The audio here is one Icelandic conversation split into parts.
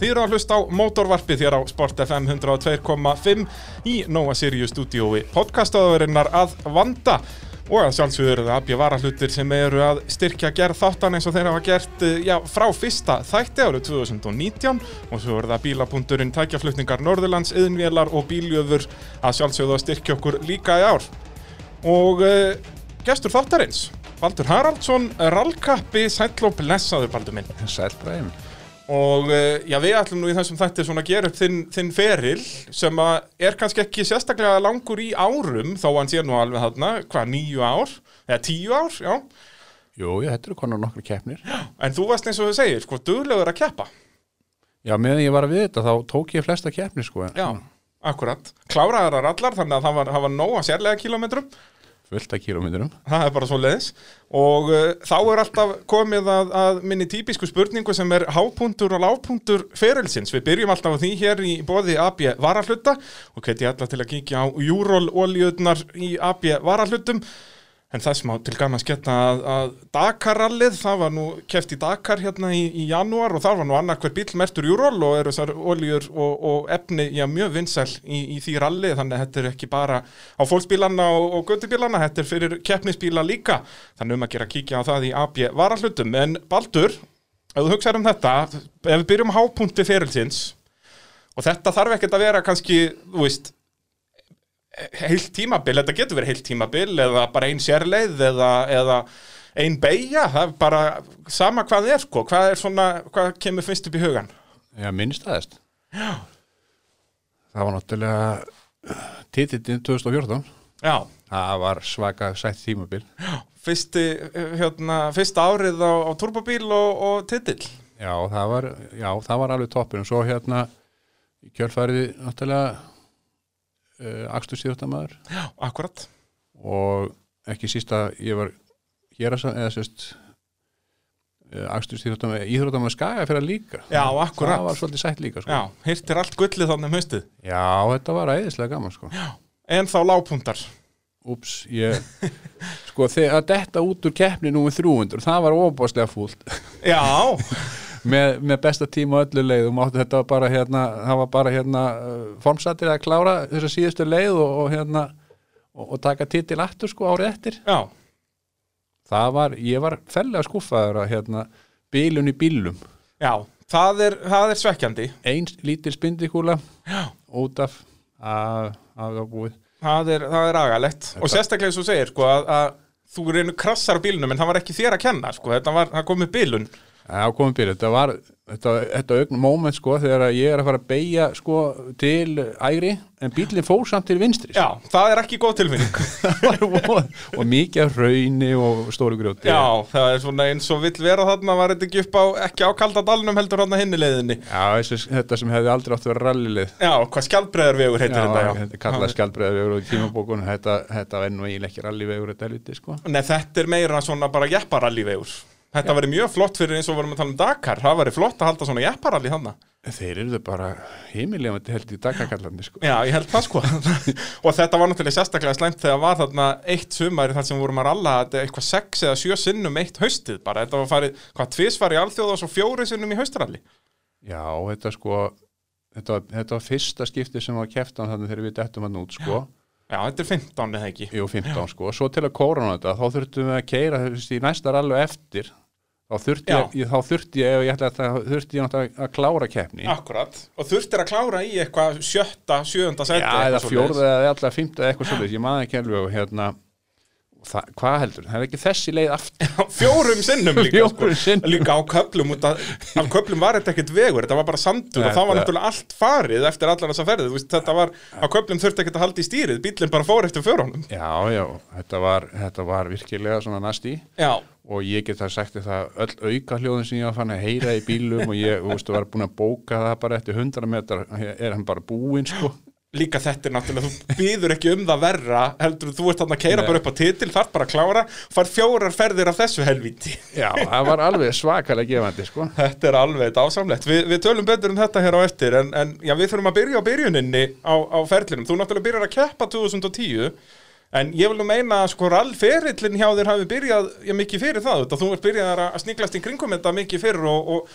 Þið eru að hlusta á mótorvarpið hér á Sport FM 102.5 í Nova Sirius stúdiói podcastaðurinnar að vanda og að sjálfsögur eru það abja varahlutir sem eru að styrkja gerð þáttan eins og þeir hafa gert eh, já, frá fyrsta þætti árið 2019 og svo eru það bílapunkturinn tækjaflutningar Norðurlands, yðnvélar og bíljöfur að sjálfsögur að styrkja okkur líka í ár og uh, gestur þáttarins Baldur Haraldsson, rallkappi sæll og blessaður Baldur minn Sæl Bræm og uh, já, við ætlum nú í þessum þætti svona að gera upp þinn, þinn feril sem að er kannski ekki sérstaklega langur í árum þó hann sé nú alveg þarna, hvað, níu ár eða tíu ár, já Jú, já, þetta eru konar nokkru keppnir en þú varst eins og þú segir, sko, duglegur að keppa Já, meðan ég var að við þetta þá tók ég flesta keppnir sko en já, akkurat, kláraðar allar þannig að það var, það var nóga sérlega kilometrum fullt af kílómetrum Það er bara svo leiðis og uh, þá er alltaf komið að, að minni típisku spurningu sem er hápuntur og lágpuntur ferilsins. Við byrjum alltaf á því hér í bóði AB varahluta og hveti ég alltaf til að kíkja á júróloljöðnar í AB varahlutum. En þess má til gaman sketta að, að Dakarallið, það var nú keft í Dakar hérna í, í janúar og þar var nú annar hver bíl mertur júról og eru þessar oljur og, og efni já, mjög vinsæl í, í því rallið þannig að þetta er ekki bara á fólksbílanna og, og göttubílanna, þetta er fyrir keppnisbíla líka þannig um að gera að kíkja á það í AB varahlutum en Baldur, ef þú hugsaður um þetta ef við byrjum á hápunkti ferilsins og þetta þarf ekkert að vera kannski, þú veist heilt tímabil, þetta getur verið heilt tímabil eða bara ein sérleið eða, eða ein beigja, það er bara sama hvað það er sko, hvað er svona hvað kemur fyrst upp í hugan Já, minnst aðeist Já Það var náttúrulega eh, titillin 2014 Já, Það var svaka sætt tímabil fyrsti, hérna, fyrsta árið á, á turbobíl og, og titill Já, það var, já, það var alveg toppur en svo hérna í kjölfærið náttúrulega uh, Akstur síðustamaður Já, akkurat og ekki síst að ég var hér að eða sérst Akstur síðustamaður, íþróttamaður skaga fyrir að líka Já, akkurat. Það var svolítið sætt líka sko. Já, hirtir allt gullið þannig um haustið Já, þetta var æðislega gaman sko. En þá lágpuntar Úps, ég sko þegar detta út úr keppni númið 300, það var óbáslega fúlt Já, með, með besta tíma á öllu leið og máttu þetta var bara hérna, það var bara hérna formsattir að klára þessa síðustu leið og, og hérna og, og taka titil aftur sko árið eftir já, það var, ég var fellega skúffaður að hérna bílun í bílum já Það er, það er svekkjandi eins lítil spindikúla út af að, að það búið Það er, það er agalegt og sérstaklega eins og þú segir sko, að, að þú reynu krassar á bílnum en það var ekki þér að kenna sko. þetta var, það kom með bílun Já, komum byrja, þetta var þetta, þetta augn moment sko þegar að ég er að fara að beigja sko til ægri en bílinn fór samt til vinstri sko. Já, það er ekki góð tilfinning Það var von- og mikið af hrauni og stóru grjóti Já, það er svona eins og vill vera þarna var þetta ekki upp á, ekki á kalda dalnum heldur hann að hinni leiðinni Já, þessi, þetta sem hefði aldrei átt að vera rallilið Já, hvað skjaldbreðarvegur heitir þetta, já þetta kallaði skjaldbreiðarvegur og tímabókun þetta, þetta var nú eiginlega ekki rallivegur þetta liti sko Nei, þetta er meira svona bara jepparallivegur Þetta væri mjög flott fyrir eins og vorum að tala um Dakar Það væri flott að halda svona jepparalli þarna Þeir eru bara heimilegandi held í dagakallandi sko Já, ég held það sko Og þetta var náttúrulega sérstaklega slæmt þegar var þarna eitt sumari þar sem vorum að ralla þetta er eitthvað sex eða sjö sinnum eitt haustið bara þetta var farið, hvað, tvisvar í alþjóða og svo fjóri sinnum í haustralli Já, þetta sko þetta, var- þetta var fyrsta skipti sem var keftan þannig þegar við dettum hann út sko Já, þetta er 15 eða ekki Jú, 15 sko, svo til að kórona þetta þá þurftum við að keira þessi næsta rallu eftir þá þurfti ég, ég, þá þurfti ég, ef ég ætla að það þurfti ég náttúrulega að klára keppni Akkurat, og þurftir að klára í eitthvað sjötta, sjöunda Já, seti eða fjórða eða alltaf fymta eða eitthvað svolítið, ég maður ekki alveg og hérna, og það, hvað heldur, það er ekki þessi leið aftur Fjórum sinnum líka sko. Fjórum sinnum. Líka á köplum, út að, af köplum var þetta ekkert vegur Þetta var bara sandur og Þetta- það var náttúrulega allt farið eftir allar þessa ferðið Þú veist, Þetta var, á köplum þurfti ekkert að halda í stýrið Bíllinn bara fór eftir fjórunum Já, já, þetta var, þetta var virkilega svona næst í Já, og ég get það sagt þér það öll auka hljóðin sem ég var fann að heyra í bílum og ég, þú veist, var búin að bóka það bara eftir 100 metrar, er hann bara búinn sko líka þetta er náttúrulega, þú býður ekki um það verra heldur þú ert þarna að keira bara upp á titil þarf bara að klára, far fjórar ferðir af þessu helvíti. Já, það var alveg svakalega gefandi sko Þetta er alveg dásamlegt. Vi, við tölum betur um þetta hér á eftir en, en já, við þurfum að byrja á byrjuninni á, á ferlinum. Þú náttúrulega byrjar að keppa 2010 en ég vil nú meina að sko rallferillin hjá þér hafi byrjað já, mikið fyrir það. Þetta. Þú ert byrjað að að sniglast í kringum þetta mikið fyrir og, og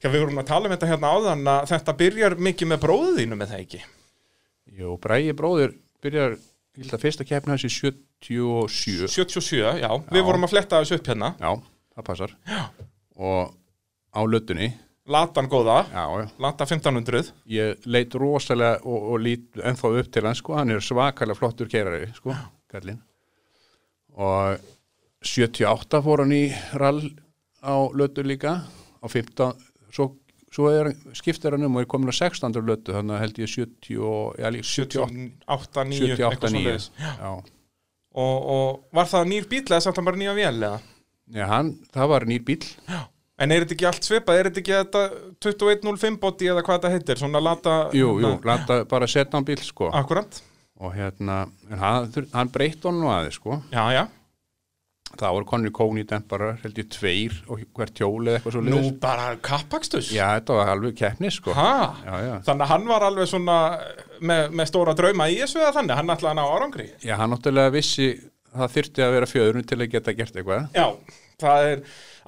Já, við vorum að tala um þetta hérna áðan að þetta byrjar mikið með bróðu þínu með það ekki. Jú, Bræði bróður byrjar, ég held að fyrsta keppni hans í 77 77, já, við vorum að fletta þessu upp hérna. Já, það passar já. og á löttunni Latan góða, já, já. Lata 1500, ég leit rosalega og, og lít ennþá upp til hann sko, hann er svakalega flottur keirari sko, kallinn og 78 fór hann í rall á löttu líka á 15 svo, svo er, skiptir hann um og er komin á 16. löttu þannig að held ég 70 og, já, líka 78 78, 9, 78, 9 svoleiðis. já Og, og var það nýr bíl eða samt hann bara nýja vél eða? Já, hann, það var nýr bíl En er þetta ekki allt svipað, er þetta ekki þetta 2105 body eða hvað þetta heitir, svona Lata... hérna, Jú, jú, landa bara setna hann bíl sko Akkurat, og hérna, en hann, þur- hann breytt honum nú aðeins sko, já, já. það voru konni kóni demparar, held ég tveir og hvert hjóli eða eitthvað svo Nú bara kappakstus. já þetta var alveg keppni sko Ha? já, já. Þannig að hann var alveg svona með, með stóra drauma í þessu eða þannig, hann ætlaði að ná árangri. já, hann náttúrulega vissi það þyrfti að vera fjöðurinn til að geta gert eitthvað Já, það er,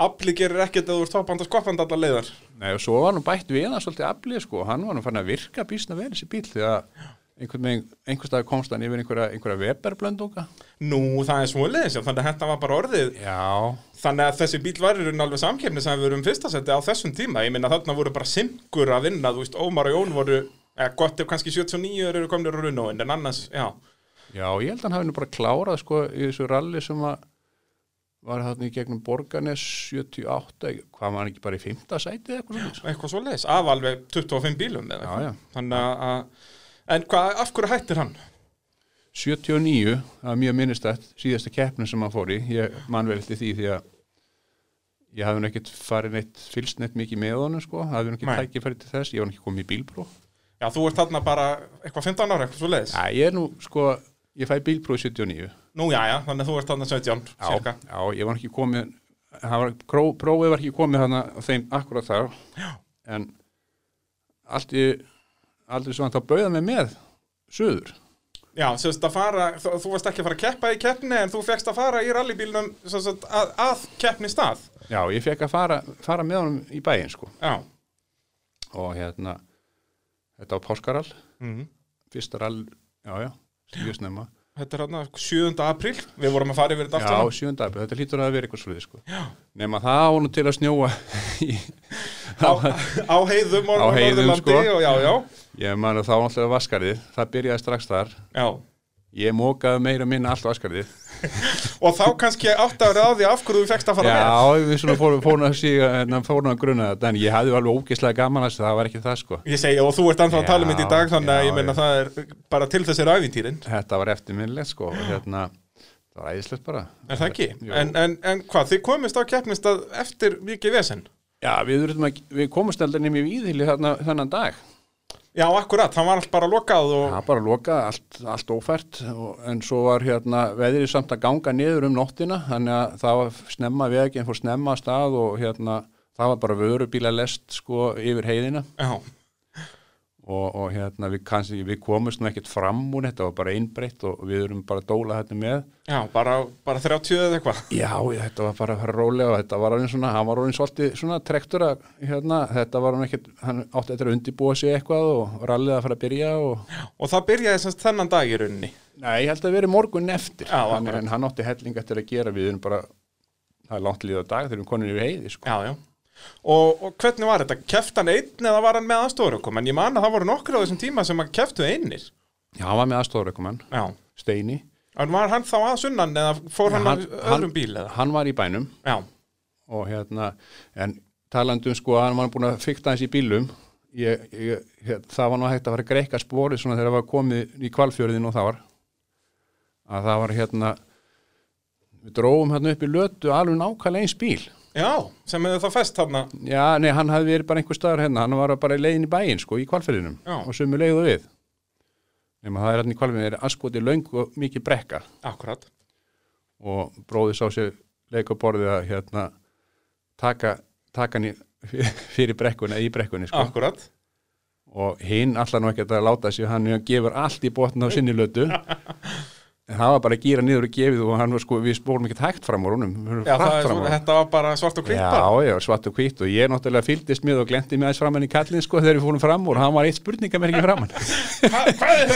afli gerir ekkert að þú ert toppand og skoppand allar leiðar. Nei, og svo var hann bætt við hann svolítið aflið sko, hann var hann fann að virka býsna vel þessi bíl því að einhvern veginn, einhvers dag komst hann yfir einhverja, einhverja Weber-blöndunga Nú, það er svoleiðis, já, þannig að þetta var bara orðið. já, Þannig að þessi bíl var í raun alveg samkeppni sem við erum fyrsta seti á þessum tíma. Ég minna þarna voru bara simkur að vinna, þú veist, Ómar og Jón voru, eða gott ef kannski 79 eru komnir á runóin, en annars, já. Já, ég held að hann hafi nú bara klárað sko í þessu ralli sem að var þarna í gegnum Borganes 78, hvað var hann ekki bara í 5. sæti eða eitthvað svona? Eitthvað svoleiðis, af alveg 25 bílum eða Já, já. eitthvað. Þannig að, en hvað, af hverju hættir hann? 79, það er mjög minnistætt, síðasta keppnum sem hann fór í, ég man vel eftir því því að ég hafði nú ekkert farið neitt, fylst neitt mikið með honum sko, hafði nú ekki Nei. tækifæri til þess, ég var nú ekki komið í bílpró. Já, þú ert þarna bara eitthvað 15 ára, eitthvað svoleiðis. Já, ég er nú sko, ég fæ bílpró í 79. Nú, já, já, þannig að þú ert þarna 17, Já, cirka. já, ég var ekki komið hann var, pró, prófið var ekki komið hann á þeim akkurat þar já. en allt í aldrei svo hann þá bauða mig með söður, Já, sem sagt að fara, þú, þú varst ekki að fara að keppa í keppni en þú fegst að fara í rallybílnum sem sagt, að, að keppni stað. já, ég fekk að fara, fara með honum í bæinn sko Já, og hérna, þetta var páskarall Mhm. fyrsta rall, já, já, mjög snemma þetta er hérna 7. apríl, við vorum að fara yfir þetta já, aftur. sjönda apríl, þetta hlýtur að vera eitthvað sluði sko já. nema það á nú til að snjóa í- Á, á heiðum og Á heiðum, Norðurlandi sko. og já, já, ég man að þá alltaf vaskarið, það byrjaði strax þar já. ég mókaði meira og minna allt vaskarið Og þá kannski átt að vera á því af hverju þú fegst að fara með. Já, við svona fórum fórum að síga en hann fórum að gruna þetta en ég hafði alveg ógislega gaman að þessu, það var ekki það sko Ég segi, og þú ert ennþá að tala um þetta í dag, Já, þannig að já, ég meina já. það er bara til þessir æfintýrin, Þetta var eftirminnilegt sko og hérna, það var æðislegt bara er það ekki? Jú. En, en, en hvað, þið komist á keppnistað eftir mikið vesinn? Já, við, þurftum að, við komumst aldrei nefnir í íðhili þarna, þennan dag Já, akkurat, hann var allt bara lokað og... Það var bara lokað, allt, allt ófært og, en svo var hérna veðrið samt að ganga niður um nóttina þannig að það var snemma veginn fór snemma af stað og hérna það var bara vörubíla lest sko yfir heiðina Já, og, og hérna við, kannski, við komumst nú ekkert fram úr þetta var bara einbreytt og við erum bara að dóla þetta með já bara, bara 30 eða eitthvað já þetta var bara að fara rólega og þetta var alveg svona, hann var alveg svolítið svona trektur að hérna, þetta var hann ekkert hann átti eftir að undibúa sig eitthvað og rallið að fara að byrja og Og það byrjaði semst þennan dag í rauninni nei, ég held að það verið morgun eftir Já, hann, akkurat. en hann átti helling eftir að gera við erum bara, það er langt líða dag þegar við erum konin yfir heiði sko. Já, já Og, og hvernig var þetta? Keft hann einn eða var hann með aðstofur okkur? En ég man að það voru nokkru á þessum tíma sem hann keftu einir já, hann var með aðstofurökumann, Já Steini En var hann þá að sunnan eða fór hann, hann öðrum bíl eða? hann var í bænum Já, og hérna, en talandum sko að hann var búin að fykta hans í bílum ég, ég, hér, það var nú hægt að fara að greika spórið svona þegar það var komið í kvalfjörðin og það var að það var hérna við drófum hérna upp í lötu alveg nákvæmlega eins bíl já, sem hefði það fest þarna já, nei, hann hafði verið bara einhver staðar hérna hann var bara í leiðin í bæinn sko, í kvalfjörðinum Já. og sömu leiðu við nema það er hérna í kvalfjörðin er askoti löng og mikið brekka Akkurat og bróði sá sér leik á borðið að hérna taka, taka hann í, fyrir brekkuna í brekkunni sko. Akkurat og hinn allar nú ekki að láta sér hann gefur allt í botn á sinni lötu en það var bara að gýra niður og gefið og hann var sko, við spólum ekkert hægt fram úr honum við Já, vorum það hratt er fram úr svona, honum. þetta var bara svart og kvitt bara. Já, já, svart og hvitt og ég náttúrulega fylgdist með og glendi með aðeins framann í kallin sko þegar við fórum fram úr, hann var eitt spurningamerki framann Hva, hvað er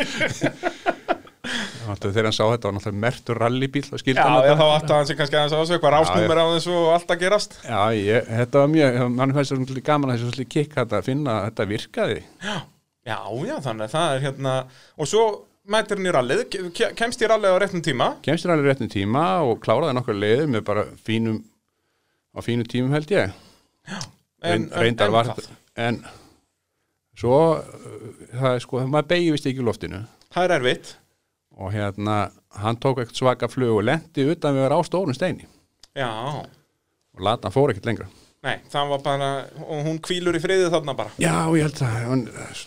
þetta? Náttúrulega þegar hann sá þetta var náttúrulega mertur rallybíl og skildi Já, hann ég, þetta. þá átti hann sig kannski aðeins á þessu, eitthvað rásnúmer á þessu og allt að gerast. Já, ég, þetta var mjög, mann fæst svolítið gaman að þessu svolítið kikk þetta að finna að þetta virkaði Já, já, já, þannig að það er hérna, og svo mætir hann í rallið, ke- kemst í rallið á réttum tíma. kemst hann alveg réttum tíma og kláraði nokkur leiðir með bara fínum á fínum tímum held ég En, Reyn- reyndar en, var hvað? en svo uh, það er sko, maður beigir vist ekki í loftinu Það er erfitt. og hérna, hann tók ekkert svaka flug og lendi utan við að vera á stórum steini Já, og lata hann fór ekkert lengra nei, það var bara, og hún kvílur í friði þarna bara. já, ég held að hann,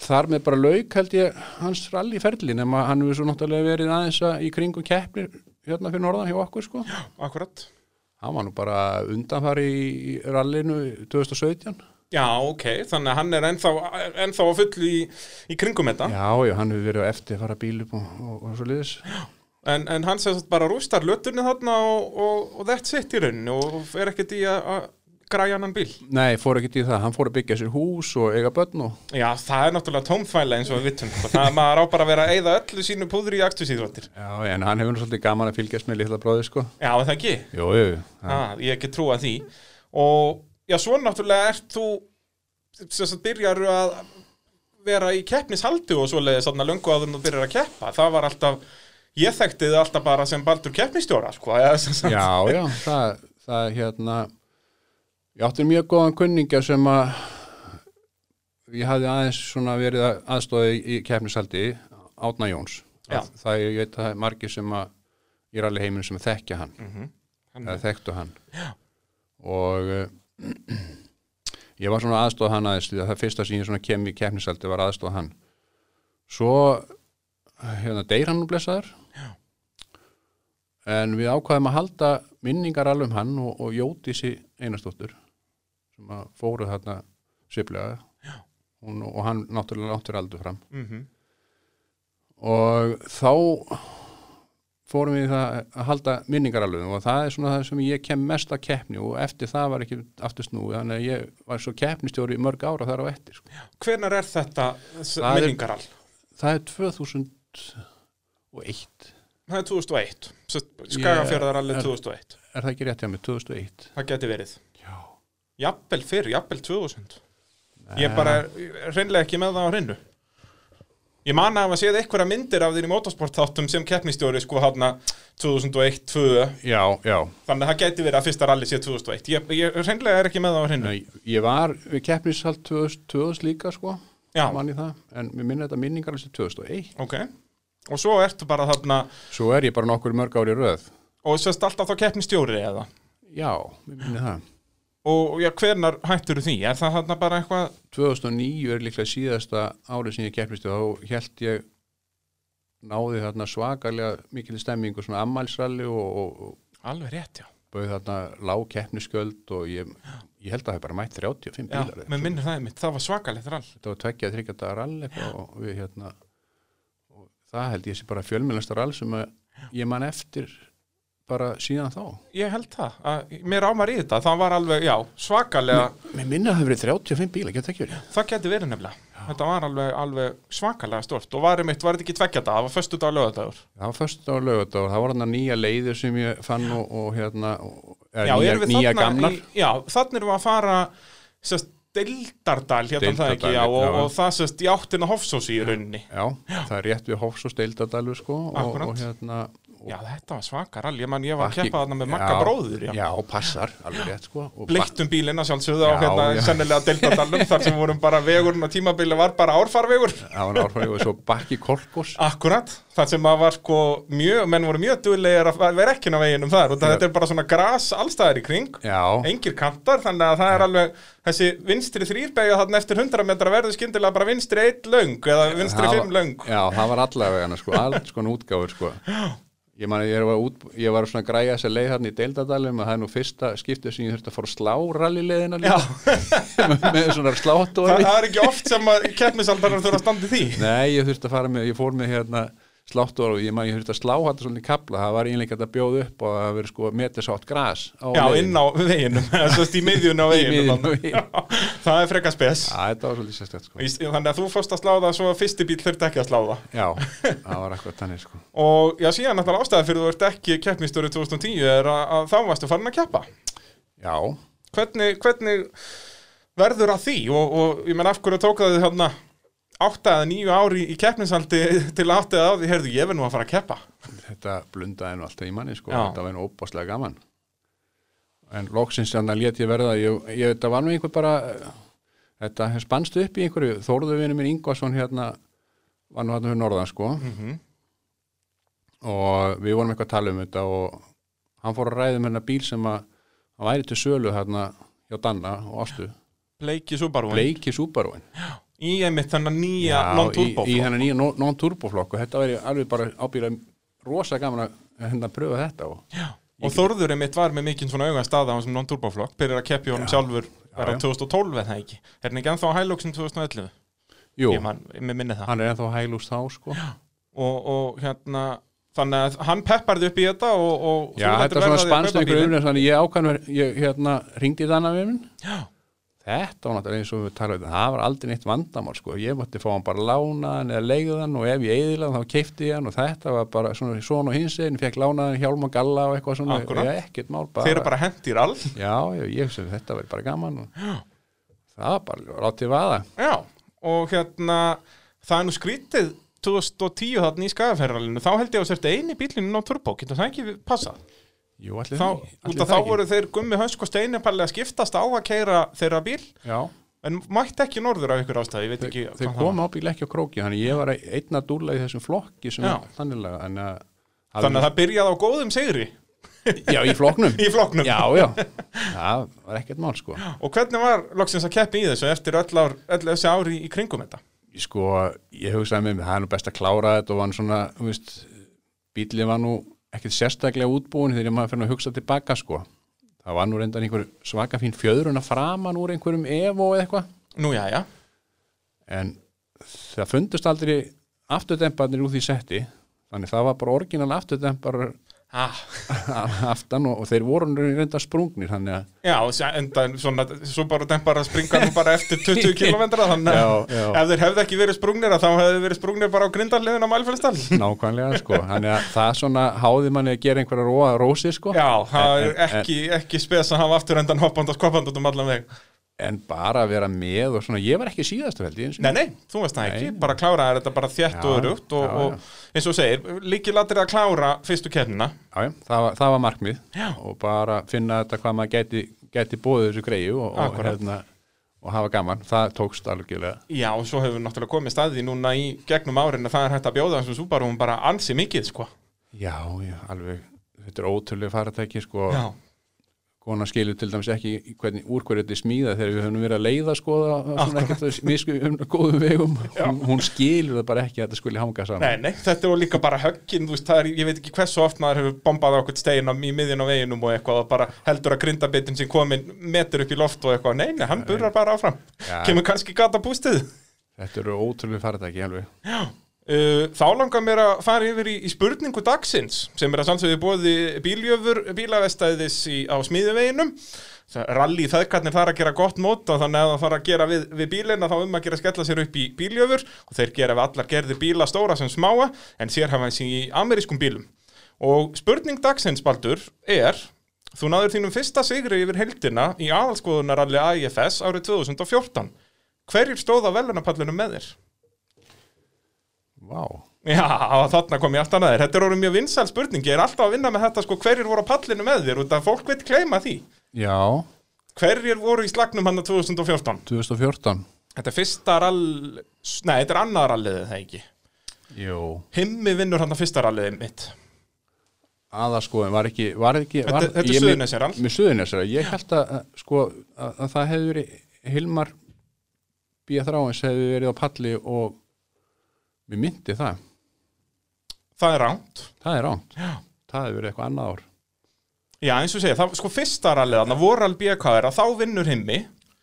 þar með bara lauk held ég hans rallyferli nema hann hefur svo náttúrulega verið aðeins að í kringum keppnir hérna fyrir norðan hjá okkur sko Akkurat. hann var nú bara undanfari í rallinu 2017 Já, ok, þannig að hann er ennþá, ennþá að fullu í, í kringum þetta. Já, já, hann hefur verið á eftir að fara bíl upp og, og, og svo liðis. En, en hann sem sagt bara rústar löturni þarna og, og, og that's it í rauninni og er ekkert í að að græja annan bíl. Nei, fór ekki til það, hann fór að byggja sér hús og eiga börn og... Já, það er náttúrulega tómþvæla eins og við vittum. sko. Það maður á bara að vera að eyða öllu sínu púðri í aktusíðrottir. Já, en hann hefur nú svolítið gaman að fylgjast með litla bróði, sko. Já, er það ekki. Jú, jú, jú. Ha, ég ekki trúa því. Og já, svo náttúrulega ert þú sem sagt byrjar að vera í keppnishaldi og svoleiðis þarna löngu áður en þú byrjar að keppa. Það var alltaf, ég þekkti þið alltaf bara sem baldur keppnistjóra, sko. eða sem sagt- Já, já, það, það er hérna... Ég átti mjög góðan kunningja sem að ég hafði aðeins svona verið að- aðstoði í keppnisaldi Átna Jóns. Já. Það, ég veit að það er margir sem að ég er alveg heiminn sem þekkja hann. Hann- eða þekktu hann Já. og uh, ég var svona aðstóð hann aðeins því að það fyrsta sem ég svona kem í keppnisaldi var aðstóð hann svo hérna deyr hann nú blessaður Já. en við ákvaðum að halda minningar alveg um hann og, og Jódísi Einarsdóttur sem að fóruð þarna sviplega Hún, og hann náttúrulega náttur aldur fram Mhm. og þá fórum við í það að halda minningaralöfum og það er svona það sem ég kem mest að keppni og eftir það var ekki aftur snúið þannig að ég var svo keppnistjóri í mörg ára þar á eftir sko. Hvenær er þetta s- Það er- minningarall? það er 2001 Það er 2001 Skagafjörðarallið Ég- 2001 er það ekki rétt hjá mig, 2001 Það geti verið já, Jafnvel fyrr, jafnvel 2000 Ég bara er er hreinlega ekki með það á hreinu Ég man að hafa séð einhverja myndir af þér í motorsportáttum sem keppnistjóri sko hana 2001 2002 já, já. Þannig að það geti verið að fyrsta rally sé 2001 Ég, ég hreinlega er ekki með það á hreinu Nei, ég var við keppnishald 2000 líka sko, Já, mann í það, en mér minna þetta minningaralöfum 2001 ok Og svo ertu bara þarna svo er ég bara nokkur í mörg ári í röð Og sérst alltaf þá keppnistjóri eða já, mér minna það Og já, hvenar hættur því? Er það þarna bara eitthvað 2009 er líklega síðasta árið sem ég keppist og þá held ég náði þarna svakalega mikil stemmingu, svona ammælsralli og, og, og Alveg rétt, já bauð þarna lág keppnisgjöld og ég, ég held að það er bara mætt 35 Já, bílar. mér minnir það einmitt, það var svakalegt rall Þetta var tveggja þryggja dagar rall eitthvað og við hérna og það held ég sé bara fjölmjölnasta rall sem að ég man eftir bara síðan þá. Ég held það, að, mér ámar í þetta, það var alveg, já, svakalega Mér minna að það hefur verið 35 bíla, getur það ekki verið? Það geti verið nefnilega, þetta var alveg, alveg svakalega stort og var einmitt, var þetta ekki tvekja dag, það var föstu dag lögadagur Það var först á lögudagur, það var hann nýja leiðir sem ég fann og, og hérna, og, er, Já, nýja, erum við nýja þarna gamlar. í, Já, þannig erum við að fara, sérst, Deildardal, hérna það Deildardal, ekki, já, og, já. og það sérst í áttina Hofsós í rauninni Já, það er rétt við Hofs og Steildadalvi sko og, Akkúrat. og hérna og Já, þetta var svakarall, ég man, ég var að bakki- keppa þarna með Magga bróður, já, Já, passar, alveg rétt sko og Bleittum bílina sjálfsögðu á Já, hérna já. sennilega Deildardalum þar sem vorum bara vegurinn og tímabili var bara árfarvegur bak- Það var náttúrulega svo bakki Kolkos Akkurat, það sem að var sko mjög, menn voru mjög duðlegir að vera ekki á veginum þar og það, þetta er bara svona gras allstæðar í kring, Já, engir kantar þannig að það er alveg, þessi vinstri þrýrbegja þarna eftir 100 metra verður skyndilega bara vinstri eitt löng eða vinstri það var- fimm löng Já, það var allavega hana sko, allt sko útgáfur sko Ég man að ég var, út, ég var svona að græja þess að leið hann í Deildadalum að það er nú fyrsta skiptið sem ég þurfti að fór að slá rallileiðina Já, líka með svona það, sláttóri það er ekki oft sem að keppnisaldarar þurfa að standa í því Nei, ég þurfti að fara með, ég fór með hérna sláttur og ég maður ég þurfti að slá þetta svolítið í kapla, það var einlega að bjóða upp og það verið sko metersátt gras á Já, leiðinni. inn á veginum, sérst í miðjun á miðjunni á veginum þarna. veginum. Já, Það er frekar spes Já, þetta var svolítið sérstætt sko. Í- Þannig að þú fórst að sláða svo að fyrsti bíl þurfti ekki að sláða Já, það var akkurat þannig sko. Og já, síðan náttúrulega ástæða fyrir þú ert ekki keppnistöru 2010 er að, að þá varstu farin að keppa Já, Hvernig, hvernig verður að því og, og ég menn af hverju tók það þið hérna átta eða níu ári í keppnisaldi til að átta eða á því, heyrðu, ég verð nú að fara að keppa þetta blundaði nú alltaf í manni sko. Já. þetta var nú óbáslega gaman en loksins þannig að lét ég verða ég, ég þetta var nú einhver bara eh, þetta spannst upp í einhverju Þórðu vinur minn Ingvarsson hérna var nú hérna fyrir norðan sko Mhm. og við vorum eitthvað að tala um þetta og hann fór að ræða með hérna bíl sem að hann væri til sölu hérna hjá Danna og Ástu Bleiki Subaru Bleiki Subaruinn Í einmitt þennan nýja Já, non-turbo í, í hennar nýja non- non-turboflokk og þetta væri alveg bara ábýra rosa gaman að hennar pröfa þetta og Já, og Þórður einmitt var með mikinn svona augan staða á þessum non-turboflokk, byrjar að keppi honum sjálfur var já. á 2012 eða ekki er hann ekki ennþá á Hiluxum 2011 jú, ég man, mér minni það hann er ennþá hælust þá sko. já, og, og hérna, þannig að hann pepparði upp í þetta og, og þú þetta lætur er verða svona því að spannst kaupa ykkur bílinn. umlega þannig ég ákvæmur, ég hérna ringdi þannig að við minn Já, þetta var náttúrulega eins og við talaðum um, það var aldrei neitt vandamál sko, ég mátti fá hann bara lánaðan eða leigðan og ef ég eðilaðan þá keipti ég hann og þetta var bara svona svona og hins einn, fekk lánaðan hjálm og galla og eitthvað svona, Akkúrat. ég ekkert mál þeir eru bara hendir all já, já, ég hugsa þetta verið bara gaman og það var bara látið vaða Já, og hérna það er nú skrítið 2010 þarna í skagaferralinu, þá held ég að þú sért eini bílinu non-turbo, getur það ekki passað Jú, allir þá, það, út af þá voru þeir gummi hönsk og steinipalli að skiptast á að keira þeirra bíl Já, en mætti ekki norður af ykkur ástæði, ég veit ekki þeir hvað það var. koma ábyggilega ekki á króki Þannig ég var einn að dúla í þessum flokki sem Já. Þannig að þannig að það byrjaði á góðum sigri Já, í flokknum í flokknum Já, já, það var ekkert mál sko og hvernig var loksins að keppi í þessu eftir öll, ár, öll þessi ári í kringum þetta Sko, ég hugsaði með mér, það er nú best að klára þetta og var nú svona, þú veist bíllinn var nú ekkert sérstaklega útbúin þegar maður fyrir að hugsa tilbaka sko Það var nú reyndar einhver svaka fín fjöðrun að framan úr einhverjum evo eða eitthvað nú já, já, en það fundust aldrei afturdemparnir úr því setti þannig það var bara orginal afturdempar ah. aftan og, og þeir voru nú reynda sprungnir þannig að já og sé- enda svona, svo bara dempar að springa nú bara eftir 20 km þannig Já, að já. ef þeir hefði ekki verið sprungnir að þá hefði verið sprungnir bara á grindarliðin á Mælfjöldsdal nákvæmlega sko þannig að það svona háði manni að gera einhverja róa rósi sko já, það En- er ekki, ekki spes að hafa aftur endan hoppand og skoppand út um allan veg en bara að vera með og svona ég var ekki síðastu held ég eins og Nei, nei, þú veist það ekki, Nei. bara kláraði þetta bara þjætt Já, og örugt og, já, já. og eins og þú segir, líkilatrið að klára fyrstu kefnina Já, já, það, var- það var markmið Já. og bara finna þetta hvað maður gæti, gæti bóðið þessu greiðu og, og, Akkúrat. hérna, og hafa gaman, það tókst algjörlega Já, og svo hefur náttúrulega komið staðið núna í gegnum árin að það er hægt að bjóða þessum súbarúum bara ansi mikið, sko Já, já, alveg, þetta er ótrúlega faratæki sko, Já, konan skilur til dæmis ekki í hvernig, úr hverju þetta er smíðað þegar við höfum verið að leiða skoða svona ekkert að misku um góðum vegum hún, hún skilur það bara ekki að þetta skuli hanga saman nei, nei, þetta var líka bara höggin, þú veist, það er, ég veit ekki hversu oft maður hefur bombað á okkur stein á, í miðin á veginum og eitthvað og bara heldur að grindabitin sem komin metur upp í loft og eitthvað, nei, nei, hann burrar bara áfram Já. Kemur kannski gata pústið Þetta eru ótrúlega faratæki alveg Já, uh, þá langar mér að fara yfir í, í spurningu dagsins sem er að samsögðu bóði bíljöfur bílavestæðis í, á smíðuveginum rally feðkarnir þar að gera gott mót og þannig að það þarf að gera við, við bílina þá um að gera að skella sér upp í bíljöfur og þeir gera við allar gerði bíla stóra sem smáa en sér hafa þessi í amerískum bílum og spurning dagsins Baldur er þú náður þínum fyrsta sigri yfir heldina í aðalskoðunaralli AIFS árið 2014 hverjir stóða velunapallinu með þér? Vá, Já, þarna kom ég alltaf að þér. Þetta er orðið mjög vinsæl spurning. Ég er alltaf að vinna með þetta sko hverjir voru á pallinu með þér út af fólk veit kleima því. já, Hverjir voru í slagnum hann 2014? 2014 Þetta er fyrsta rall... Nei, þetta er annar rallið það ekki. Jú Himmi vinnur hann fyrsta rallið mitt. Aðaskoðin var ekki, var ekki Þetta- var, þetta er ég- Suðurnesjarall. Með Suðunessar, ég held að að, sko að, að það hefði verið Hilmar B. Þráins hefði verið á palli og við myndi það Það er ránt. Það er rámt. Já. Það hefur verið eitthvað annað ár. Já, eins og segja, það, sko fyrsta rallið hann, voral BKR, að þá vinnur Himmi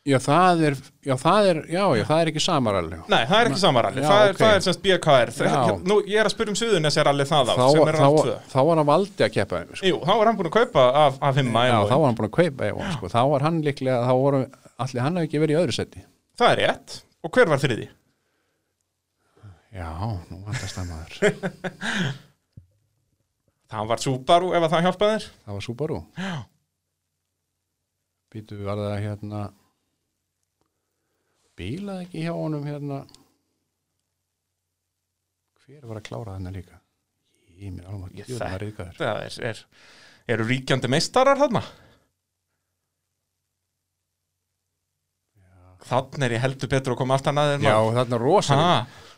Já, það er, já, það er, já, já, það er ekki samaralli. Nei, það er ekki samaralli, Já, það, er- ok. það er semst BKR Já. Þe- Nú, ég er að spyrja um Suðunnesjaralli það á, Þá, sem er þá, rall 2 þá var hann valdi að keppa þeim, sko. Jú, þá er hann búin að kaupa af, af himma Já, Evo. þá var hann búin að kaupa Evo, sko. Þá var hann líklega, þá voru, allir hann hafi ekki verið í öðru seti. Það er rétt, og hver var þriði? Já, nú vandast það maður. það Það var Subaru ef að það hjálpaði þér var Subaru. Já, Býtu var það hérna, bílaði ekki hjá honum hérna. Hver var að klára þarna líka? Ég mér alveg, Ég ég var að þekki. reyðka þér. það er, er, eru ríkjandi meistarar þarna? Þannig er ég heldur betur að koma allt annað en Já, maður. þarna rosalega, Ha,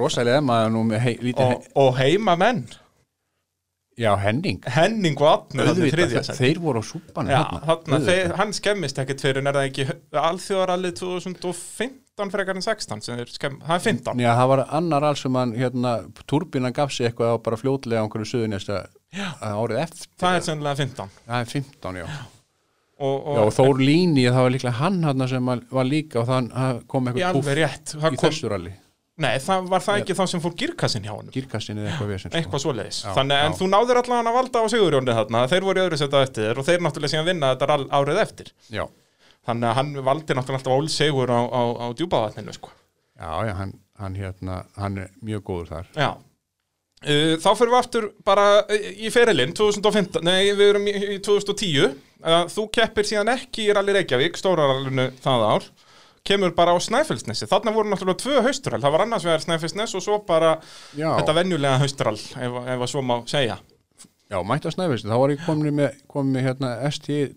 rosalega maður nú með hei, lítið, og, og heimamenn he- já, Henning. Henning og Atni Auðvitað, þriðja þe- sæti. þeir voru á súpanu Já, þarna, þeir, hann skemmist ekkert fyrir en er það ekki alþjóðarallið 2015 frekar en 16 sem er skemm, það er 15 Já, það var annar alls sem hann, hérna, turbínan gaf sig eitthvað á bara fljótlega á einhverju suðunesta árið eftir. það er sennilega 15 Það er 15, já. og, Já, og og Þór Líni, það var líklega hann hann sem að- var líka og þann það kom ég eitthvað alveg púff rétt það í kom, þessu ralli. nei, það var það ekki þá sem fór girkassin hjá honum Girkastin eða eitthvað sko. vesens. eitthvað svoleiðis, Já, þannig en já. þú náðir allavega að valda á Sigurjóni þarna, þeir voru í öðru setja eftir þér og þeir náttúrulega síðan vinna þetta all, árið eftir Já, þannig að hann valdi náttúrulega alltaf ól Sigur á, á, á djúbavatninu sko. já, já, hann, hann hérna, hann er mjög góður þar. já Uh, Þá fyrir við aftur bara uh, í ferilinn 2015, nei við erum í í 2010 uh, Þú keppir síðan ekki í Rally Reykjavík, stórarallinu það ár Kemur bara á Snæfellsnesi Þarna voru náttúrulega tvö hausturall, það var annars vegar Snæfellsnes og svo bara Já, þetta venjulega hausturall ef, ef að svo má segja já mætti að snæfist, þá var ég komin með, komin með hérna, ST,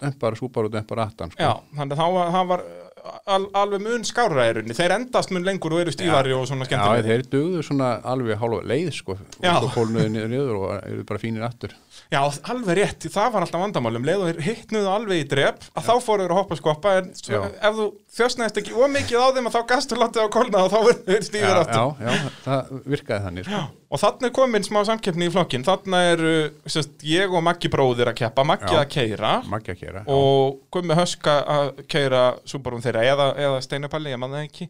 dempar, súpar og dempar 18, sko. Já, þannig að það var uh, al, alveg mun skárra í rauninni. Þeir endast mun lengur og eru stífari og svona Já, skemmtilega. þeir dugðu svona alveg hálfa leið sko, Já. og svo kólnuðu niður niður og eru bara fínir aftur. Já, alveg rétt, það var alltaf vandamálum. Leðu þeir hittnuðu alveg í drep, að þá fóru þeir að hoppa og skoppa, en svo, Já. ef þú þjósnaðist ekki ómikið á þeim að þá gastu látið á kolna og þá verður þeir Já, stífir já, aftur. já, það virkaði þannig sko. Og þannig er komin smá samkeppni í flokkin. Þannig er uh, sest, ég og Maggi bróðir að keppa, Maggi Já. að keira Maggi að kera. og Gummi Höska að keira súbarum þeirra eða, eða Steinapalli, ég man það ekki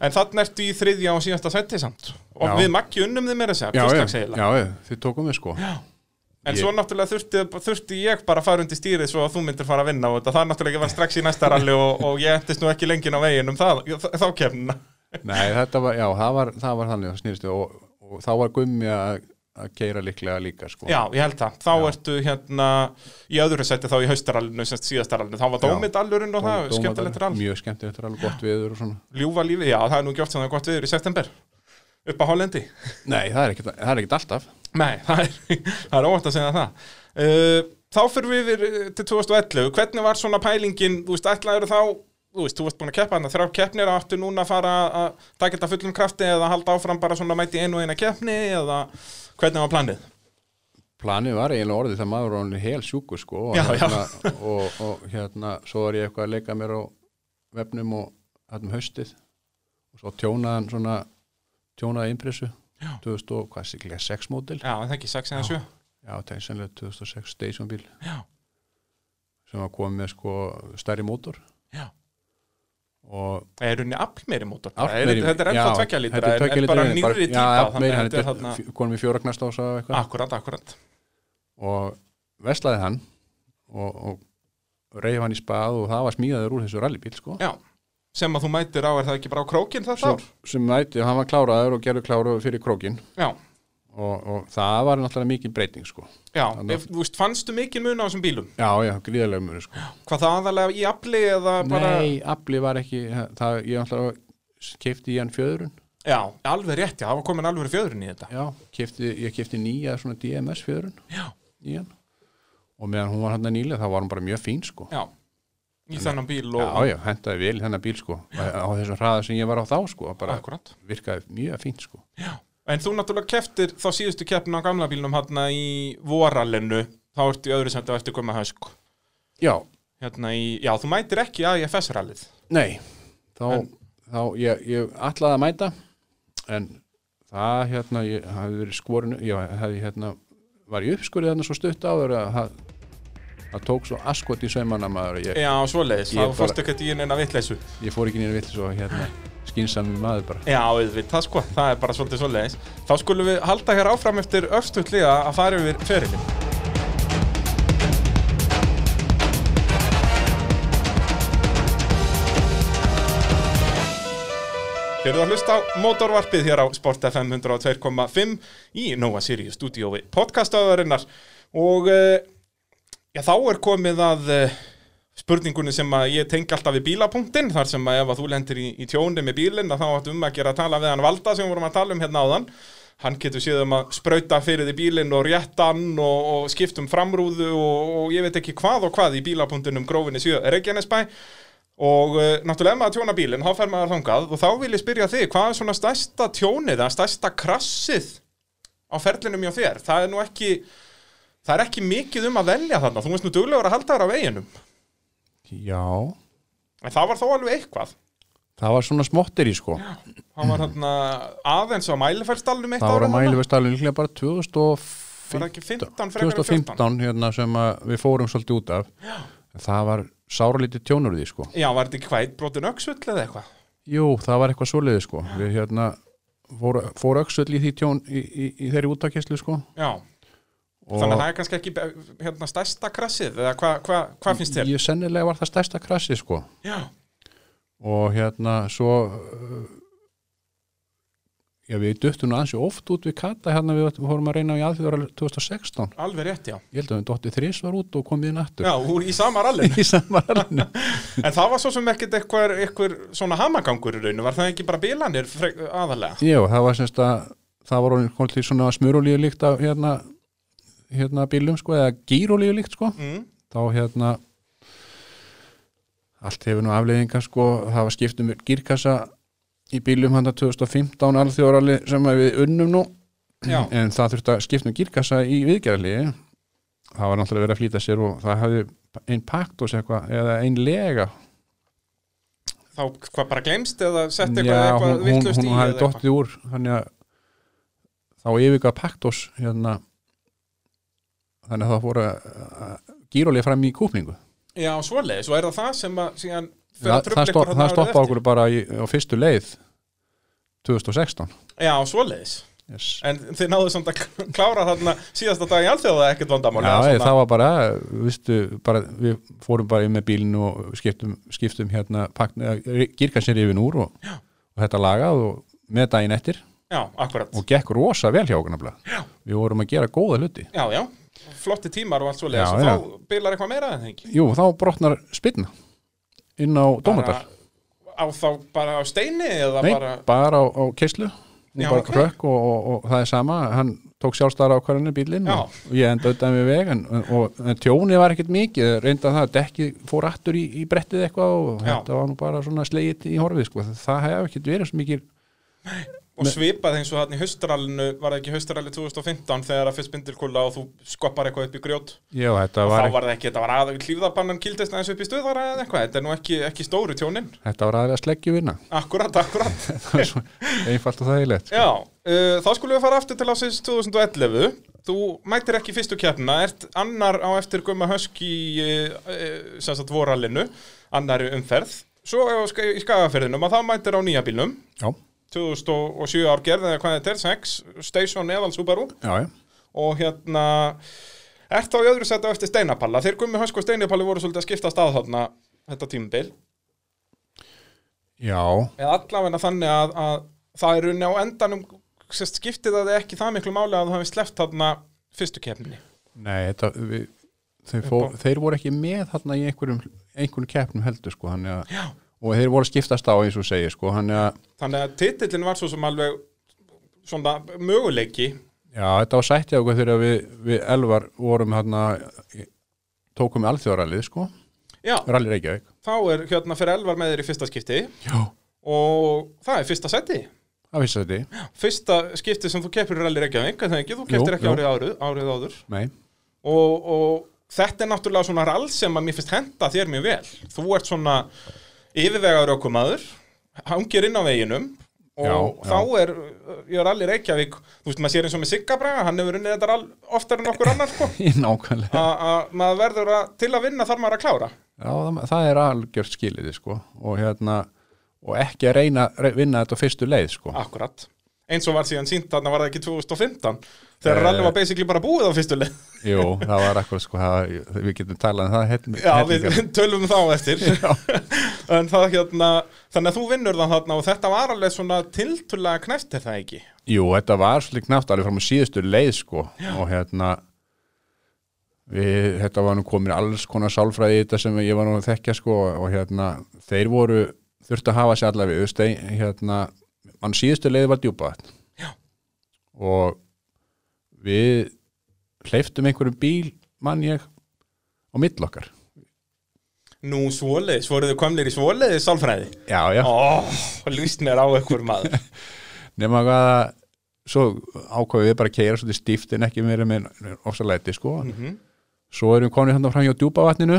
en þannig ertu í þriðja og síðasta sæti samt og Já. við makki unnum þið meira að segja já, fyrstags já, eiginlega. já, þið tókum við sko. en ég- svo náttúrulega þurfti, þurfti ég bara að fara undir stýrið svo að þú myndir fara að vinna og það náttúrulega var strax í næsta ralli og, og ég endist nú ekki lengin á veginn um það, þá- þá kemna Nei, þetta var, já, það var, það var þannig, það snýrstu og, og þá var gummi að að keira líklega líka sko. Já, ég held það. Þá ertu hérna í öðru sæti þá í haustarallinu, semst síðastarallinu. Þá var Já. dómidallurinn og Dó- það, dómadal- skemmtilegt rall. Mjög skemmtilegt rall, gott viður og svona. Ljúfa lífið, já, það er nú ekki oft sem það er gott viður í september. Upp á Hálendi. Nei, það er ekkert, það er ekkert alltaf. Nei, það er, það er óvægt að segja það. Uh, þá fyrir við yfir uh, til 2011. Hvernig var svona pælingin, þú veist, ætlaður þá, þú veist, þú veist búin að keppa hana þrjá keppnir og aftur núna að fara að taka þetta fullum krafti eða halda áfram bara svona mæti einu og eina keppni eða hvernig var planið? planið var eiginlega orðið það maður var hann hel sjúku sko og, Já, já. hérna, Og, og hérna svo var ég eitthvað að leika mér á vefnum og hann um haustið og svo tjónaði hann svona tjónaði impressu Já. 2000 og hvað siklega 6 mótil Já, er það ekki 6 eða 7. já, tegnsanlega 2006 station bíl Já, sem var komið með sko stærri mótor já. og Það er runni aflmeiri mótor. bara. aflmeiri- Er- Þetta er ennþá já, tvekja þetta lítra, er en tveggja er lítra bara en nýri já, típa. meiri, þannig að hann þetta er er þarna, Ah, fjó- konum í fjóraknast ása eitthvað akkurat, akkurat. og veslaði hann og, og reyf hann í spað og það var smíðaður úr þessu rallybíl sko. Já, sem að þú mætir á, er það ekki bara á krókinn þetta sem, ár? sem mæti og hann var kláraður og gerður kláru fyrir krókin Já. og, og það var náttúrulega mikið breyting sko. Já, Þannig- ef, þú veist, fannstu mikið mun á þessum bílum? já, já, gríðarlega mjög sko. Hvað það aðalega í afli eða bara... nei, afli var ekki það, ég náttúrulega kefti í hann fjöðrun Já, alveg rétt, já, það var komin alveg fjöðurinn í þetta. já, kefti, ég kefti nýja svona DMS fjöðrun Já. í hann og meðan hún var hann nýlega þá var hann bara mjög fín sko. Já, í þennan bíl og... já, já, hentaði vel í þennan bíl sko. á þessum hraða sem ég var á þá sko, bara Akkurat. virkaði mjög fín sko. En þú náttúrulega keftir þá síðustu keppna á gamla bílnum hérna í voralinu, þá ertu í öðru sem þetta eftir koma hösk. já, Hérna í, já, þú mætir ekki að IFS-rallið. Nei, þá, En- þá ég, ég ætlaði að mæta en það hérna, ég hafi verið skorinu, ég hafi hérna var ég uppskurðið hérna svo stutt áður að það það tók svo askot í saumana maður ég, Já, svoleiðis, Ég þá bara- fórstu ekkert í neina vitleysu ég fór ekki nýjum vill svo hérna skinsamum maður bara Já, auðvitað sko, það er bara svolítið svoleiðis Þá skulum við halda hér áfram eftir öfstutli að að fara yfir ferilinn Þeir eru að hlusta á mótorvarpið hér á Sport FM 102.5 í Nova Sirius stúdiói podcastöðarinnar og eh, já, þá er komið að eh, spurningunni sem að ég tengi alltaf við bílapunktin þar sem að ef að þú lendir í, í tjóni með bílinn að þá áttu um að gera að tala við hann Valda sem við vorum að tala um hérna áðan hann getur síðan um að sprauta fyrir því bílinn og réttan og, og skiptum framrúðu og, og ég veit ekki hvað og hvað í bílapunktinum grófinni 7 Reykjanesbæ Og uh, náttúrulega ef maður tjóna bílinn, þá fer maður þangað og þá vil ég spyrja þig, hvað er svona stærsta tjónið, eða stærsta krassið á ferlinum hjá þér? Það er nú ekki, það er ekki mikið um að velja þarna, þú veist nú duglegur að halda þér á veginum. já, En það var þó alveg eitthvað. það var svona smottir í sko Það var þarna aðeins á mælifælstallum eitt það var árið að þarna. mælu við stalin líklega bara Var það ekki 2015 15 frekar en 14? 2015 hérna sem að við fórum svolítið út af já. það var sáralítið tjónur í því sko Já, var þetta ekki hvað, brotin öksull eða eitthvað? Jú, það var eitthvað svoleiði sko við hérna fór, fór öxull í því tjón í, í, í þeirri útakeslu sko Já, þannig að það er kannski ekki hérna, stærsta krassið, eða hvað hva, hva finnst þér? ég sennilega var það stærsta krassi sko Já, og hérna svo uh, já við duttum nú ansi oft út við kata hérna við fórum að reyna í aðfjöður 2016 alveg rétt, já. ég held að við dottið þrís var út og komið inn aftur Já, úr í sama rallinu. í samarallinu En það var svo sem ekkert eitthvað, eitthvað svona hamagangur í rauninu, var það ekki bara bílanir frek- aðalega? Jú, það var semst að það var orðin komið til svona smurulíu líkt af hérna, hérna bílum sko eða gírulíu líkt sko Mm. þá hérna allt hefur nú afleiðingar sko það var skipt um gírkassa í bílum hann 2015 alþjórali sem að við unnum nú Já, en það þurfti að skipta um gírkassa í viðgerðli það var náttúrulega verið að flýta sér og það hafði einn pakt og eitthvað eða einn lega þá hvað bara glemst eða sett eitthvað, Já, eitthvað hún, hún, vittlust í hún hafði eða eitthvað? dottið úr þannig að þá yfirgað paktos hérna þannig að það fóru gírólið fram í kúpningu Já, svoleiðis, og er það það sem að síðan fer að það, trufla það, ykkur stopp, þarna það árið stoppa eftir? okkur bara í, á fyrstu leið 2016 Já, svoleiðis, yes. en þið náðu samt að klára þarna síðasta dag í alþjóða ekkert vandamál Já, eða ég, svona- það var bara, viðstu, bara við fórum bara inn með bílinn og skiptum, skiptum hérna gírkansir yfir núr og, og þetta lagað og með daginn eftir Já, akkurat, og gekk rosa vel hjá okkur nafnilega við vorum að gera góða hluti já, já, flotti tímar og allt svoleiðis, Já, og já. þá bílar eitthvað meira en það ekki? Jú, þá brotnar spilna inn á Dómadal Bara Á þá bara á steini eða Nei, bara... bara, á, á keislu Já, Já, bara ok. okay. og, og, og það er sama hann tók sjálfstæðar ákvarðinu bílinn Já. og og ég enda auðvitað með veg en, en- og, en tjóni var ekkert mikið reynda það að dekki fór aftur í, í brettið eitthvað og Já. þetta var nú bara svona slegið í horfið sko. það, það hefði ekkert verið svo mikið og svipað eins og þarna í haustralinu var það ekki haustralinu 2015 þegar að fyrst bindirkúla og þú skoppar eitthvað upp í grjót Já, þetta þá var, var það ekki, þetta var aðeins hlýfðabannan kildist aðeins upp í stuðara eða eitthvað, þetta er nú ekki, ekki stóru tjónin þetta var aðeins sleggjum vinna akkurat, akkurat Það var svo einfalt og þægilegt já, uh, þá skulum við fara aftur til ásins 2011 þú mætir ekki í fyrstu keppna ert annar á eftir gumma hösk í uh, uh, sem sagt voralinu annari umferð svo á Sk- í skagaferðinum að þá mætir á nýja bílnum Já, 2007 ár gerð eða hvað þetta er, 6 Station eðal Subaru já, já og hérna ert þá í öðru setja eftir steinapalla þeir gummi hösku og steinapalli voru svolítið að skipta stað þarna þetta tímabil Já, eða allavega þannig að, að það er unni á endanum sérst, skiptið að það ekki það miklu máli að þú hafi sleppt þarna fyrstu keppninni Nei, þetta, við, þeir, fó, þeir voru ekki með þarna í einhverjum, einhverjum keppnum heldur sko, þannig að, Já. og þeir voru að skiptast á eins og segja sko, þannig að þannig að titillin var svo sem alveg svona möguleiki já, þetta var sættið okkur þegar við, við elvar vorum þarna tókum við alþjóðarallið sko, já, Rally Reykjavík þá er hérna fyrir elvar með þér í fyrsta skipti Já, og það er fyrsta seti það vissi þetta í. fyrsta skipti sem þú keppir í rally Reykjavík er það ekki, þú Jú, kepptir ekki jú. árið, árið, árið áður Nei, og, og þetta er náttúrulega svona rall sem að mér finnst henda þér mjög vel þú ert svona yfirvegaður okkur maður hangir inn á veginum og Já, þá er, ég er allir Reykjavík þú veist, maður sér eins og með Sigga Braga hann hefur unnið þetta all, oftar en okkur annar sko. nákvæmlega A- að maður verður að, til að vinna þarf maður að klára Já, það, það er algjört skiliði sko og hérna og ekki að reyna að vinna þetta á fyrstu leið sko akkurat, eins og var síðan sínt þarna var það ekki 2015 þegar Eh. uh, var basically bara búið á fyrstu leið Jú, það var akkur sko það, við getum talað um það hell, já, við við tölum þá eftir en það hérna þannig að þú vinnur það þarna og þetta var alveg svona tiltulega knæft er það ekki Jú, þetta var svolítið knapt alveg fram á síðustu leið sko og hérna við, þetta var nú komin alls konar sálfræði í þetta sem ég var nú að þekkja sko og hérna þeir voru þurfti að hafa sér allavega við stein, hérna, mann síðustu leið var djúpaðat Já. og við hleyftum einhverjum bíl mann ég á mill okkar nú svoleiðis, voruðu komnir í svoleiðis sálfræði já, já, ó, lýst mér á ykkur maður nema hvað að svo ákvæðu við bara að keira svolítið stíft en ekki meira með ofsalæti sko Mhm. svo erum við komin þannig fram hjá djúpavatninu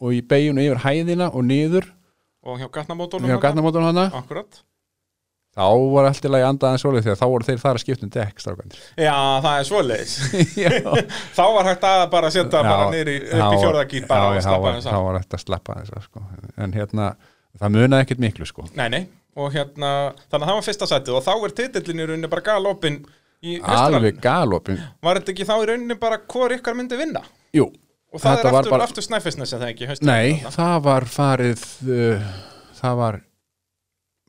og í beiginu yfir hæðina og niður og hjá gatnamótónum hjá gatnamótunum hana akkurat þá var allt í lagi andaðan svolítið þegar þá voru þeir þar að skipta um dekk strákandir já, það er svoleiðis já, þá var hægt að bara setja bara niður í, upp í fjórðagýr bara já, og já, slappa var- þess þá að var þetta að slappa þess að sko. en hérna, það munaði ekkert miklu sko. nei, nei, og hérna þannig að það var fyrsta sætið og þá er titillin í rauninni bara galopin í meistarann alveg galopin var þetta ekki þá í rauninni bara hvor ykkar myndi vinna jú, og það þetta er var aftur, bara- aftur snæfisnes eða ekki haustið nei, þarna. það var farið uh, það var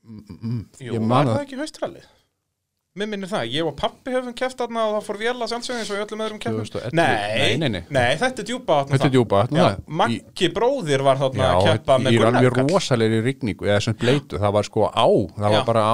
mm, mm, Jú, ég var man það að ekki haustralið? Mér minnir það, ég og pappi höfum keft þarna og það fór vél að sjálfsögum eins og í öllum öðrum keftum 2011. nei, Nei, nei, nei. þetta er djúpa þarna þetta er það. djúpavatn og Já, það. Í- Maggi bróðir var þarna að Já, keppa með ég er alveg Gunnar Karl. rosalegri rigningu eða sem bleitu, það var sko á það Já. var bara á,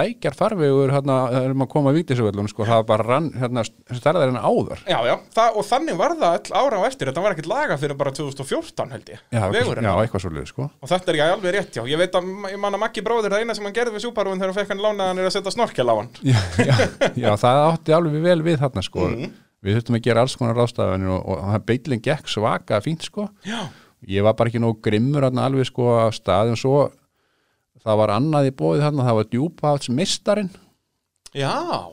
lækjar farvegur hérna, erum að koma að víktisvöllun sko, það var bara rann, hérna, stærðar en áður Já, já, það, og þannig var það all ára á eftir, þetta var ekkert laga fyrir bara 2014 held ég, já, eitthvað, vegurinn já, eitthvað svolítið sko og þetta er ég alveg rétt já, ég veit að ég man að Maggi bróðir það eina sem hann gerði við súparúin þegar hann fekk hann lánaðan er að setja snorkel á hann já, já, já, það átti alveg vel við þarna sko Mhm. við þurftum að gera alls konar ráðstafanir og, og það beitlinn gekk svaka fínt sko Já, ég var bara ekki nóg grimmur hann alveg sko á stað en svo það var annað í bóðið þarna, það var djúpahatsmistarinn já,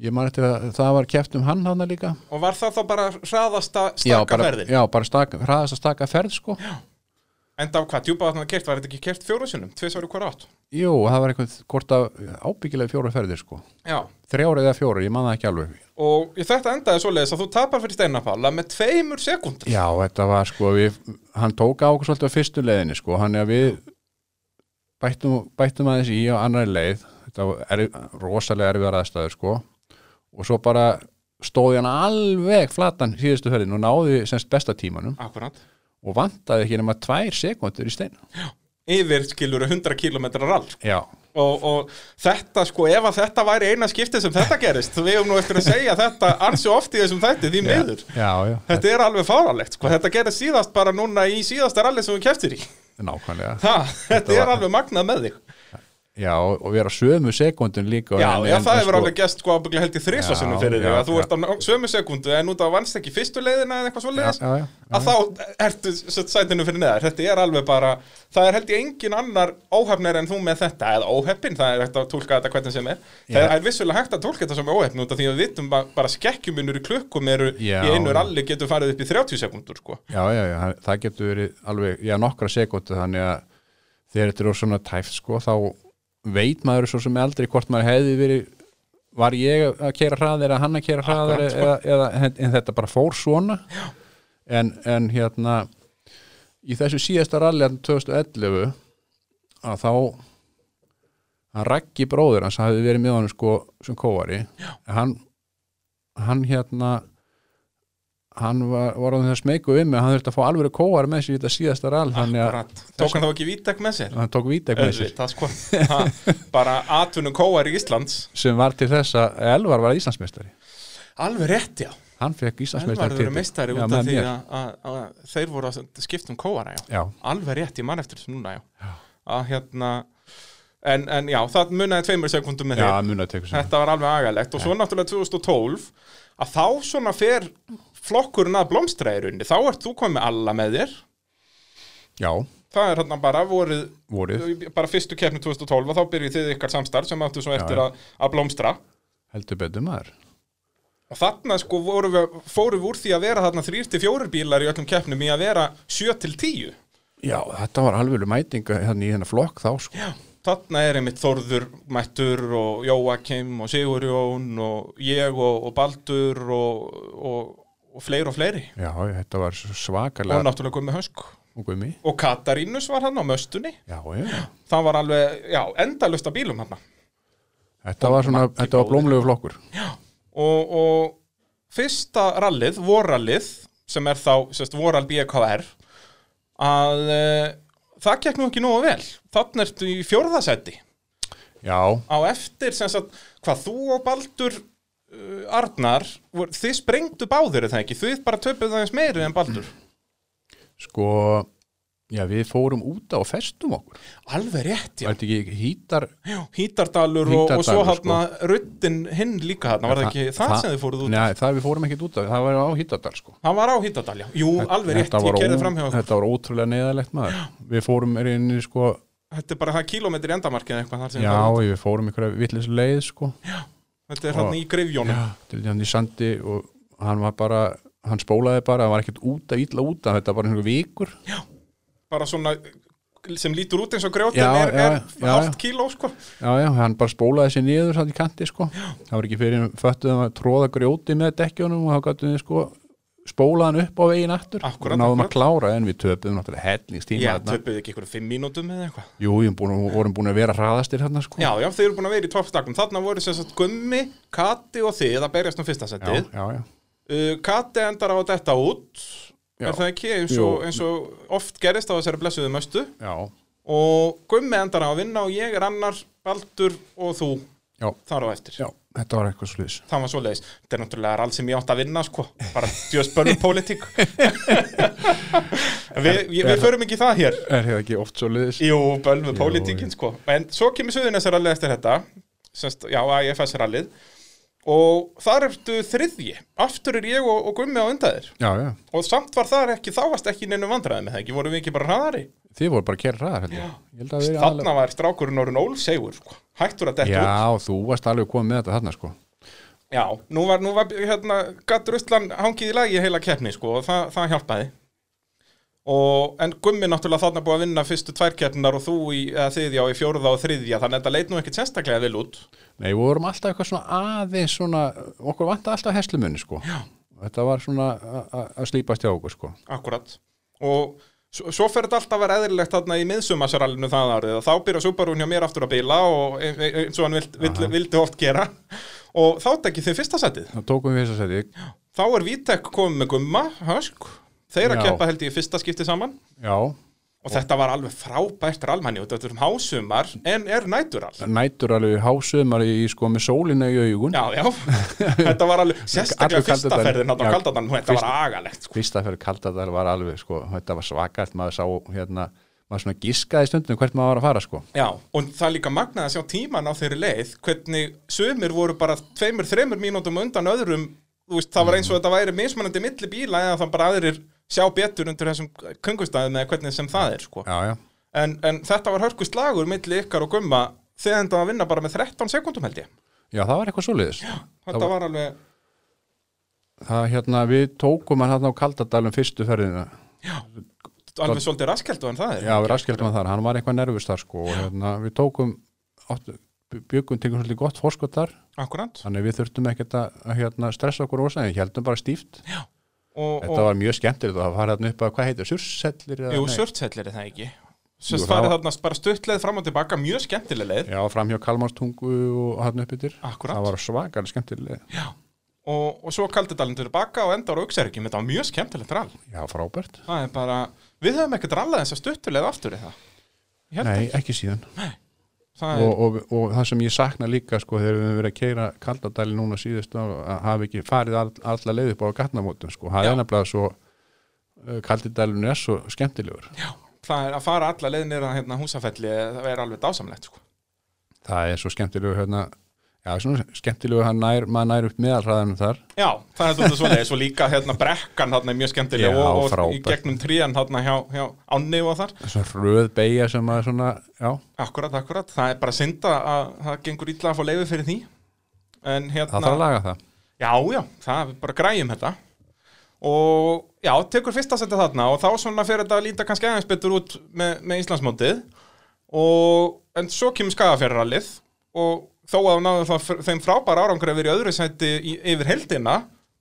ég man eftir að það var keft um hann þarna líka og var það þá bara hraðasta já, bara, stakkaferðin já, bara staka, hraðast að staka ferð sko. Enda á hvað, djúpa þarna kert, var þetta ekki kert fjóru sinnum, tvisvar í hver átt? Jú, það var eitthvað hvort að ábyggilega fjóra ferðir sko. Já, Þrjára eða fjóra, ég man það ekki alveg og í þetta endaði svoleiðis að þú tapar fyrir steinapála með tveimur sekúndur. Já, þetta var sko við, hann tók á okkur svolítið á fyrstu leiðinni sko, hann er að við bættum, bættum aðeins í á annari leið þetta var er, rosalega erfiðar aðstæður sko og svo bara stóði hann alveg flatan síðustu ferðin og náði semst besta tímanum Akkurat. og vantaði ekki nema tvær sekundur í stein Yfir skilur 100 km rall. sko. Já, Og, og þetta sko, ef að þetta væri eina skiptið sem þetta gerist, við hefum nú eftir að segja þetta ansi oft í þessum þætti, því miður. já, já, Þetta er alveg fáralegt, sko. Þetta gerist síðast bara núna í síðasta rally sem við keftir í. nákvæmlega Ha, þetta er var- alveg magnað með þig. Já, og vera sömu sekundin líka Já, en- já en- það en hefur sko- alveg gæst sko ábygglega held í þrísa Já, sinum fyrir þig já, að þú já. ert á ná- sömu sekundu en út af vannst ekki fyrstu leiðina eða eitthvað svo leiðis Já, já, já, já. að þá ertu sett sætinu fyrir neðar þetta er alveg bara, það er held ég engin annar óhefnir en þú með þetta eða óhefnin, það er hægt að tólka þetta hvernig sem er það er vissulega hægt að tólka þetta sem óhefn út af því að við vitum ba bara skekkjumunur í klukkum eru Já. í einu ralli getur farið upp í 30 sekundur sko. Já, já, já, það- það getur verið alveg, já, nokkra sekundu þannig að þegar þetta er svona tæft sko, þá veit maður svo sem aldrei hvort maður hefði verið var ég að kera hraðar eða hann að kera hraðar Akkurat, sko. eða, eða, en þetta bara fór svona en, en hérna í þessu síðasta hérna rally hann 2011 að þá hann Raggi bróður hans hafði verið með honum sko sem kóari En hann, hann hérna hann var, var á þess meiku um að hann þurfti að fá alveg kóar með sér í þetta síðasta rall þannig að Akkurat. tók hann þá ekki vítek með sér hann tók vítek með sér Öðvitað, sko. Ha, bara atvinnum kóar í Íslands sem var til þess að Elvar var Íslandsmeistari alveg rétt já hann fekk Elvar Íslandsmeistari eru meistari út af því að, að, að þeir voru að skipta um kóara, já. já, Alveg rétt, ég man eftir þessu núna, já. Að hérna, en, en já, það munaði tveimur sekundum með já þeir. munið tekur sem Þetta var alveg agalegt og svo náttúrulega 2012 að þá svona fer flokkurinn að blómstra í rauninni. Þá ert þú komið alla með þér, já, það er hann bara voruð vorið, bara fyrstu keppni 2012 og þá byrjuð þið ykkar samstarf sem áttu svo eftir já. að, að blómstra heldur betur maður og þarna sko voru við, fórum við úr því að vera þarna 3-4 bílar í öllum keppnum í að vera 7-10 Já, þetta var alveg mætinga þannig í þennan flokk þá sko. Já, þarna er einmitt Þorður Mættur og Jóakim og Sigurjón og ég og, og Baldur og, og, og fleiri og fleiri Já, þetta var svo og svakalega náttúrulega Gummi Hösk og gumi. og Katarínus var hann á möstunni Já, já. það var alveg, já, endalust af bílum hann Þetta var svona, þetta var blómlegu flokkur. og, og fyrsta rallið, vorrallið sem er þá, sérst, vorall BKR að e, það gekk nú ekki nógu vel þannig ertu í fjórðasetti Já, á eftir sem sagt, hvað þú og Baldur uh, Arnar, vor, þið sprengdu báðir er það ekki, þið bara töpuð aðeins meiri en Baldur. sko, já, við fórum úta og festum okkur. Alveg rétt, Já. Þetta ekki hítar, Já, Hítardalur og, og svo Hítardalur, sko. hérna ruttin hinn líka hérna, var það ekki það, sem þið fóruð út? Nei, það við fórum ekkert út af, það var á hítardal sko. Hann var á Hítardal, já, jú, alveg rétt, Þetta var ég kerði ó- fram hjá Þetta var ótrúlega neðalegt maður. Við fórum er einni sko, Þetta er bara það kílómetri endamarkið eitthvað þar sem já, það- við fórum einhverja villis leið sko. Þetta er hérna í grifjónum. Já, til því hann í sandi og hann var bara, hann spólaði bara, hann var ekkert út að ítla út að þetta var einhver vikur. Bara svona sem lítur út eins og grjótin Já, er, er já, já. hálft kíló, sko. Já, já, hann bara spólaði sér niður satt í kanti sko. Það var ekki fyrir hann föttuðum að tróða grjóti með dekkjónum og þá gættum við sko spólaði hann upp á veginn aftur Akkúrat, og náðum akkúrat. að klára en við töpuðum náttúrulega hellingstíma Já, þarna. töpuð ekki ykkur fimm mínútum eða eitthvað. Jú, við búin, vorum búin að vera hraðastir hérna sko. Já, já, þeir eru búin að vera í toppstaknum. Þarna voru sem sagt Gummi, Kati og þið að berjast um fyrsta já, setið. já, já. Uh, Kati endar á að detta út, Já. er það ekki, eins Jú. og, eins og oft gerist á þessari blessuðu möstu. Já, Og Gummi endar á að vinna og ég er annar, Baldur og þú já, þar á eftir. já, þetta var eitthvað slúðis. Það var svoleiðis. Þetta er náttúrulega all sem ég átt að vinna, sko. Bara djöspönnum pólitík. En við, við, við förum ekki í það hér. Er þetta ekki oft slúðis? Jú, bölvu pólitíkinn sko En svo kemur Suðunesrallið eftir þetta semst, Já, AFS-rallið Og þar ertu þriðji Aftur er ég og, og gummi á undaðir Já, já, Og samt var þar ekki, þá varst ekki neinu vandræði með það ekki Vorum við ekki bara hraðari þið voru bara að kera hraðar heldur. Ég held að við erum Þarna var strákurinn orðin ólsegur sko Hættur að detta út Já, þú varst alveg komið með þetta þarna sko Já, nú var, nú var hérna, gatt Ruslan hangið í lagi heila keppni sko Og það, það hjálpaði Og, en gummi náttúrulega þarna búið að vinna fyrstu tvær keppnar og þú í eða þið já í fjórða og þriðja þannig að þetta leit nú ekkert sérstaklega vel út Nei, við vorum alltaf eitthvað svona aðeins svona, okkur vantaði alltaf heslumunni sko Já. Þetta var svona a- a- að slípast hjá okkur sko Akkurat og svo, svo fer þetta alltaf að vera eðrilegt þarna í miðsumasarallinu það árið og þá byrja Subaru hjá mér aftur að bila og e- e- eins og hann vild, vild, vildi oft gera og þá tekið þið fyrsta setið Þá tókum við þess að setja þá er Vitek komið með gumma, hösk þeir að Já. keppa held ég í fyrsta skipti saman Já, og þetta var alveg frábært rallmanni og þetta er um hásumar en er næturall nætur alveg hásumar í sko með sólina í augun Já, já, þetta var alveg sérstaklega Allur fyrsta Kaldadalur. ferðin hann á Já, kaldadann og þetta var fyrsta- agalegt sko. Fyrsta fyrir kaldadal var alveg sko, þetta var svakalt, maður sá hérna, maður svona giskaði stundum hvert maður var að fara sko Já, og það er líka magnað að sjá tíman á þeirri leið hvernig sömur voru bara tveimur, þreimur mínútum undan öðrum þú veist, það var eins og þetta væri mismunandi milli bíla eða þann bara aðrir sjá betur undir þessum kungustæðum eða hvernig sem það er sko. Já, já, en, en þetta var hörku slagur milli ykkar og gumma þegar þetta var að vinna bara með 13 sekundum held ég já, það var eitthvað svoleiðis Já, þetta var alveg, Það hérna, við tókum hann hérna á kaldadalum fyrstu ferðina alveg svolítið raskeldu en það er Já, við raskjöldum að þar, hann var eitthvað nervus þar sko og hérna, við tókum áttu, byggum til svolítið gott fórskot þar akkurant þannig að við þurftum ekkert að að, hérna, stressa okkur ósa, við heldum bara stíft og, Þetta og, var mjög skemmtilegt og það var hérna upp að, hvað heitir, sursellir eða jú, nei? sörtsellir er það ekki Sest Jú, það farið var- þarna bara stuttleið fram og tilbaka, mjög skemmtileg leið Já, framhjá Kalmarstungu og hérna upp yfir Akkúrat. Það var svakar skemmtileg og, og svo kaldadalinn til baka og endar á auksergjum, þetta var mjög skemmtilegt rall Já, frábært það er bara, við höfum ekkert rallað þess að stuttulega aftur í það Ég held Nei, ekki síðan það og, er, og, og það sem ég sakna líka sko þegar við höfum verið að keira kaldadæli núna síðust að hafa ekki farið all, alla leið upp á gatnamótum sko, það Já. er nefnilega svo kaldidælun er svo skemmtilegur já, það er að fara alla leið nýra hérna húsafelli, það er alveg dásamlegt sko. það er svo skemmtilegur hérna Já, svona skemmtilegu hann nær, maður nær upp meðalhraðanum þar. Já, það er þetta svoleiðis og líka hérna brekkan þarna er mjög skemmtileg Já, og, og í frábært. gegnum trían þarna hjá, hjá ánni og þar. Svona röð beigja sem maður svona, já, Akkurat, akkurat, það er bara synda að það gengur illa að fá leiði fyrir því en það þarf að hérna, laga það. já, já, það við bara græjum þetta og já, tekur fyrsta senda þarna og þá svona fer þetta að líta kannski aðeins betur út með, með Íslandsmótið og, en svo kemur skagafjörralið og þó að hún náðu það þeim frábæra árangur yfir í öðru sæti í, yfir heldina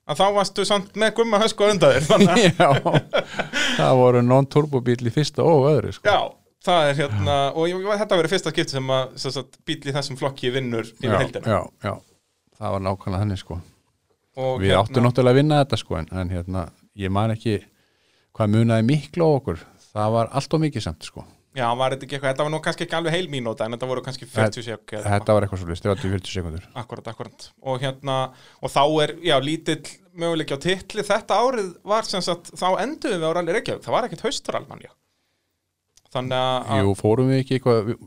að þá varstu samt með gumma hösku á undan þér, þannig að já, það voru non-turbobíl í fyrsta og öðru, sko. Já, það er hérna og ég, þetta verið fyrsta skipti sem að sem sagt, bíl í þessum flokki vinnur yfir heldina já, já, það var nákvæmlega þannig, sko. og hérna, Við áttum náttúrulega að vinna þetta, sko, en, en hérna, ég man ekki hvað munaði miklu á okkur. Það var allt og mikið samt, sko. Já, var þetta ekki eitthvað, þetta var nú kannski ekki alveg heil mínúta en þetta voru kannski 40 sek eða Þetta var eitthvað svolítið, 30-40 sekundur. eitthvað. Akkurat, akkurat og hérna, og þá er, já, lítill möguleik á titli, þetta árið var sem sagt, þá enduðum við á Rally Reykjavík það var ekkit hausturalmann, já Þannig að, Jú, fórum við ekki eitthvað, við-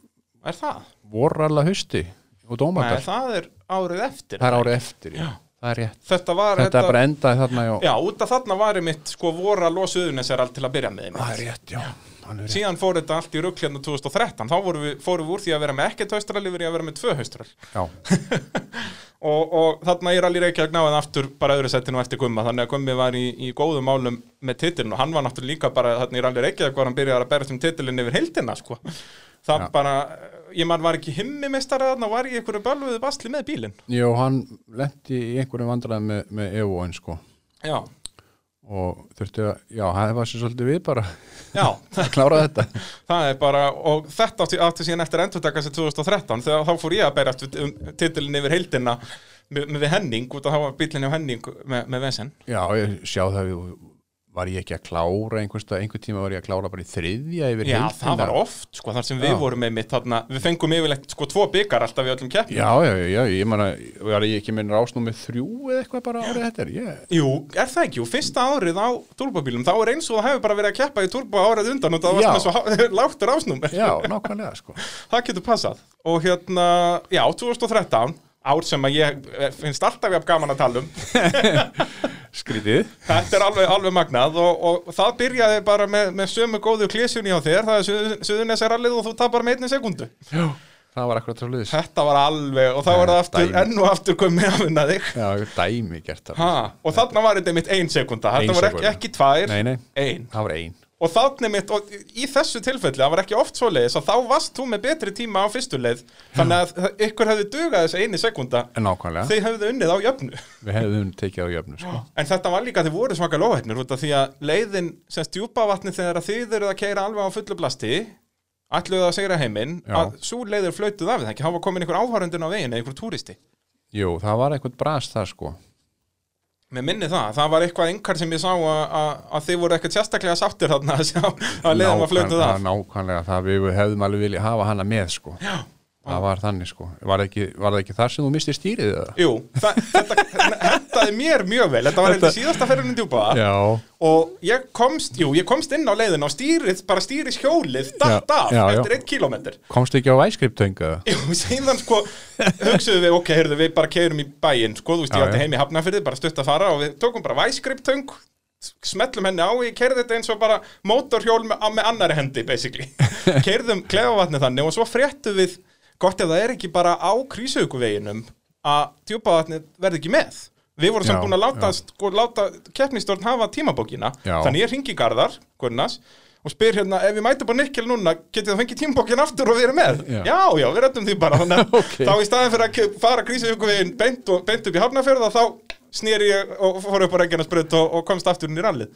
er það? voru alla hausti og Nei, dómakar. það er árið eftir Það er árið eftir, já. Það er rétt. Þetta var, Þetta bara endaði þarna, já. já, út af þarna var ég mitt sko voru að losa uðunesserall til að byrja með einmitt. Það er rétt, já. Hann er rétt. síðan fór þetta allt í rugg hérna 2013 þá fórum við, fórum við úr því að vera með ekkert haustral yfir í að vera með tvö haustral Já, og, og þarna er alveg reykja að gnáða aftur bara öðru settinu eftir Gumma þannig að Gummi var í, í góðum málum með titilin og hann var náttúrulega líka bara þarna er alveg reykja að hann byrjaði að berjast um titilin yfir heildina sko. það Já. bara, eh, ég mann var ekki himmimestari þarna var ég í einhverju bölvuðu basli með bílinn Jó, hann lendi í einhverjum vandræðum með, með EO-in, sko. já, Og þurfti að, já, það var sér svolítið við bara já að klára þetta. Það er bara, og þetta átti, átti síðan eftir endurtaka sér 2013 þegar þá fór ég að berjast við- um titilin yfir heildina með, með Henning, út að það var bílinni á Henning með, með Vesen. Já, ég sjá það við, var ég ekki að klára einhversta, einhver tíma var ég að klára bara í þriðja yfir Já, heildina. það var oft, sko, þar sem við Já. vorum með mitt þarna, við fengum yfirlegt, sko, tvo byggar alltaf í öllum keppnum. Já, já, já, ég man að, var ég ekki minn rásnúmið þrjú eða eitthvað bara árið þetta er, ég, Jú, er það ekki, og fyrsta árið á turbobílum, þá er eins og það hefur bara verið að keppa í turbo árið undan og það var Já. svona svo há- láttur ásnúmer. já, nákvæmlega, sko. það getur passað og hérna, já, 2013 ár sem að ég eh, finnst alltaf jafn gaman að tala um Skrítið. Þetta er alveg, alveg magnað og, og það byrjaði bara með, með sömu góðu klísjunni á þér, það er Suðunesarallið og þú tapar með einni sekundu. Já. Það var akkurat svolítið. Þetta var alveg, og þá var það aftur, Dæmi. enn og aftur komið að vinna þig. Já, dæmi gert það. Ha, og þarna var þetta mitt ein sekunda, Ein þetta var ekki, sekúnda. ekki tvær, Nei, nei. ein. Það var einn. Og þarna mitt, og í þessu tilfelli, það var ekki oft svoleiðis, að þá varst þú með betri tíma á fyrstu leið, þannig að ykkur hefði dugað þessi eini sekunda, Nákvæmlega. þið hefðu unnið á jöfnu. Við hefðum tekið á jöfnu, sko. En þetta var líka að þið voru svaka lóhæfnir út af því að leiðin sem stjúpa vatni þegar að þið eruð að keira alveg á fullu blasti ætluðu að segra heiminn Já. að svo leiðir flautuð af það ekki, hafa komin einhver áhærundin á veginn eða einhver túristi. Jú, það var eitthvað brast það, sko. Mér minni það, það var eitthvað einhver sem ég sá að, að, að þið voru ekkert sérstaklega sáttir þarna að sjá að leiðin var flautuð Nákvæm- af. Nákvæmlega, það við hefðum alveg viljað hafa hana með, sko. Já. Það var þannig, sko. Var það ekki, var það ekki þar sem þú mistir stýrið það? Jú, það, þetta hendaði mér mjög vel, þetta var heldur síðasta ferðunum djúpaða. Já. og ég komst, jú, ég komst inn á leiðin á stýrið, bara stýris hjólið, datt Já, af já, já. eftir einn kílómetr Komst ekki á væskriptönga? Jú, síðan sko hugsuðum við, ok, heyrðu, við bara keirum í bæinn sko, þú veist, Já, ég átti já. heim í Hafnafyrði, bara stutt að fara og við tókum bara væskriptöng smetlum henni á, ég keirði þetta eins og bara mótorhjól með, á- með annari hendi, basically keirðum klefavatni þannig og svo fréttum við, gott ef það er ekki bara á krísaukuveginum að djúpavatni verði ekki með við vorum sem Já, búin að láta, já. sko, láta keppnistjórn hafa tímabókina Já. þannig ég ringi Garðar, Gunnars og spyr hérna, ef við mætum bara nikkel núna getið það fengið tímabókin aftur og við erum með Já. já, já, við rættum því bara þannig að Ok. þá í staðin fyrir að ke- fara grísaukumveginn beint, og- beint upp í hafnafjörða þá snýri ég og fór upp á regjarnasbröð og, og komst aftur inn í rallið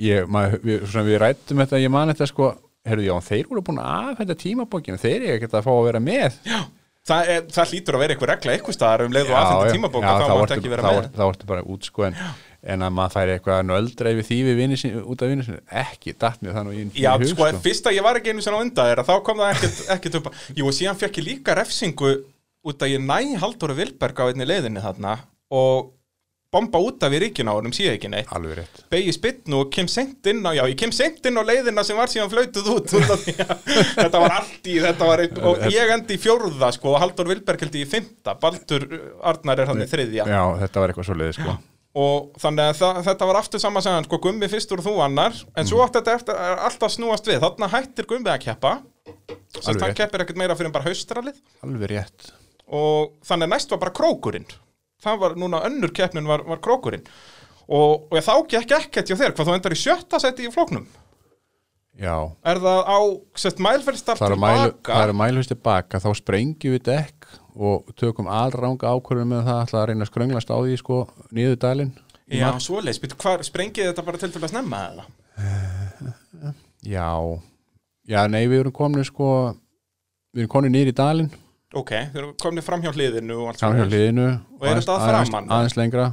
Ég, maður, við, svona, við rættum þetta, ég man þetta, sko. Herðu, já, þeir voru búin að afhenda tímabókinu, þeir eru ekkert að fá að vera með. Já, það, er, það hlýtur að vera eitthvað regla eitthvað staðar um leið og já. aðfendi tímabóka Já, þá þá mátt ertu- ekki vera þá með ertu- Þá ertu bara út, sko, en, en að maður færi eitthvað að nöldra yfir því við vinni sinni, út af vinni sinni, ekki datt mér þannig í, í Já, hug, sko, fyrst að ég var ekki einu sinna á undan þér að þá kom það ekkert, ekkert upp að- Jú, og síðan fekk ég líka refsingu út að ég næ Halldóru Vilberg á einni leiðinni þarna og bomba út af í ríkina á honum sé ekki neitt alveg rétt beigi spytnu og kem sent inn á já, ég kem sent inn á leiðina sem var síðan flautuð út út af því að þetta var allt í þetta var eitt, og ég endi í fjórða sko og Haldur Vilberg held ég í fymta Baldur Arnar er hann í þriðja Já, þetta var eitthvað svoleiði sko og þannig að það, þetta var aftur saman sem hann sko gummi fyrstur og þú annar en Mm. svo átti þetta eftir, er alltaf snúast við þarna hættir gummi að keppa sem sagt, Alveg hann rétt. keppir ekkert meira fyrir en bara haustralið Alveg rétt og þannig að næst var bara krókurinn það var núna önnur keppnin var, var krókurinn og, og þá gekk ekkert hjá þér hvað þú endar í sjötta seti í flóknum Já er það á sett mælferðstar Það eru mælu, tilbaka er mæluhust tilbaka, þá sprengjum við dekk og tökum alranga ákvörðum með það ætla að reyna að skrönglast á því sko niður dalinn já, svoleiðis, býttu hvar sprengið þetta bara til til að snemma eða? Já Já, nei, við erum komin sko við erum komin niður í dalinn ok, þeir eru komnið fram hjá hliðinu og allt saman hjá svoleiðis. hliðinu Og er aðeins- þetta að aðeins- framan? Aðeins lengra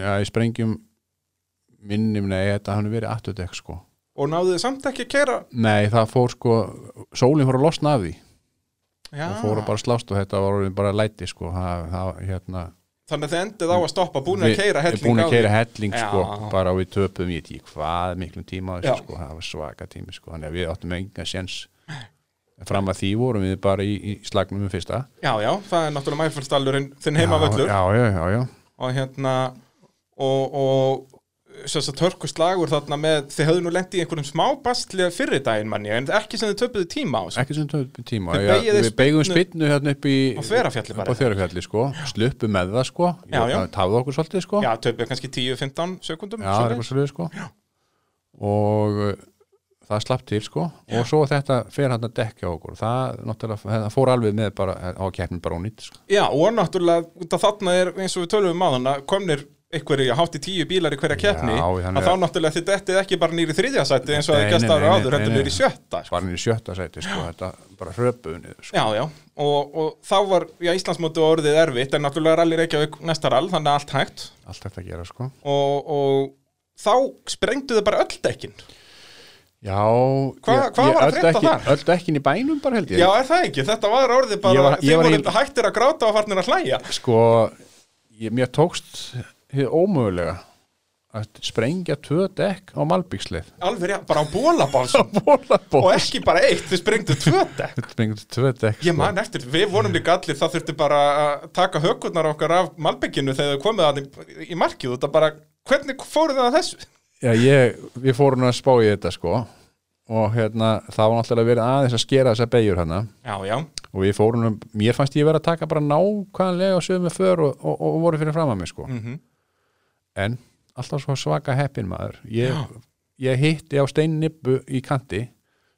Já, ég sprengjum minnum, nei, þetta hann verið afturdekk sko og náðu þið samt ekki að kera Nei, það fór sko, sólinn fór að losna af því já, og fóru bara að slást og þetta var orðin bara læti sko, það, það hérna þannig að þið endið á að stoppa búin að við- keira við helling búin að á því. keira helling sko, Já. bara og við töpum í þetta í hvað miklum tíma á Já. þessu sko, það var svaka tími sko, þannig að við áttum enga séns fram að því vorum við bara í, í slagnum um fyrsta já, já, það er náttúrulega mælferðstallurinn þinn heimavöllur já, já, já, já, og hérna og, og sem sagt hörkuslagur þarna með þið höfðu nú lent í einhverjum smá bastli fyrir daginn manni, en ekki sem þið töpuðu tíma á sko. ekki sem töpum tíma Þið já, beygið við spyrnu- beigum spinnu hérna upp í Á Þverafjalli bara. upp á Þverafjalli sko, sluppu með það sko Já, já. tafðu okkur svolítið sko já, töpuðu kannski 10-15 sekundum Já, það er eitthvað svolítið sko og uh, það slapp til sko og svo þetta fer hann að dekka okkur það, náttúrulega, það fór alveg með bara á keppnin bara ónýtt sko. já, og náttúrulega út af þarna er eins og við tölum á þannig komnir einhverju, hátti tíu bílar í hverja keppni þannig að að- þá náttúrulega þið dettið ekki bara nýri þriðjasætti eins og Nei, það gæst nei, nei, ára nei, áður, nei, heldur nei. niður í sjötta sko. var hann í sjötta sæti sko, þetta bara hröpuðu niður sko. já, já, og, og þá var já, Íslandsmóti orðið erfitt, en náttúrulega rallir ekki næsta rall, þannig að allt hægt allt þetta að gera sko og, og þá sprengdu þau bara öll dekkin Já, Hvað- hvað var að öll frétta dekkin- þar? Öll dekkin í bænum bara held ég Já, er það ekki? Þetta var orðið bara, Ég var- þið ég var voru í- hættir að gráta og farnir að hlæja. Sko, ég, mér tókst hið ómögulega að sprengja tvö dekk á Malbyggsleif Alveg, rétt, bara á bólabálsum og Bólabóð ekki bara eitt, þið sprengdu tvö dekk. Sprengjum tvö dekk sko. Ég man eftir, við vorum líka allir, það þurfti bara að taka hökurnar okkar af malbygginu þegar þau komið að í markið út að bara, hvernig fóruð það að þessu? Já, ég, við fórum að spá í þetta sko og hérna, það var náttúrulega verið aðeins að skera þessa beigjur hérna Já, já, og við fórum, að- mér fannst ég verið að taka bara nákvæmlega og sögum með för og, og, og voru fyrir fram að mig sko Mhm. en alltaf svo svaka heppin maður ég, ég hitti á steinnippu í kanti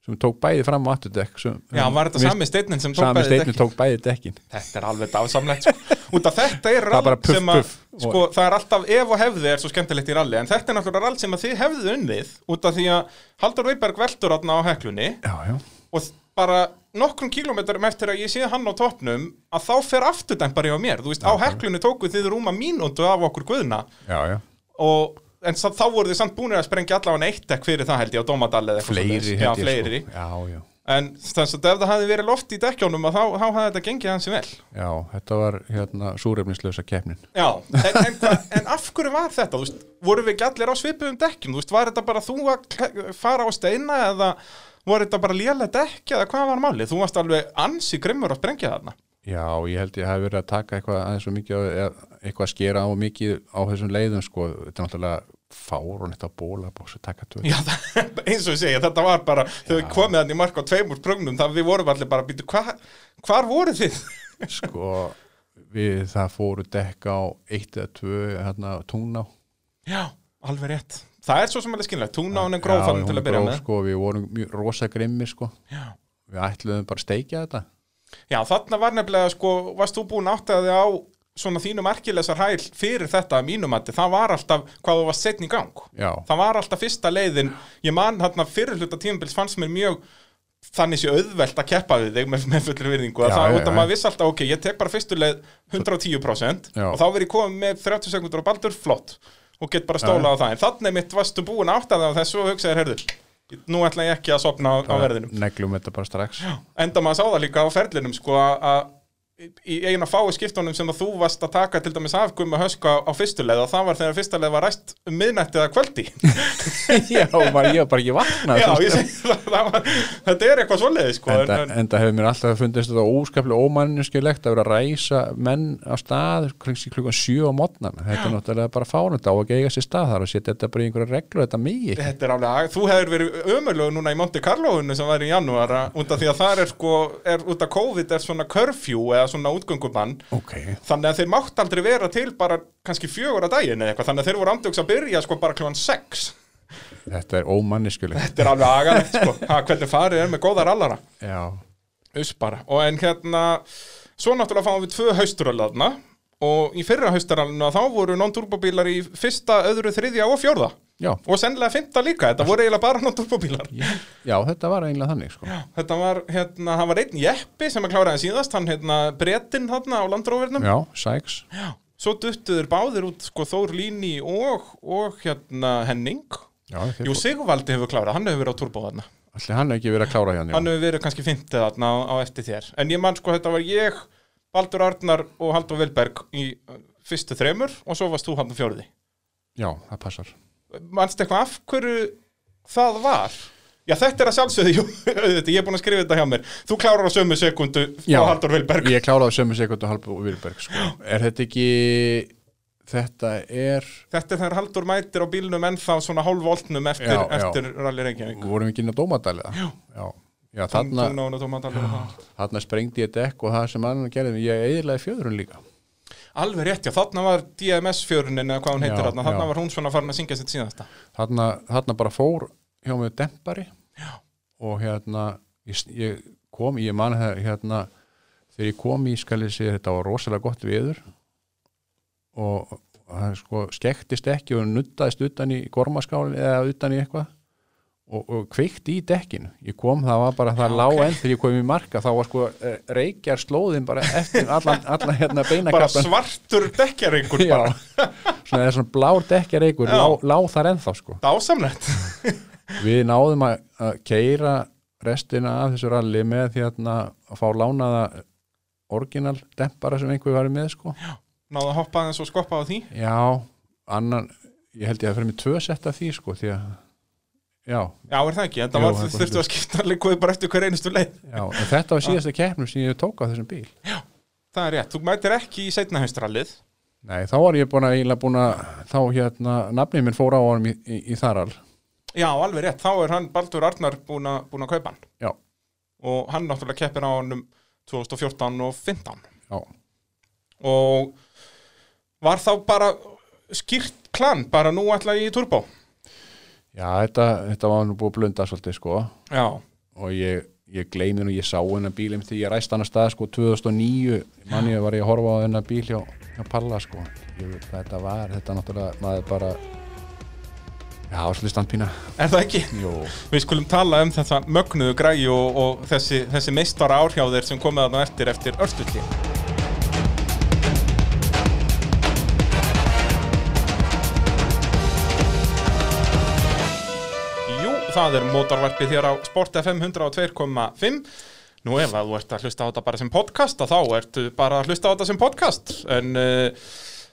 sem tók bæði fram á afturdekk sem, já, var þetta mér- sami steinin sem tók sami bæði steinni dekkin? tók bæði dekkin Þetta er alveg dásamlegt sko. Út af þetta er er bara rall puff, sem að puff. sko, Það er alltaf ef og hefði er svo skemmtilegt í ralli En þetta er náttúrulega rall sem að þið hefðið unnið Út af því að Haldur Veiberg veldur átna á heklunni Já, já, Og þ- bara nokkrum kílómetrum eftir að ég sé hann á toppnum Að þá fer afturdæmpari á mér Þú veist, á heklunni tókuð þið rúma mínúndu af okkur guðna já, já og, En sa- þá voru þið samt búinir að sprengja allavega eitt ekk fyrir það held ég á Dómadal eða eitthvað svoleiðis. fleiri, Já, held ég, fleiri sko. já, já, En þess að ef það hafði verið loft í dekkjónum að þá, þá hafði þetta gengið hansi vel já, þetta var hérna súrefnislösa keppnin Já, en, en, hva- en af hverju var þetta? Þú veist, voru við ekki allir á svipuðum dekkjum? Þú veist, var þetta bara þú að kle- fara á steina eða voru þetta bara lélega dekki eða hvað var málið? Þú varst alveg ansi grimmur að sprengja þarna. Já, ég held ég hafi verið að taka eitthvað aðeins og mikið, á- eða eitthvað að skera á og mikið á þessum leiðum, sko, þetta er náttúrulega fárun eitt á bóla, bóks að taka tvö. Já, það, eins og ég segja, þetta var bara, þegar við komið hann í mark á tveimur sprögnum, það við vorum allir bara, býtu, hva, hvar voru þið? Sko, við það fóru dekka á eitt eða tvö, hérna, túná. Já, alveg rétt. Það er svo sem alveg skynlega, túnán en gróf Já, þannig til hún að byrja gróf, með. Sko, við vorum mjög rosa grimmir, sko, Já. við ætluðum bara að steikja þetta. Já, þarna var nefnilega, sko, varst þú búin áttaði á svona þínu merkilesar hæl fyrir þetta að mínum að það var alltaf hvað þú var setn í gang. Já, Það var alltaf fyrsta leiðin, ég man þarna fyrir hluta tímabils fannst mér mjög þannig sé auðvelt að keppa við þig með, með fullri virðingu að Já, það já, út að já. maður vissi alltaf ok, ég tek bara fyrstu leið 110% Já. og þá verð ég komið með 30 sekundur og baldur flott og get bara stólað á það en þannig mitt varstu búin átt að það þessu og hugsaðir, heyrðu, nú ætla ég ekki að sopna á, á verðinum neglum þetta bara strax. Já. enda maður sá það líka á ferlinum sko að í eigin að fái skiptunum sem að þú varst að taka til dæmis afgum að hösku á, á fyrstu leið og það var þegar fyrsta leið var ræst um miðnætti eða kvöldi já, var, ég var bara ekki vaknað Já, ég segi það, það var, þetta er eitthvað svoleiði sko, en, Enda, en, enda hefur mér alltaf fundist þetta óskaplega ómannuskilegt að vera að ræsa menn á stað kringsi klukkan sjö á modnan þetta er náttúrulega bara fánund á að eiga sér stað þar og setja þetta bara í einhverja reglur þetta megi ekki. þetta er alveg, að- þú hefur verið ömulög núna í Monte Carloinu sem var í janúar að- út af því að þar er sko, er, út af COVID er svona curfew eða svona útgöngubann ok, þannig að þeir mátt aldrei vera til bara kannski fjögur að daginn eða eitthvað þannig að þeir voru andjóks að byrja sko bara kljóðan 6 þetta er ómannuskilegt þetta er alveg agalegt sko ha, hvernig farið er með góða rallara já, us bara og en hérna svo náttúrulega fáum við tvö hausturölaðna og í fyrra hausturalinu þá voru non-turbobílar í fyrsta, öðru, þriðja og fjórða já, og sennilega fymta líka, þetta voru eiginlega bara non-turbobílar já þetta var eiginlega þannig sko. þetta var, hérna, hann var einn jeppi sem að kláraði síðast, hann hérna brettinn þarna á landrófurnum já, sæks Svo duttuður báðir út sko Þór Líni og, og hérna Henning. já, Jú, Sigvaldi hefur klárað, hann hefur verið á turbóðarna. allir hann hefur ekki verið að klára hjá Hann hann já. hefur verið kannski fintið þarna á, á eftir þér. En ég man sko, þetta var ég, Baldur Arnar og Haldur Vilberg í uh, fyrstu þremur og svo varst þú hann fjóruði. já, það passar Manst eitthvað af hverju það var? Já, þetta er að sjálfsögðu, jú, auðvitað, ég er búin að skrifa þetta hjá mér. Þú klárar á sömu sekundu Já. og Haldur Vilberg. ég kláraði sömu sekund og halbu og Vilberg sko. er þetta ekki þetta er Þetta er þegar Haldur mætir á bílnum ennþá svona hálfvoltnum eftir, Já, já. eftir Rally Reykjavík. vorum við ekki inn að dómadalið já, já, já þarna, Tungna og tómatalur og það. þarna sprengdi ég dekk og það sem annan gerði ég eðlaði fjöðrun líka Alveg rétt, já, þarna var DMS-fjörunin eða hvað hún heitir Já, þarna, þarna já. var hún svona farin að syngja sitt síðasta. þarna, þarna bara fór hjá mig dempari já. og hérna ég, ég kom, ég man það hérna þegar ég kom í skalið sér þetta var rosalega gott viður og það sko skektist ekki og nuttaðist utan í gormaskálin eða utan í eitthvað og, og kveikt í dekkinu ég kom, það var bara, það Já, lá ok. enn þegar ég kom í marka þá var sko eh, reykjar slóðin bara eftir allan, allan hérna Bara beinakaplan svartur dekkjarengur Já, bara. svona, svona blár dekkjareikur Já. lá, lá þar ennþá sko Dásamlegt. við náðum að, að keira restina af þessu ralli með því að, að fá lánaða orginal dempara sem einhver var með sko. já, Náðu að hoppa aðeins og skoppa á því. annan ég held ég að fyrir mig tvö sett af því sko, því að já, Já, er það ekki, en Jú, það það var er þurftu að skipta líkuði bara eftir hver einustu leið. já, en þetta var síðasta keppnum sem ég tók á þessum bíl Það er rétt, þú mætir ekki í setna haustrallið. nei, þá var ég búin að eiginlega búin að þá hérna, nafnið minn fór á honum í, í, í þarall Já, alveg rétt, þá er hann Baldur Arnar búin að búin að kaupa hann. já, Og hann náttúrulega keppir á honum 2014 og 15. já, Og var þá bara skýrt klan, bara nú ætla ég í turbo. já þetta, þetta var nú búin að blunda svolítið sko Já, og ég, ég gleymi nú, ég sá hennar bíl einmitt þegar ég ræst hann að stað sko 2009 mann ég var ég að horfa á hennar bíl hjá, hjá Palla sko ég veit hvað þetta var, þetta náttúrulega maður bara já, svolítið standpína er það ekki? Jó. Við skulum tala um þetta mögnuðu græi og, og þessi, þessi meistara árhjáðir sem komið þarna á eftir eftir örstulli. Jú, það er mótarvarpið hér á Sport FM 102.5. Nú ef að þú ert að hlusta á þetta bara sem podcast að þá ertu bara að hlusta á þetta sem podcast en uh,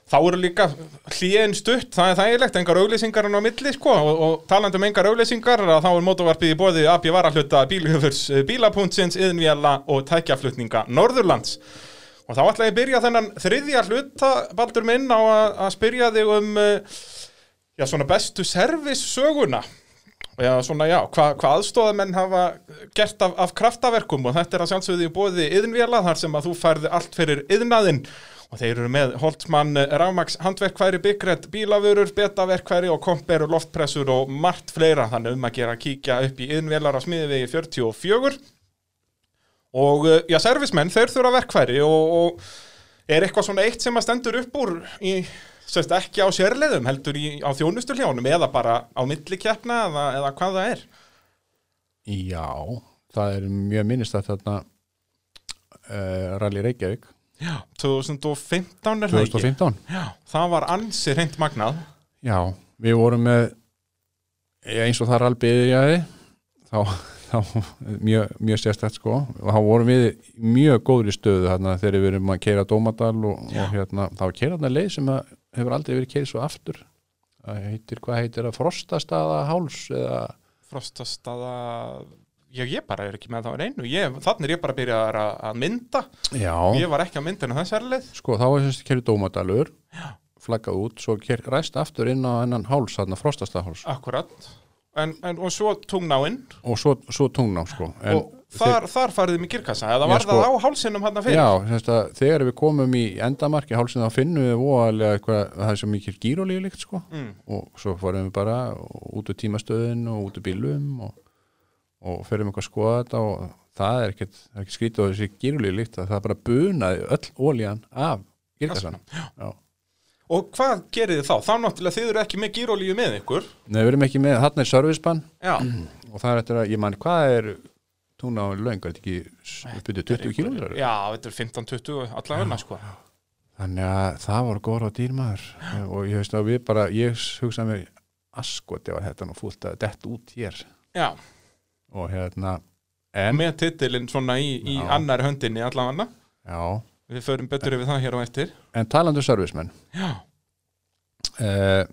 þá eru líka hlýðin stutt, það er þægilegt engar auglýsingar en á milli sko og, og talandi um engar auglýsingar að þá er mótarvarpið í bóði AB Varahluta, Bílhjöfurs, Bílapúntsins, Yðnvjala og tækjaflutninga Norðurlands og þá ætla ég að byrja þennan þriðja hluta Baldur minn á að, að spyrja þig um uh, já, svona bestu servissöguna Já, svona já, hva, hvað aðstóðamenn hafa gert af, af kraftaverkum og þetta er að sjálfsögðu í bóði yðnvéla þar sem að þú færði allt fyrir yðnaðinn og þeir eru með Holtmann, eh, Ramax, Handverkværi, Byggrætt, Bílavörur, Betaverkværi og Komper, Loftpressur og margt fleira þannig um að gera að kíkja upp í yðnvélar á smiðivegi 44 og uh, já, servismenn, þeir þurfa verkfæri og, og er eitthvað svona eitt sem að stendur upp úr í, sérst, ekki á sérleðum, heldur í, á þjónustuljónum eða bara á millikeppna eða, eða hvað það er já, það er mjög minnist að þarna uh, Rally Reykjavík Já, 2015 er það ekki 2015 Já, það var ansi reynd magnað já, við vorum með já, eins og það rall byrjaði þá, þá mjög, mjög sérstætt sko og þá vorum við í mjög góðri stöðu þarna þegar við erum að keira Dómadal og, og hérna, þá keira þarna leið sem að hefur aldrei verið keirið svo aftur það heitir, hvað heitir það, Frostastaða háls eða Frostastaða Já, ég bara er ekki með það á reynu ég, Þannig er ég bara að byrja að, að mynda Já, Ég var ekki að mynda en þess er leið sko þá er þessi keirið Dómadalur flaggað út, svo keir, ræst aftur inn á hennan háls, þarna Frostastaða háls Akkurat en, en, Og svo tungnáinn og svo, svo tungná sko en, Og þar, þar farið mig girkassa Það Já, var það á sko. hálsinum hann fyrir Já, þess að þegar við komum í endamarki hálsinn þá finnum við voðalega eitthvað það er svo mikil gírólíu líkt sko Mm. og svo fórum við bara út úr tímastöðin og út úr bílum og, og fyrir eitthvað að skoða þetta og það er ekkit, það er ekkit skrítið á þessi gírólíu líkt að það bara bunaði öll ólían af gírkassan Já. Og hvað gerið þið þá? Þá náttúrulega þið eru ekki með gírólíu með ykkur Nei, við erum ekki með, þarna er servicebann Já, og það er eftir að, ég man, hvað er tungna á löng, er þetta ekki uppbyrðu 20 kílómetrar? já þetta er 15-20 allavegna sko Þannig að það voru góður á dýrmaður og ég veist að við bara, ég hugsaði mér askot ef að þetta hérna nú fúlt að dett út hér Já, og hérna, en með titilinn svona í, í Já. annar höndinni allavegna já, Við förum betur yfir það hér á eftir en talandu servicemenn Já, uh,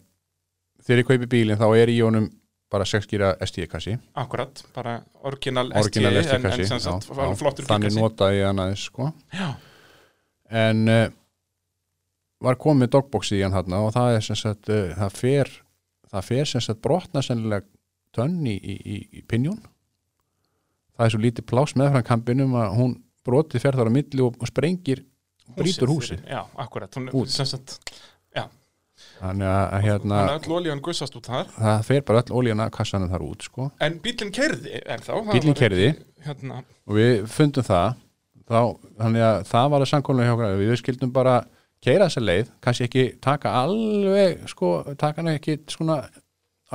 þegar ég kaupi bílinn þá er í honum bara 6 gíra ST-kassi akkurat, bara orginal ST orginal en, en ST-kassi sem sagt flottur þannig girkassi. notaði ég hann aðeins sko Já, en uh, var komið dogboxi í hann hann og það er sem sagt, uh, það fer það fer sem sagt brotna sennilega tönn í, í, í, í pinjón það er svo lítið plás meðfram kampinum að hún brotið fer þar á milli og, og sprengir brýtur húsið fyrir- Já, akkurat, hún Út. er sem sagt þannig að, að hérna, Þannig að öll olíðan gussast út þar það fer bara öll olíuna kassanum þar út sko En bílinn kerði er þá það Bíllinn var keyrði. ekki, hérna, og við fundum það þá, þannig að það var að samkóla hjá okkur við skildum bara keira þessa leið kannski ekki taka alveg sko, taka hana ekki svona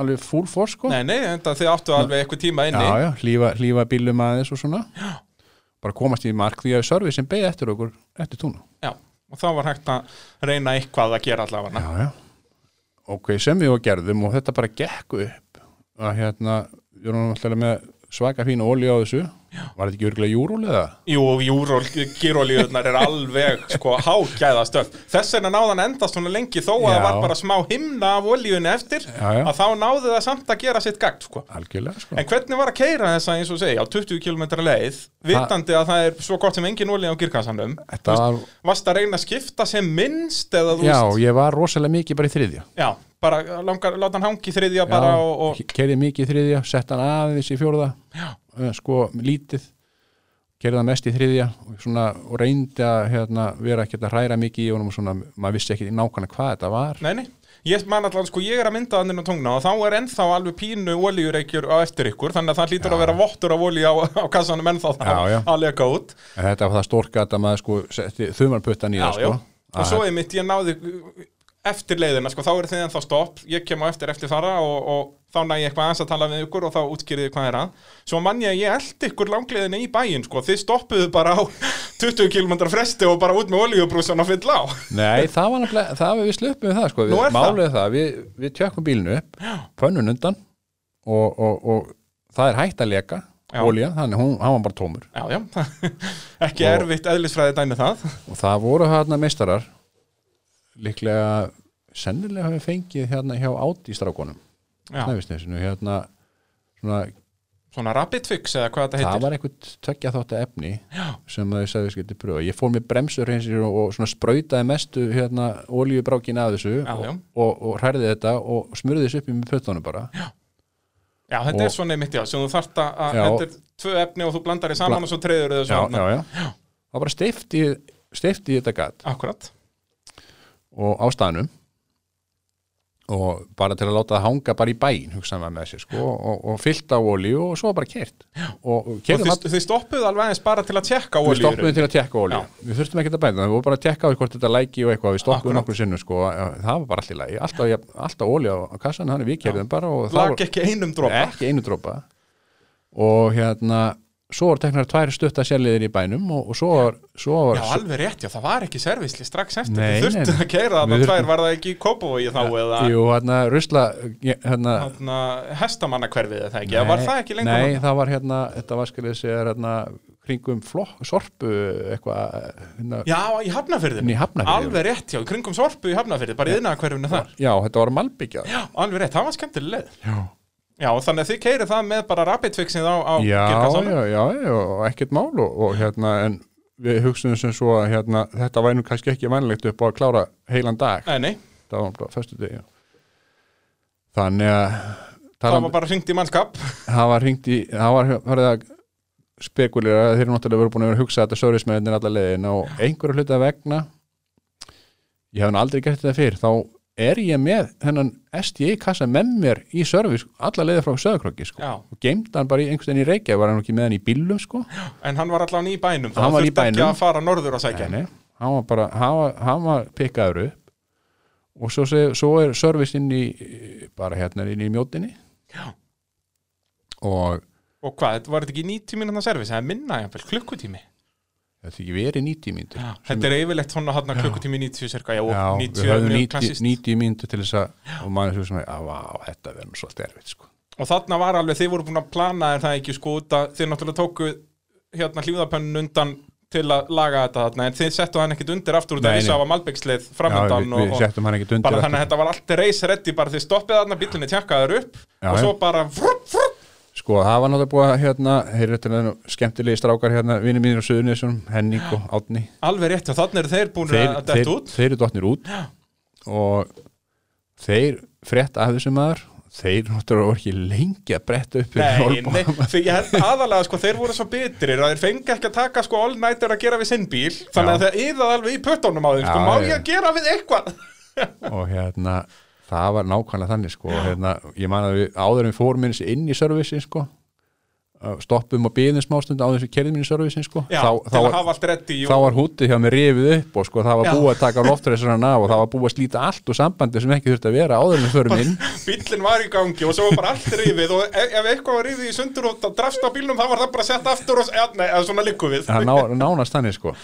alveg full force sko Nei, nei, þetta þið áttu alveg eitthvað tíma inni já, já, lífa, lífa bílum aðeins og svona já. bara komast í mark því að service sem beði eftir okkur eftir túnu Já, og þá var hægt að reyna eitthvað að gera allavega. já, já. ok, sem við og gerðum og þetta bara gekk upp að hérna, við erum alltaf með svaka fína olíu á þessu já. var þetta ekki örgulega júrúl eða? Jú, júról, gyrólíðunar er alveg sko hágæða stöf. Þess vegna náðan endast svona lengi þó að Já. það var bara smá himna af olíunni eftir Já, já. að þá náði það samt að gera sitt gagn sko. algjörlega sko En hvernig var að keira þessa eins og segja á 20 km leið, vitandi að það er svo gott sem engin olíð á gyrkassanum þetta var Varst að reyna að skipta sem minnst eða þú Já, veist ég var rosalega mikið bara í þriðja Já, bara langar, láta hann hangi þriðja bara Já, og, og Keyrði mikið í þriðja, sett hann aðeins í fjórða Já. eh, sko lítið kerði hann mest í þriðja og, svona, og reyndi að hérna, vera ekkert að hræra mikið í honum og svona, maður vissi ekki nákvæmlega hvað þetta var Nei, nei, ég man allan sko, ég er að mynda þannig á tungna og þá er ennþá alveg pínu olíureikjur á eftir ykkur, þannig að það hlýtur að vera vottur af olíu á, á kassanum ennþá það Já, já. að leka út en Eh, þetta var það stórkat að maður sko setti þumarputtan í já, það já. sko og svo er mitt, ég náði uh, eftir leiðina, sko, þá er þið ennþá stopp ég kem á eftir eftir fara og, og þá næ ég eitthvað aðeins að tala við ykkur og þá útskýriði hvað er að svo mann ég að ég eldi ykkur langleiðina í bæinn sko, þið stoppuðu bara á 20 km fresti og bara út með olíubrúsan og fyll á Nei, það var nefnilega, það var við sluppum við það sko, við Nú er það. málið það, við, við tjökkum bílinu upp, pönnun undan og, og, og það er hægt að leka Já. olja, þannig hún, hann var bara tómur Já, já, ekki Og- erfitt eðlisfræði dæmi það og það voru hérna meistarar líklega sennilega hafi fengið hérna hjá átístrákonum Já, snæfisnesinu hérna svona, svona rapid fix eða hvað þetta heitir það var eitthvað tökja þátt að efni Já. sem þau sagði skilti pröfa ég fór með bremsur hreinsir og, og svona sprautaði mestu hérna olíubrákin að þessu Já, og, já. og, og hærði þetta og smurði þessu upp í með pötunum bara já. Já, þetta Og- er svona einmitt, já, sem þú þarft að- að Já. þetta er tvö efni og þú blandar í saman Bla- og svo treyður þau Já, svona. já, það bara steifti steifti þetta gat Akkurat. og á staðnum og bara til að láta það hanga bara í bæin hugsaði maður með sér sko og, og fyllt á olíu og svo bara kert og, og Og kerðum þið, þið stoppuðu alveg aðeins bara til að tjekka Við olíur. stoppuðum til að tekka olíu. Já. Við þurftum ekki að bæta, við vorum bara að tekka á því hvort þetta læki og eitthvað, við stoppuðum Akkurat. nokkur sinnum sko, það var bara allir lægi, alltaf, jafn- alltaf olíu á kassan, þannig við kerðum bara og það Lag ekki einum dropa. ekki einu dropa og hérna, svo var teknar tvær stutta sérliðir í bænum og, og svo var, svo var Já, alveg rétt, já, það var ekki servisli strax eftir, þið Nei, nei, þurftu nei. að keira Við þarna þurftum- tvær, var það ekki í Kópavogi þá eða Jú, hérna, rusla hérna, hérna, hestamannakverfið eða ekki, eða var það ekki lengur? Nei, það var hérna, þetta var skilja sér hérna, kringum flokk, sorpu eitthvað, hérna Já, í Hafnafyrðinu, Í Hafnarfirði. alveg rétt, já, í kringum sorpu í Hafnafyrði, bara yðna hverfinu þar þetta var malbyggjað Já, alveg rétt, það var skemmtileg leið Já, Já, þannig að þið keirið það með bara rapidfixið á, á já, kirkasálum. já, já, já, og ekkert mál og, og hérna, en við hugsunum sem svo að hérna, þetta væri nú kannski ekki vænlegt upp á að klára heilan dag Nei, nei, það var bara fyrstu degi þannig að um það talan, var bara hringt í mannskap það var hringt í það var farið að spekulera að þeir eru náttúrulega verið búin að vera að hugsa þetta servicemeðinir alla leiðin og einhverju hluta vegna ég hef nú aldrei gert þetta fyrr þá er ég með hennan SDI kassa með mér í service alla leiði frá söðarkrokki sko Já, og geimdi hann bara í einhvers veginn í Reykjavík var hann nú ekki með hann í bílum sko en hann var allan í bænum, Hann það var í þurfti ekki bænum. að fara norður að sækja Nei, hann var bara, hann var, hann var pikkaður upp og svo, seg, svo er service inn í bara hérna inn í mjótinni Já. og Og hvað, þetta- var þetta ekki 90 mínúna servis, það er minna, jafnvel, klukkutími þetta er ekki verið 90 mínútur Já, þetta er yfirleitt svona hann klukkutími 90 cirka, já, og Já, 90 er við höfðum mjög 90, klassist 90 mínútur til þess að og maður sem sem að, vá, þetta verður nú svolítið erfitt sko. og þarna var alveg, þið voru búin að plana er það ekki sko út að þið náttúrulega tóku hérna hlýðapönnun undan til að laga þetta þarna, en þið settu hann ekkit undir aftur út Nei, að vissu nei. að var malbyggsleið Já, við, framöndan við og, og settum hann ekkert undir bara aftur. þannig að þetta var allt reis reddi, bara þið stoppið þarna, bílunni tjakkaður upp Já, og já. svo bara vrr, vrr, Sko, það var náttúrulega búið að hérna, heyrðu þetta nú skemmtilegi strákar hérna, vinnir mínir á Suðunisum, Henning og Átni. alveg rétt og þannig eru þeir búin Þeir, að þeir, detta út þeir eru dottnir út og þeir frétt af þessum maður, þeir náttúrulega voru ekki lengi að bretta upp fyrir Nei, Olbo. nei, því ég held aðalega sko, þeir voru svo bitrir að þeir fengi ekki að taka sko all-nighter að gera við sinn bíl þannig að Já. það yðað alveg í pötunum á þeim sko, Já, má já. ég að gera við eitthvað? og hérna það var nákvæmlega þannig sko og hérna, ég man að við áður en við fórum minns inn í servisi sko uh, stoppum og biðum smástund áður en við kerðum inn í servisi sko Já, þá, til þá, að hafa allt reddi þá var hútið hjá mér rifið upp og sko það var Já. búið að taka loftreisarinn af og það var búið að slíta allt og sambandi sem ekki þurfti að vera áður en við förum inn bílinn var í gangi og svo var bara allt rifið og e- ef, ef eitthvað var rifið í sundur og það drafst á bílnum þá var það bara sett aftur og s- eða, nei, eða svona liggum við það ná, nánast þannig sko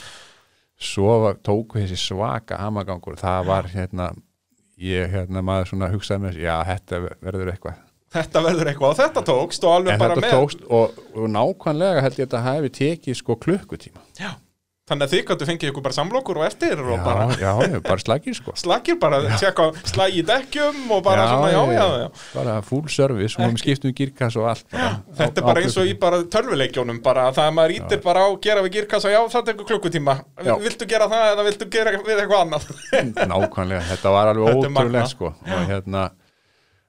svo var, tók við þessi svaka hamagangur, það var hérna ég hérna maður svona hugsaði með já þetta verður eitthvað þetta verður eitthvað og þetta tókst og alveg En bara þetta með tókst og, og nákvæmlega held ég að þetta hafi tekið sko klukkutíma. Já. þannig að þið gætu fengið ykkur bara samlokur og eftir og Já, bara já, já, bara slagir sko. slakir bara, tjekka slagi í dekkjum og bara svona já, já, já Bara full service og við skiptum girkas og allt. Bara, Þetta er bara eins og í bara tölvuleikjónum bara að það að maður ítir bara á gera við girkassa já það tekur klukkutíma, Já. viltu gera það eða viltu gera við eitthvað annað klukkutíma. Nákvæmlega, þetta var alveg Þetta er magnað. ótrúlega sko. Og hérna,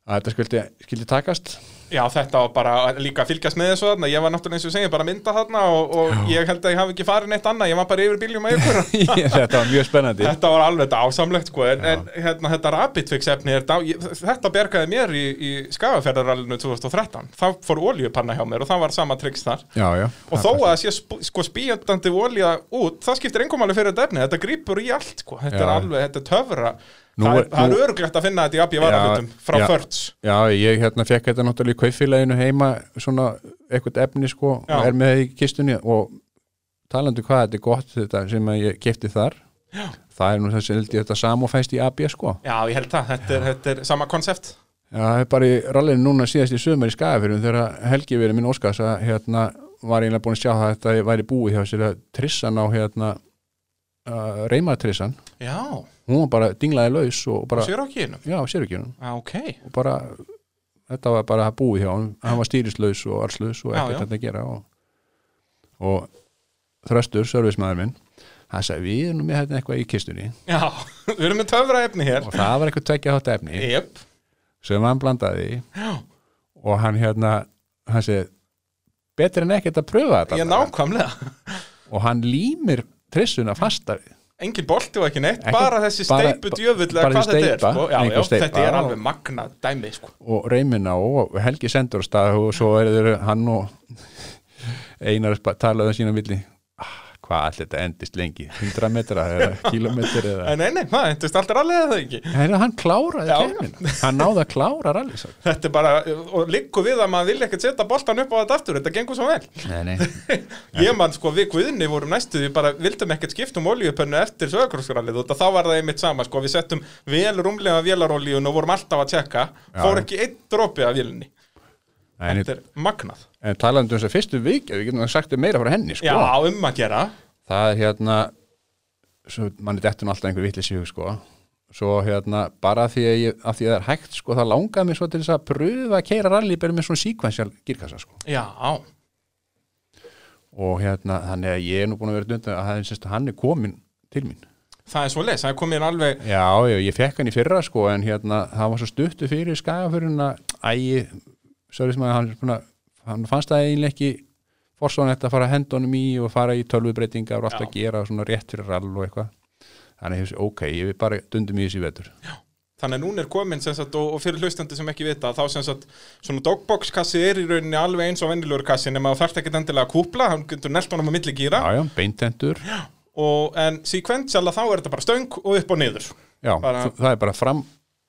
að þetta skildi, skildi takast. Já þetta var bara líka að fylgjast með þessu þarna ég var náttúrulega eins og segja bara að mynda þarna og, og ég held að ég hafi ekki farin eitt annað ég var bara yfir bíljum að ykkur þetta var mjög spennandi. Þetta var alveg þetta ásamlegt sko en, en hérna þetta rapidfix efni er, dá- ég, þetta bergaði mér í, í skagaferðarallinu 2013 þá fór oljupanna hjá mér og það var sama triks þar Já, já. og þó að það sé sp sko spíjandandi olja út, það skiptir engum alveg fyrir þetta efni þetta grýpur í allt, sko. þetta er Já. alveg þetta er töfra, Nú það, er- er, það nú- er öruglegt að finna þetta í abbi varaflutum frá já. já. förts Já, ég hérna fekk þetta náttúrulega í kaufélaginu heima svona eitthvað efni sko Já. og er með það í kistunni og talandi hvað þetta er gott þetta sem að ég kefti þar já. það er nú þessi held ég þetta samofæst í AB sko já, ég held það, þetta er, þetta er sama konsept Já, það er bara í rallinu núna síðast í sömur í Skagafyrðum þegar Helgi verið minn óskars að hérna var ég eiginlega búin að sjá það að þetta væri búið hjá sér að trissan á hérna uh, reymatrissan, já, hún var bara dinglaði laus og bara, sér ekki innum já, sér ekki hún ok, og bara þetta var bara búið hjá hann hann var stýrislaus og allslaus Já, og ekkert já. þetta að gera og, og þröstur, servismæður minn hann sagði við erum nú með þetta eitthvað í kistunni já við erum með töfra efni hér og það var eitthvað tvekja þátt efni yep. sem hann blandaði í. og hann hérna hann segi betur en ekkert að pröfa þetta ég er bara." nákvæmlega og hann límir trissuna fasta við engin bolti og ekki neitt, Ekki- bara þessi bara- steipu djöfull eða bara hvað þessi þetta er steypa, sko. já, já, einhver steypa, þetta er já. alveg magna dæmi sko. og reymina og Helgi sendur á stað og svo er þeir hann og Einar að spa- tala um sína villi ah, hvað hvað allir þetta endist lengi 100 metra eða kilometri eða En nei, nei, það endist alltaf rallið eða ekki Heri, hann kláraði Já. kemina hann náði að klára rally sagði. Þetta er bara, og liggur við að maður vilja ekkert setja boltan upp á þetta aftur, þetta gengur svo vel nei, nei. Ég man sko við Guðni vorum næstu því bara vildum ekkert skipta um olíupönnu eftir sögurkróskrallið og þá var það einmitt sama sko við settum vel rúmlega vélarolíun og vorum alltaf að tjekka fór ekki einn dropi af vélinni En, Þetta er magnað en talandi um þess að fyrstu vik við getum sagt þér meira frá henni sko. Já, um að gera það er hérna svo, manni dettur nú alltaf einhver vitlis í hug sko. svo hérna bara því að, ég, að því að það er hægt sko, það langaði mig svo til þess að pröfa að keira rally bara með svona sequential girkassa sko. Já, og hérna þannig að ég er nú búin að vera dundan að hann, sérst, hann er komin til mín það er svo leys, það er komin alveg já, ég, ég fekk hann í fyrra sko en hérna það var svo stuttu fyrir skagaföruna ægi, svo er sem að hann, er búinn að- hann fannst það eiginlega ekki forsvon þetta að fara að henda honum í og fara í tölvubreytingar og allt að gera svona rétt fyrir all og eitthvað þannig hefði, ok, ég vil bara dundum í þessi vetur Þannig að núna er komin sem sagt, og og fyrir hlustandi sem ekki vita þá sem sagt, svona dogbox kassi er í rauninni alveg eins og venjulegur kassi nema það þarf ekki endilega að kúpla, hann getur nelt honum á milli gíra já, já, beintendur já, og en sequential að þá er þetta bara stöng og upp og niður Bara- þa- það er bara fram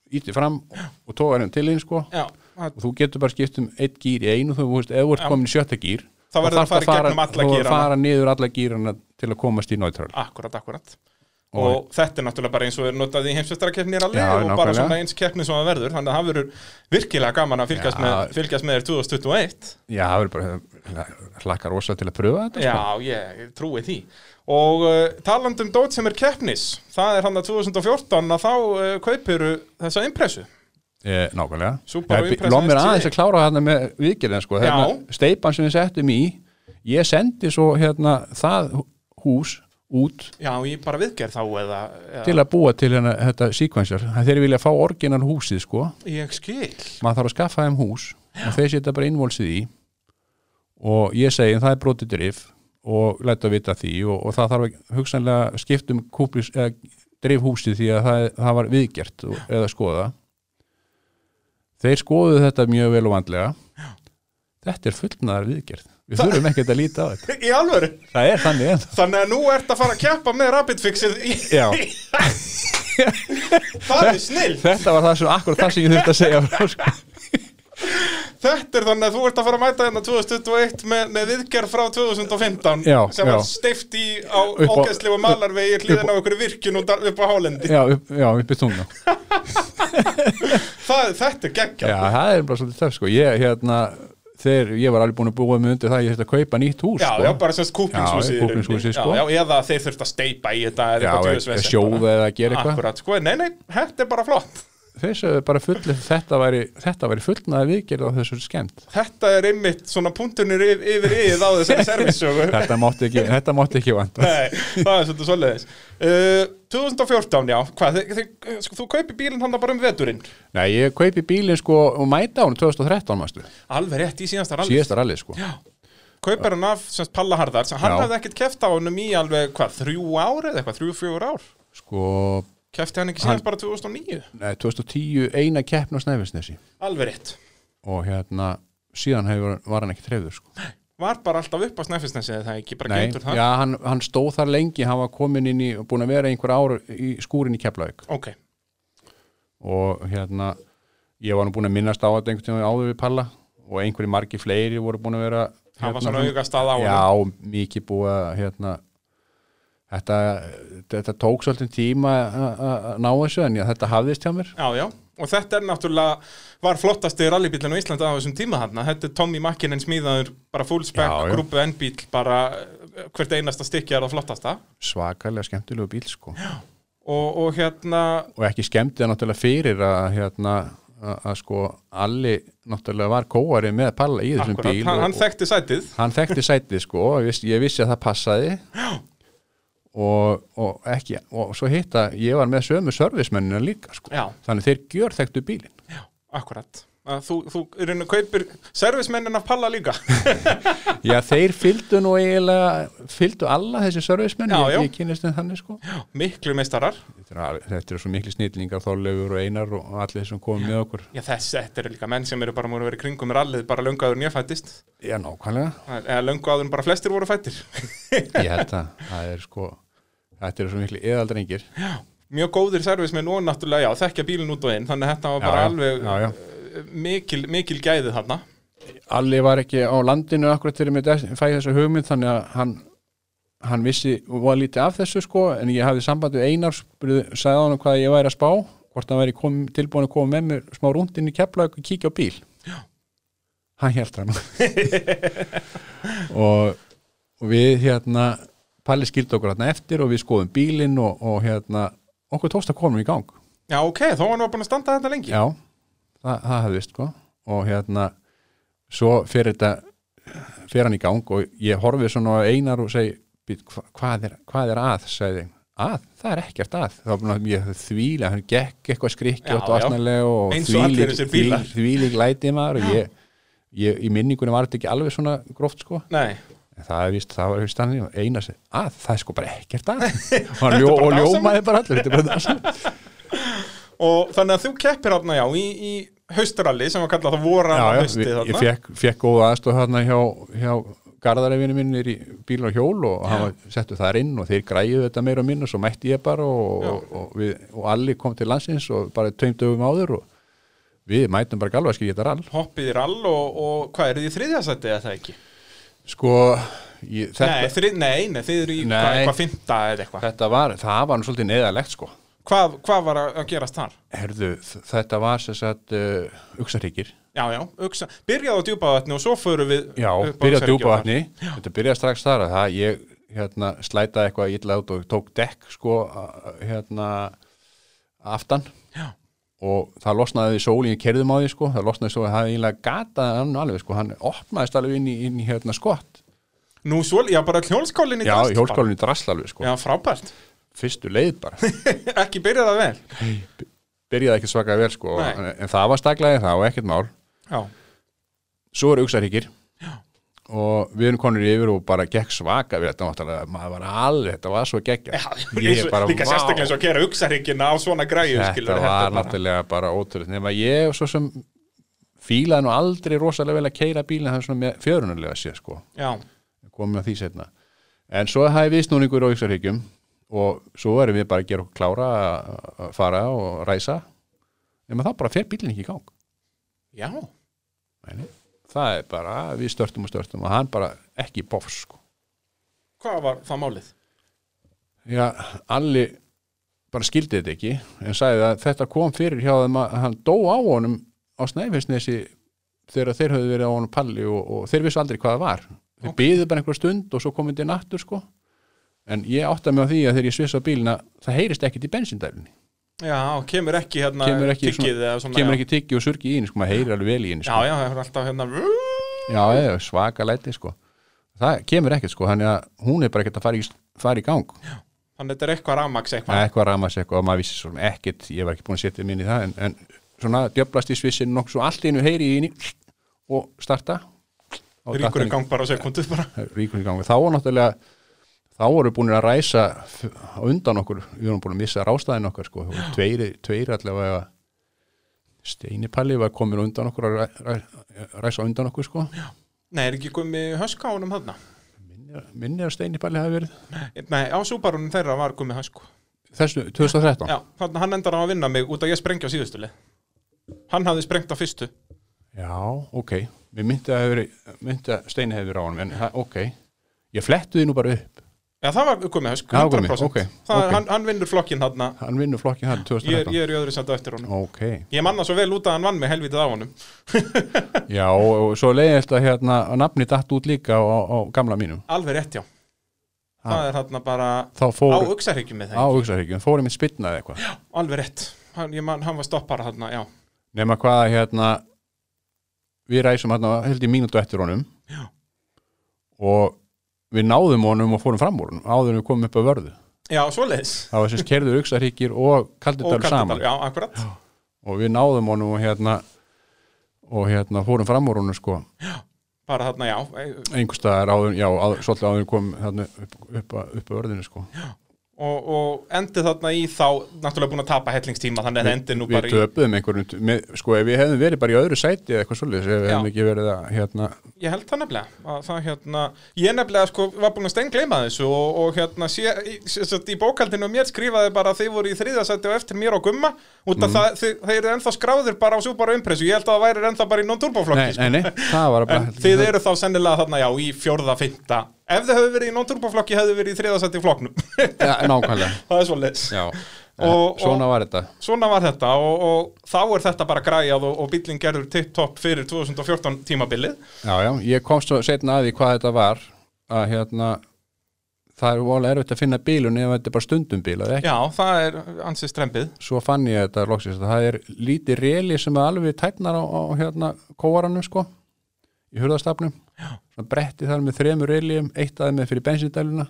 ítti fram og tóa hann til einn sko já, það- og þú getur bara skipt um eitt gýr í einu þú veist, ef þú ert komin í sjötta gýr Þá verður þarftu að fara í gegnum alla þú verður gírana. að fara niður alla gýrana til að komast í neutral akkurat, akkurat og þetta er náttúrulega bara eins og er notað í heimsvistarakeppni alveg Já, og bara nákvæmlega. svona eins keppni sem það verður þannig að það verður virkilega gaman að fylgjast, Já. með, fylgjast með þér 2021 já, það verður bara hlakka rosa til að pröfa þetta sko. Já, ég trúi því og uh, taland um dót sem er keppnis það er hann að 2014 að þá uh, kaupiru þessa impressu e, nákvæmlega Subaru Já, Impreza lóð mér STI. aðeins að klára þarna með vikirðin sko. Já. hérna, steipan sem við settum í ég sendi svo hérna, það hús út Já, ég bara viðgerð þá eða, eða til að búa til hérna, þetta sequencer þeir vilja fá orginal húsið sko ég skil maður þarf að skaffa þeim hús og þeir setja bara innvolsið í og ég segi það er brotið drif og læta vita því og, og það þarf að hugsanlega skiptum kúplis eða drif húsið því að það, það var viðgert og, eða skoða þeir skoðu þetta mjög vel og vandlega þetta er fullnaðar viðgerð við þurfum ekkert að líta á þetta Í alvöru það er þannig en Þannig að nú ert að fara að keppa með rapidfixið í... Já. Það er snill þetta var það sem akkurat það sem ég þurfti að segja frá, sko. Þetta er þannig að þú ert að fara að mæta hérna 2021 með, með viðgerð frá 2015 Já, sem já. var steift í á á- ógæslegu malarvegi hliðin á einhverju virkjun út að- upp á hálendi já, upp, já, upp í tungna Það, þetta er geggja Já, það er bara svolítið töf sko. ég, hérna, þegar ég var alveg búin að búa mig undir það, ég þurfti að kaupa nýtt hús Já, sko. já, bara semst kúplingshúsið Já, í rauninni. kúplingshúsið, sko. já, já, eða þeir þurft að steipa í þetta eða Já, eitthvað eða tjóðisvesen sjóða eða gera eitthvað. Akkurat, sko, nei, nei, þetta er bara flott Þeir sögðu bara fullir þetta væri, þetta væri fullnaði viðgerð á þessu skemmt Þetta er einmitt svona punktunir yfir, yfir yfir á þessari servissögu Þetta mátti ekki, þetta mátti ekki vanda Nei, það er svolítið svoleiðis uh, 2014, já, hvað, þið, þið, sko, þú kaupir bílinn hann bara um veturinn Nei, ég kaupi bílinn sko og mæta hún 2013, mástu, Alveg rétt í síðasta rally síðasta rallið sko Já, kaupir hann af semst Palla Harðar sem hann Já. hafði ekkert keft á honum í alveg, hvað, þrjú ár eða eitthvað, þrjú, fjögur ár Sko, Kefti hann ekki síðast bara 2009 nei, 2010 eina keppn á Snæfisnesi Alveg rétt og hérna, síðan hefur, var hann ekki trefður sko Var bara alltaf upp á Snæfisnesi eða það ekki, bara Nei, getur það já, hann, hann stóð þar lengi, hann var komin inn í og búin að vera einhver ár í skúrin í Keflavík Ok, og hérna ég var nú búin að minnast á þetta einhvern tíma áður við Palla og einhverju margi fleiri voru búin að vera Hafa svona aukastað á Hérna- Já, mikið búið að hérna þetta, þetta tók svolítið tíma að- að að ná þessu en já, þetta hafðist hjá mér já, já Og þetta er náttúrulega, var flottasti rallybílinn á Íslandi á þessum tíma þarna. Þetta er Tommy Makkinen smíðaður, bara full spec, Já, já. grúpu N-bíl, bara eh, hvert einasta stykki er það flottasta. svakalega skemmtilegu bíl sko og, og hérna og ekki skemmtið náttúrulega fyrir að hérna að, að sko allir náttúrulega var kóari með Palla í þessum akkurat, bíl hann, og- hann þekkti sætið hann þekkti sætið sko ég vissi, ég vissi að það passaði og, og ekki og svo hitta, ég var með sömu servismennina líka sko Já. þannig þeir gjör þekktu bílin akkurat að þú, þú í raun og kaupir servismennin af palla líka Já, þeir fylgdu nú eiginlega, fylgdu alla þessi servicemenn, Já, já. ég, ég kynist þeim þannig sko. miklu meistarar Þetta eru al- þetta eru svo miklu snillingar, Þorleifur og Einar og allir sem komum með okkur. Já, þess, þetta eru líka menn sem eru bara múin að vera í kringum rallið bara löngu áður en ég fættist Já, nákvæmlega. eða löngu áður en bara flestir voru fættir Ég held að það er sko, þetta eru svo miklu eðaldrengir. mjög góðir servismenn og náttúrulega já, þekkja bílinn út og inn þannig að þetta var Já, bara já, alveg já, já. eh, mikil, mikil gæði þarna Alli var ekki á landinu akkurat þegar mér des- fæ þessa hugmynd þannig að hann, hann vissi og var lítið af þessu sko en ég hafði samband við Einar spurði, sagði hann hvað ég væri að spá hvort hann væri kom, tilbúin að koma með mér smá rúndin í keflaug og kíkja á bíl Já. hann held hann og, og við hérna Palli skildi okkur hérna eftir og við skoðum bílinn og, og hérna okkur tókst að koma í gang Já, ok, þá var nú búin að standa þetta lengi Já, það, það hafði vist sko og hérna svo fyrir þetta fyrir hann í gang og ég horfið svona á einar og segi "Bíddu, hva, hvað, er, hvað er að, sagði ég, að, það er ekkert að þá var búin að ég þvíla, hann gekk eitthvað skrikkja Já, já. og asnalega og Eins og allir þessir bílar. þvílík lætið maður og ég, ég, í minningunni var þetta ekki alveg svona gróft sko Nei, En það er víst, það var víst hann og eina sig, að það er sko bara ekkert að og, hann Þetta er ljó, bara og dagsama. ljómaði bara allir þetta er bara það og þannig að þú keppir þarna já í, í haustralli sem var kallað það voru já, já, haustið við- ég þarna fekk, fekk góða aðstof hérna hjá, hjá gardarefinu minn er í bíl og hjól og hann var, settu þar inn og þeir græðu þetta meira og minn og svo mætti ég bara og, og, og, við, og allir kom til landsins og bara tveim dögum áður og við mætum bara galvaski geta rall hoppið í rall og, og hvað er þið í þriðjasætti eða það ekki? sko ég, Nei, þetta, þrið, nei, nei, þið eru í Nei. hvað, hvað fymta eða eitthvað þetta var, það var nú svolítið neðalegt sko hvað, hvað var að að gerast þar? Herðu, þ- þetta var sér satt uh, uksaríkir Já, já, uksa, byrjaði á djúpavatni og svo förum við Já, upp á byrja að Öxargil djúpa þar. vatni Þetta byrja strax þar að það ég hérna, slætaði eitthvað illa út og tók dekk sko a- hérna aftan Já. og það losnaði sólin, kerðum á því sko það losnaði sólin, það eiginlega gataði hann alveg sko, hann opnaðist alveg inn í, inn í hérna skott Nú, svo, já, bara hjólskólinn í Já, drast bara. hjólskálinu drasla alveg sko Já, frábært fyrstu leið bara, Ekki byrjaði það vel byrjaði ekki svakaði vel sko Nei. en, en það var staklaði það og ekkert mál Já, svo eru uksarhyggjir og við erum konur yfir og bara gekk svaka við þetta náttúrulega, maður var alveg þetta var svo geggja eins og- líka sérstaklega eins og að gera uksaríkina á svona græju skilur, þetta var bara- náttúrulega bara ótrúlega nema ég svo sem fílaði nú aldrei rosalega vel að keira bílinn það er svona með fjörunarlega séð sko Já, komum við að því setna en svo hafði við snúningur á yksaríkjum og svo erum við bara að gera okkur klára að- að fara og ræsa nema þá bara fer bílinn ekki í gang já, Nei, nei. það er bara, við störtum og störtum og hann bara ekki bofs sko hvað var það málið? Já, Alli bara skildi þetta ekki en sagði að þetta kom fyrir hjá þeim að hann dó á honum á Snæfellsnesi þegar þeir höfðu verið á honum palli og, og þeir vissu aldrei hvað það var þeir okay. byðu bara einhver stund og svo komið þetta nattur sko en ég átta mig á því að þegar ég svissa á bílina það heyrist ekkit í bensindælinni Já, kemur ekki hérna kemur ekki, tiggið eða svona já. kemur ekki tyggi og surgi í henni sko, maður heyrir alveg vel í henni sko. Já, já, það er alltaf hérna Já, eða, svaka læti sko það kemur ekkert sko, þannig að hún er bara ekkert að fara í, fara í gang Þannig þetta er eitthvað rafmaks Það eitthvað er eitthvað ramast eitthvað og maður vissi svona ekkit, ég var ekki búin að setja minn í það en, en svona djöblast í svissin nokk svo allt í einu heyri í henni og starta og Ríkur datt í hann gang bara á sekundu bara í- Ríkur í gang Þá var náttúrulega þá voru búin að ræsa f- á undan okkur, við vorum búin að missa rástaðin okkar sko, og tveir, tveir allavega steinipalli var komin á undan okkur að ræ- ræ- ræsa á undan okkur sko Nei, er ekki komið hösku á honum þarna? minni, minni að steinipalli hafi verið Nei, á súbarunum þeirra var komið hösku þessu 2013 Já, þannig að hann endar á að vinna mig út að ég sprengja á síðustu leið Hann hafði sprengt á fyrstu Já, ok. Mér myndi að, hefur, myndi að steini hefur á honum, en það- ok. Ég flettu því nú bara upp. Já, það var komið hösku, Já, komið, 100% ok, Það, ok. Hann, hann vinnur flokkin þarna Hann vinnur flokkin hann ég er, 2013. ég er í öðru sendu eftir honum Ok. Ég manna svo vel út að hann vann mig helvitið á honum Já, og og svo leiði þetta hérna að nafni datt út líka á, á gamla mínum. Alveg rétt, já Það er þarna bara Þá á fór, auksaríkjum með á það hugsaðhyggjum, fór ég mitt spilnaði eitthvað. Alveg rétt, hann, ég man, hann var stoppara þarna, já Nefna hvað hérna, við ræsum hérna held í mínútu eftir honum. Já. Og við náðum honum og fórum fram úr honum, áður en við komum upp að vörðu. Já, svoleiðis Það var sem skerður hugsaðhyggjir og kaldið Og saman. Kaldadal, já, akkurat og við náðum honum og hérna og hérna fórum fram úr honum sko bara þarna, já, einhvers staðar áður, já, áður, svolítið áður en kom þarna upp, upp, að- upp að örðinu sko og, og endi þarna í þá náttúrulega búin að tapa hellingstíma þannig að það endi nú við bara í töpuðum einhverjum, t- með, sko ef við hefðum verið bara í öðru sæti eða eitthvað svolítið, ef við Já. hefðum ekki verið að hérna, ég held það nefnilega að það hérna, ég nefnilega sko var búin að stengleima þessu og, og hérna sé, í, sé, sé, í bókaldinu mér skrifaði bara að þið voru í þriðasætti og eftir mér og gumma út af Mhm. það, þið, þeir eru ennþá skráðir bara á súbara umpressu, ég held að það væri ennþá bara í non-turboflokki nei, nei, nei, það var sko. en bara þið eru þá sennilega þarna já í fjórða, fymta ef þið höfðu verið í non-turboflokki hefðu verið í þriðasætti flokknum það ja, nákvæmlega, er svo leis já Og- svona var þetta Svona var þetta og, og þá er þetta bara græjað og, og bíllinn gerður tipp-topp fyrir 2014 tímabilið. Já, já, ég komst svo setna að því hvað þetta var að hérna það er vola erfitt að finna bílun ef þetta er bara stundum bíl eða ekki. Já, það er ansið strempið. Svo fann ég þetta loksins að það er lítið reli sem er alveg tætnar á, á hérna kóaranum sko í hurðastafnum. Já. Svo bretti þar með þremur reliðum, eitt aðeim með fyrir bensindæluna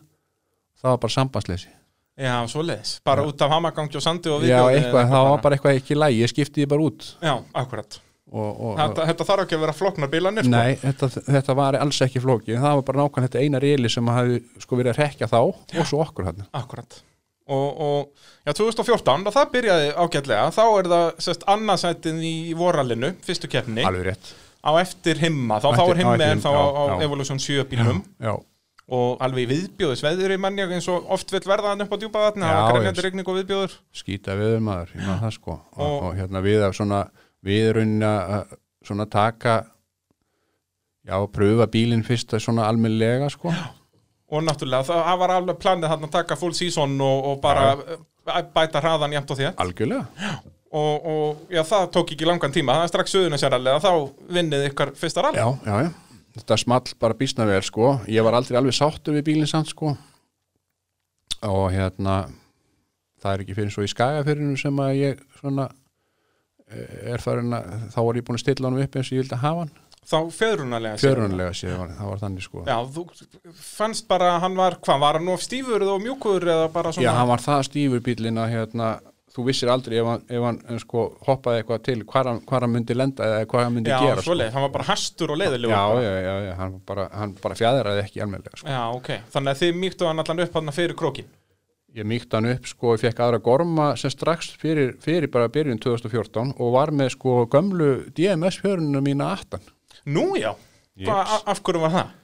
það var bara sambandsleysi. Já, svo leiðis. Bara út af hamagangi og sandi og Já, viðbjóði eða eitthvað, það var bara eitthvað ekki í lagi, ég skipti því bara út Já, akkurat. og, og, Þetta, þetta þarf ekki að vera floknar bílanir, sko. Nei, þetta, þetta var alls ekki flókið, það var bara nákvæmlega þetta eina reli sem hafði sko verið að rekja þá og svo okkur hann. Akkurat. Og, og já, 2014, og það byrjaði ágætlega. Þá er það sérst annarsætin í voralinu, fyrstu keppni, Alveg rétt. á eftir himma. Þá, Á þá er eftir- á himmi eftir- en þá á, já, á já. Evolution 7 bílnum. Já, og alveg í viðbjóðis veðri manni eins og oft vill verða hann upp á djúpa vatni Já, það var grænjandi já. regning og viðbjóður skýta viður maður, ég maður það sko. Og, Og- og, hérna við að svona, við raunin að svona taka, já, pröfa bílinn fyrst að svona almennilega sko. og náttúrulega það það var alveg planið hann að taka full season og, og bara eh, bæta hraðan jæmt og þér Algjörlega. og, og já, það tók ekki langan tíma það er strax söðuna sérlega þá vinnið ykkar fyrsta rall Já, já, já. Þetta small bara býsna vel sko. Ég var aldrei alveg sáttur við bílinn samt sko. Og hérna, það er ekki fyrir svo í skagafyrinu sem að ég svona eh, er farin að, þá var ég búin að stilla honum upp eins og ég vildi hafa hann. þá fjörunarlega séð. Fjörunlega séð, var- það var þannig sko. já, þú fannst bara að hann var hvað, var hann of stífur og mjúkur eða bara svona Já, hann var það stífur bílinn að hérna, þú vissir aldrei ef hann, ef hann eh, sko, hoppaði eitthvað til hvar hann, hvar hann myndi lenda eða hvað hann myndi já gera sko. svoleið, hann var bara hastur og leiðilegur já, bara. já, já, já, hann bara, hann bara fjæðraði ekki almennilega sko. já, ok, þannig að þið mýktu hann allan upp hann fyrir krókin Ég mýkti hann upp sko, ég fekk aðra gorma sem strax fyrir, fyrir bara byrjun 2014 og var með sko gömlu DMS fjörunum mína 18 nú já, Hva, Jeps. af- af hverju var það?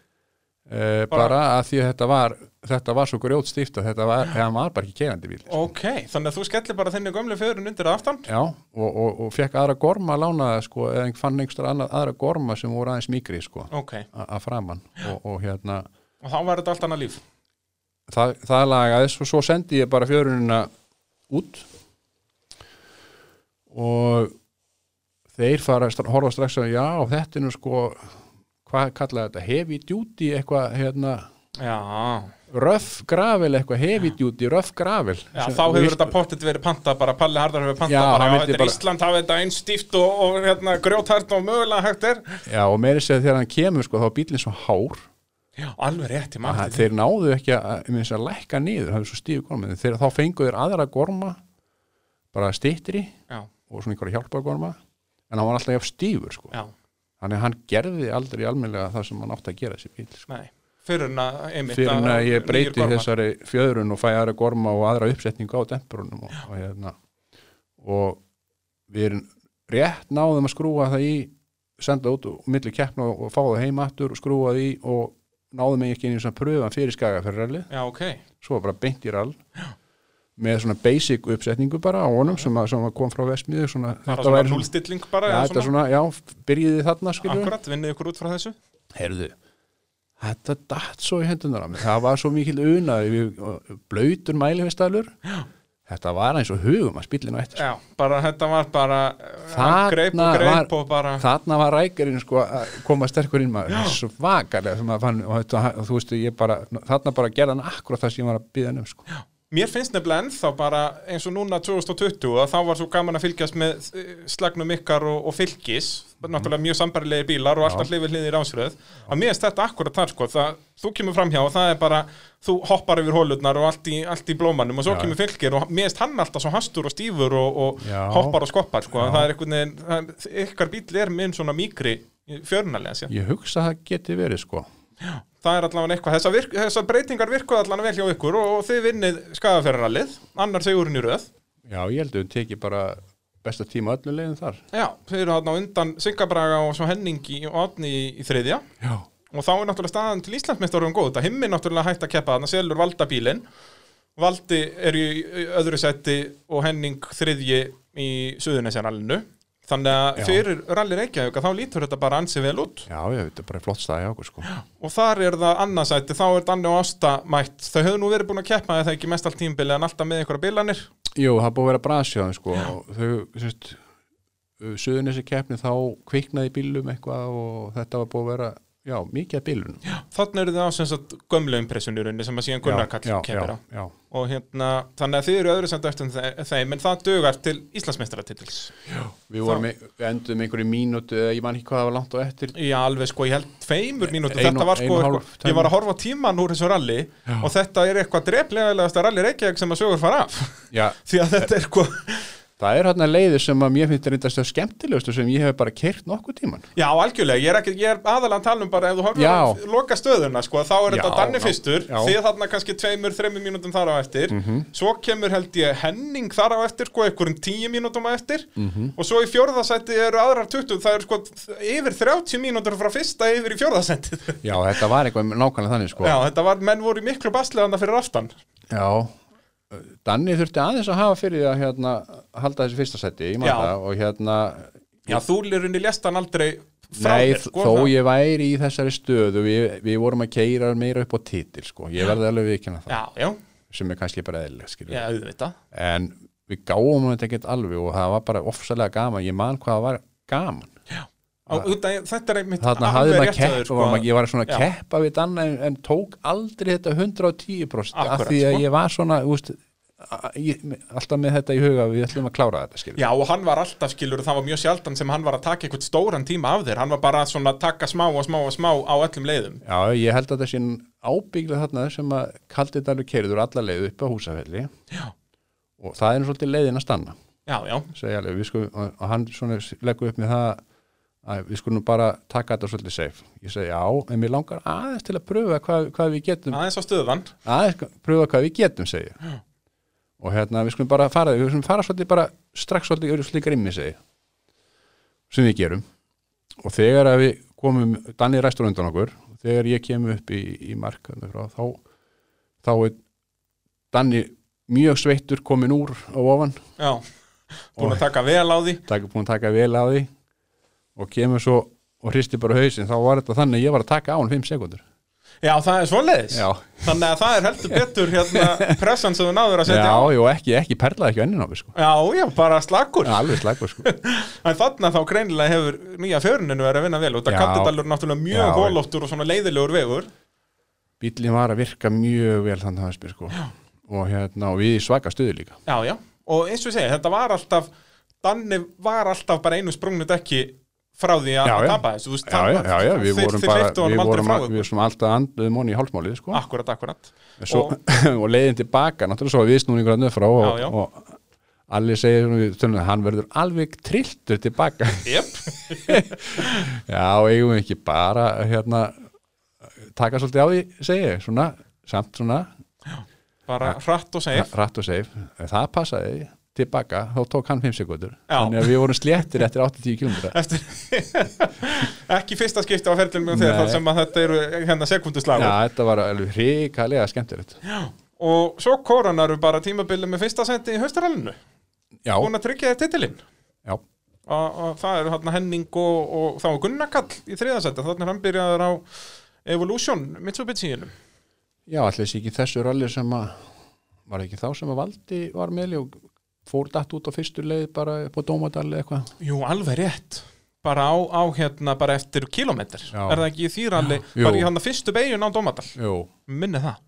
eh, bara, að því að þetta var þetta var svo grjót stíft að þetta var, hann var bara ekki kegandi bíl Ok, þannig að þú skellir bara þenni gömlu fjörun undir að aftan? Já, og, og, og fekk aðra gorma að lána það sko, eða fann einhverstur annað aðra gorma sem voru aðeins mýkri sko, Ok, a- að framan og, og hérna, og þá var þetta allt annað líf. það, það lagaðis og svo sendi ég bara fjörunina út og þeir fara, stra- horfa strax að já, þetta er nú sko hvað kallaði þetta, heavy duty eitthvað, hérna, Já, röf gravel eitthvað, heavy duty, röf gravel já þá hefur þetta pottet verið pantað bara, Palli Hardar hefur pantað Já, bara, hann já, vildi þetta er bara- Ísland, hafa þetta einn stíft og, og hérna, grjóthart og mögulega hægt er. Já, og meiri segja þegar hann kemur sko, þá er bílinn svo hár Já, alveg rétt í Ha, maður. þeir náðu ekki að, að, að lækka niður, það er svo stífi gorma þeir, þá fengu þeir aðra gorma bara stittri Já, og svona einhverja hjálpargorma en hann var alltaf jafn stífur sko. já, þannig að hann gerði aldrei almennilega það sem hann átti að gera sér bíl sko. nei, fyrir en að einmitt. fyrir en að nýir ég breyti gormar. þessari fjöðrun og fæ aðra gorma og aðra uppsetningu á demprunum og, og, hérna. og við erum rétt náðum að skrúa það í senda út og milli keppna og, og fá það heim aftur og skrúa því og náðum mig ekki einu svona pröfan fyrir skagaferralið Já, ok, svo bara beint í rall með svona basic uppsetningu bara á honum sem, að, sem að kom frá vestmiðu svona, bara svona væri núlstilling bara, já, eða þetta svona, já, byrjiði þarna skilur Akkurat, vinnið ykkur út frá þessu? herðu, þetta datt svo í hendunar á mig, það var svo mikil unaði við blöytur mælifestalur uh, þetta var eins og hugum að spillin á eftir sko. Já, bara þetta var bara, Þarna hann greip og greip var- og bara, þarna var rækirinn sko að koma sterkur inn maður, svo vakalega sem maður fann, og, þetta, og þú veistu, ég bara þarna bara gerði hann akkurat það sem ég var að byggja hann um sko Mér finnst nefnilega ennþá bara eins og núna 2020 að þá var svo gaman að fylgjast með eh, slagnum ykkar og, og fylgis náttúrulega mjög sambarilegi bílar og alltaf hlifir hliðir ásröð að mér finnst þetta akkurat þar sko það, þú kemur framhjá og það er bara þú hoppar yfir hólurnar og allt í, allt í blómanum og svo Já. kemur fylgir og mér finnst hann alltaf svo hastur og stífur og, og Já. hoppar og skoppar sko það er einhvern veginn, það, ykkar bíl er minn svona mýkri fjörnarlega sér Ég hugsa að það geti verið sko. það er allavega eitthvað, þessar, virk, þessar breytingar virkuð allavega vel hjá ykkur og, og þið vinnið skagaferðarallið, annar segurinn í röð Já, ég held að við tekið bara besta tíma öllu leiðin þar. já, þið eru þarna á undan Singabraga og svo Henningi og Átni í, í þriðja Já. og þá er náttúrulega staðan til Íslandsmeistarum góð þetta himmi náttúrulega hægt að keppa þarna, Selur valda bílinn Valdi er í í öðru seti og Henning þriðji í suðunessjarallinu þannig að Já. fyrir rallir Reykjavík að þá lítur þetta bara ansið vel út Já, ég veit, þetta er bara flott staði á okkur sko. og þar er það annarsæti, þá er Danni og Ásta mætt, þau höfðu nú verið búin að keppa eða ekki mest allt tímbili en alltaf með einhverja bilanir Jú, það er búið að vera brasjaðan sko. og Þau, sérst, suðun þessi keppni þá kviknaði í bílum eitthvað og þetta var búið að vera, já, mikið að bílunum. Já, þannig eru þið á sem sagt gömlu impressunurinni sem að síðan Gunnar Kall já, keppir á já, já. og hérna, þannig að þið eru öðru samt eftir þe- þeim, en það dugar til Íslandsmeistaratitils Við, vorum, við endum einhverju mínútu eða ég man ekki hvað það var langt og eftir Já, alveg sko, ég held tveimur mínútur Ein og- Þetta var ein sko, og hálf eitthvað, tæmi. ég var að horfa á tíman úr þessu ralli og þetta er eitthvað dreflegasta ralli Reykjavík sem að sögur fara af Já, því að þetta er sko- eitthvað það er hérna leiðir sem að mér finnst reyndast að skemmtilegustu sem ég hef bara keirt nokkuð tíman Já, algjörlega, ég er, ekki, ég er aðalega að tala um bara ef þú horfir Já. á loka stöðuna sko, þá er Já, þetta danni já, fyrstur já. Mhm. þið þarna kannski tveimur, þreimur mínútum þar á eftir svo kemur held ég Henning þar á eftir, sko, einhverjum tíu mínútum á eftir Mhm. og svo í fjórðasæti eru aðrar 20, það eru sko yfir 30 mínútur frá fyrsta yfir í fjórðasæti Já, þetta var eitthvað nákvæmlega þannig sko Já, þetta var, menn voru í miklu basleðanda fyrir aftan Já, Danni þurfti aðeins að hafa fyrir því að hérna, halda þessi fyrsta seti ég man Já. það, og hérna Já, þú lirunni lest hann aldrei frá Nei, þér, sko, þó það- ég væri í þessari stöðu við, við vorum að keira meira upp á titil sko. ég verði alveg viðkynna það Já, já, sem er kannski bara eðlilega skilur já, auðvitað en við gáum þetta ekkert alveg og það var bara ofsalega gaman, ég man hvað það var gaman Á, þetta, þetta er einmitt þarna alveg hafði maður rétt hjá keppa þér, sko, maður, ég var svona að Já. keppa við þann en, en tók aldrei þetta 110% af Akkurat, því að sko. ég var svona úst, ég, alltaf með þetta í huga við ætlum að klára þetta skilur Já, og hann var alltaf skilur, það var mjög sjaldan sem hann var að taka eitthvað stóran tíma af þér, hann var bara svona að taka smá og smá og smá á öllum leiðum. Já, ég held að þessi ábyggla þarna sem að kaldi þetta alveg keiriður alla leið upp á húsafelli Já. og það er nú svolítið leiðin að stanna Já, já, segja alveg, við skulum, og og hann svona leggur upp með það að við skulum bara taka þetta svolítið safe ég segi já, en mér langar aðeins til að pröfa hvað, hvað við getum, aðeins á stöðan. aðeins pröfa hvað við getum segi ég. og hérna við skulum bara fara, við skulum fara svolítið bara strax svolítið yfir slíkar ymmi segi ég. sem við gerum og þegar að við komum Danni ræstur undan okkur, og þegar ég kem upp í, í mark þarna frá, þá þá er Danni mjög sveittur komin úr á ofan Já, búin að taka vel á því. taka, búin að taka vel á því og kemur svo og hristi bara hausinn þá var þetta þannig að ég var að taka á hann 5 sekundur Já, það er svoleiðis. Já. Þannig að það er heldur betur hérna pressan sem þú náður að Já, setja á. já, ekki, ekki perlaði ekki ennin á mig sko Já, já, bara slagur. alveg slagur sko En þannig að þá greinilega hefur nýja fjöruninu verið að vinna vel út að Já. Kattidalur er náttúrulega Já. mjög hólóttur og svona leiðilegur vegur. bíllinn var að virka mjög vel þannig að spyr sko og hérna og við í svaka stuði líka Já, já, og eins og ég segi, þetta var alltaf Danni var alltaf bara einu sprungnu dekki frá því að Já, já. tapa þessu, þú veist, Já, já, já, já, við vorum bara við vorum, að, við... við vorum alltaf anduðum honni í hálfmálið sko Akkurat, akkurat En svo, og, og leiðin tilbaka, náttúrulega svo að viðsnúningur að nöfra og, Já, já. og allir segir, svona við tölum, hann verður alveg trilltur tilbaka jöp, Já, eigum við ekki bara hérna, taka svolítið á því, segi ég, svona, samt svona, bara hratt og segir rætt og seif. Það passaði tilbaka, þá tók hann 5 sekundur. Já. Þannig að við vorum sléttir eftir 80 km. Eftir, ekki fyrsta skipti á ferðlum með þeir Nei. þar sem að þetta eru hérna Já, sekunduslagur þetta var alveg hrikalega skemmtilegt. og svo koronar eru bara tímabilið með fyrsta sendi í haustarallinu Já, búin að tryggja þér titilinn já, og, og það eru hérna Henning og, og þá er Gunnar Kall í þriðasætti þannig er hann byrjaður á Evolution Mitsubishi-inum já, allir þessi ekki þessu ralli sem að, var ekki þá sem að Valdi var meðli og fór datt út á fyrstu leið bara upp á Dómadalli eitthvað. Jú, alveg rétt bara á, á hérna bara eftir kilometr Já. er það ekki í þýralli Jú. bara í hann fyrstu beigun á Dómadal Jú, minni það og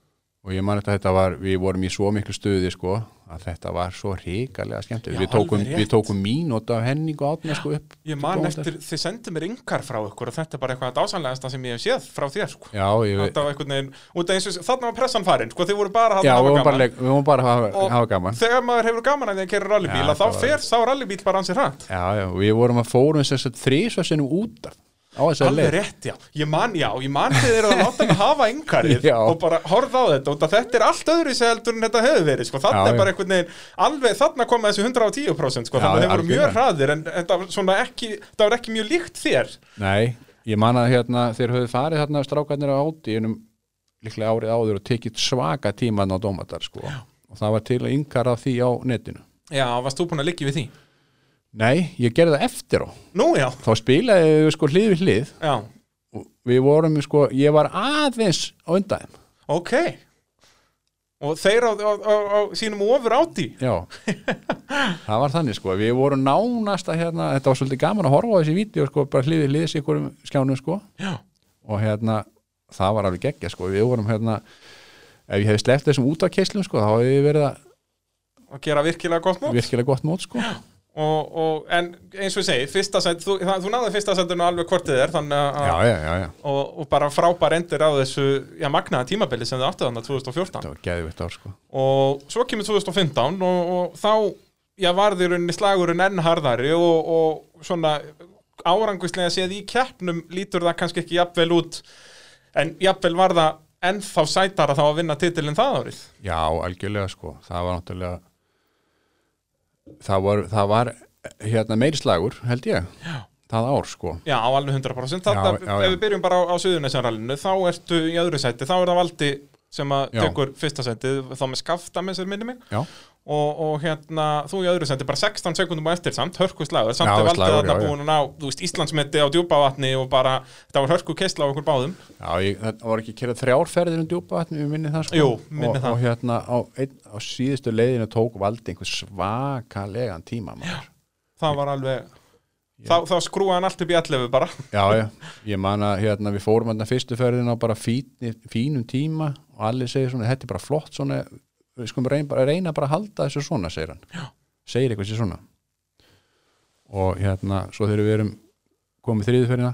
og ég man þetta, þetta var, við vorum í svo miklu stuði sko, að þetta var svo hrikalega skemmt, Já, við tókum, alveg rétt. við tókum mínúta af henning og átna sko upp Ég man góðan eftir, þið sendið mér yngar frá ykkur og þetta er bara eitthvað dásanlegasta sem ég hef séð frá þér sko. dag. já, ég veit Þetta var einhvern veginn, út af eins og þarna var pressan farin sko, þið voru bara já, þarna að við hafa vorum bara, gaman leik- við vorum bara að hafa, Og hafa gaman Þegar maður hefur gaman að því að kera rallybíl Já, að þá þetta var- fer sá rallybíl bara ansið hratt já, já, við vorum að fórum þess að þrísva sinnum út af á þess að Alveg leið rétt, já. Ég man, já, ég man þið eru að láta mig hafa yngarið Já. og bara horfa á þetta og þetta er allt öðru í heldur en þetta hefur verið, sko. Þarna Já, er já. bara einhvern veginn, alveg, þarna koma þessi 110%, sko, þannig að Já, já, þeir voru mjög algjörlega. hraðir en þetta var svona ekki, það var ekki mjög líkt þér. nei, ég man að hérna þeir höfðu farið hérna strákarnir á áti líklega árið áður og tekið svaka tíman á dómatar sko og það var til að yngara því á netinu Já, varst þú búin að liggja við því? nei, ég gerði það eftir á Nú, já, þá spilaði við sko hlið við hlið já, og við vorum sko, ég var aðeins á undan þeim. ok. Og þeir á, á, á, á sínum ofur átti. já það var þannig sko, við vorum nánasta hérna, þetta var svolítið gaman að horfa á þessi vídeo sko, bara hlið við hlið sig ykkur skjánum sko Já. og hérna, það var alveg geggja sko, við vorum hérna ef ég hefði sleppt þessum út af keislum sko, þá hefði verið að Og gera virkilega gott mót. virkilega gott mót sko Og, og, en eins og ég segi, fyrsta sætt, þú, það, þú náði fyrsta sættinu alveg hvort þið er, þannig að já, já, já, já, og, og bara frábær endur á þessu já, magnaða tímabili sem þau áttu þarna 2014 það var geðvitt ár sko og svo kemur 2015 og, og þá já, varði rauninni slagurinn enn harðari og, og svona áranguslega séð í keppnum lítur það kannski ekki jafnvel út en jafnvel var það ennþá sætara þá að vinna titilin það árið Já, algjörlega sko, það var náttúrulega það var, það var hérna meiri slagur, held ég já. það ár sko, Já, á alveg 100% þetta, Já, já, já. ef við byrjum bara á, á Suðunesanrallinu þá ertu í öðru sæti, þá er það valdi sem að Já. tekur fyrsta sæti þá með skafta með sér minni mig já, og, og hérna, þú í öðru sendi bara 16 sekundum á eftir samt, hörku slagur samt Já, er valdið slagur, þarna já, já. búin að ná, þú veist, Íslandsmeti á djúpavatni og bara, þetta var hörku keisla á okkur báðum já ég, það var ekki kerað þrjárferðir um djúpa vatni, við minni það sko Jú, minni og, það. og hérna á, ein, á síðustu leiðinu tók valdi einhver svakalegan tíma maður. það var alveg, þá, þá skrúaði hann allt upp í 11 bara, já, já, ég man að hérna, við fórum hérna fyrstu ferðina á bara fín, fínum tíma og allir segir svona, þetta er bara flott svona, við skulum reyna bara, reyna bara að halda þessu svona, segir hann já. segir eitthvað sér svona og hérna, svo þegar við erum komið þriðu ferðina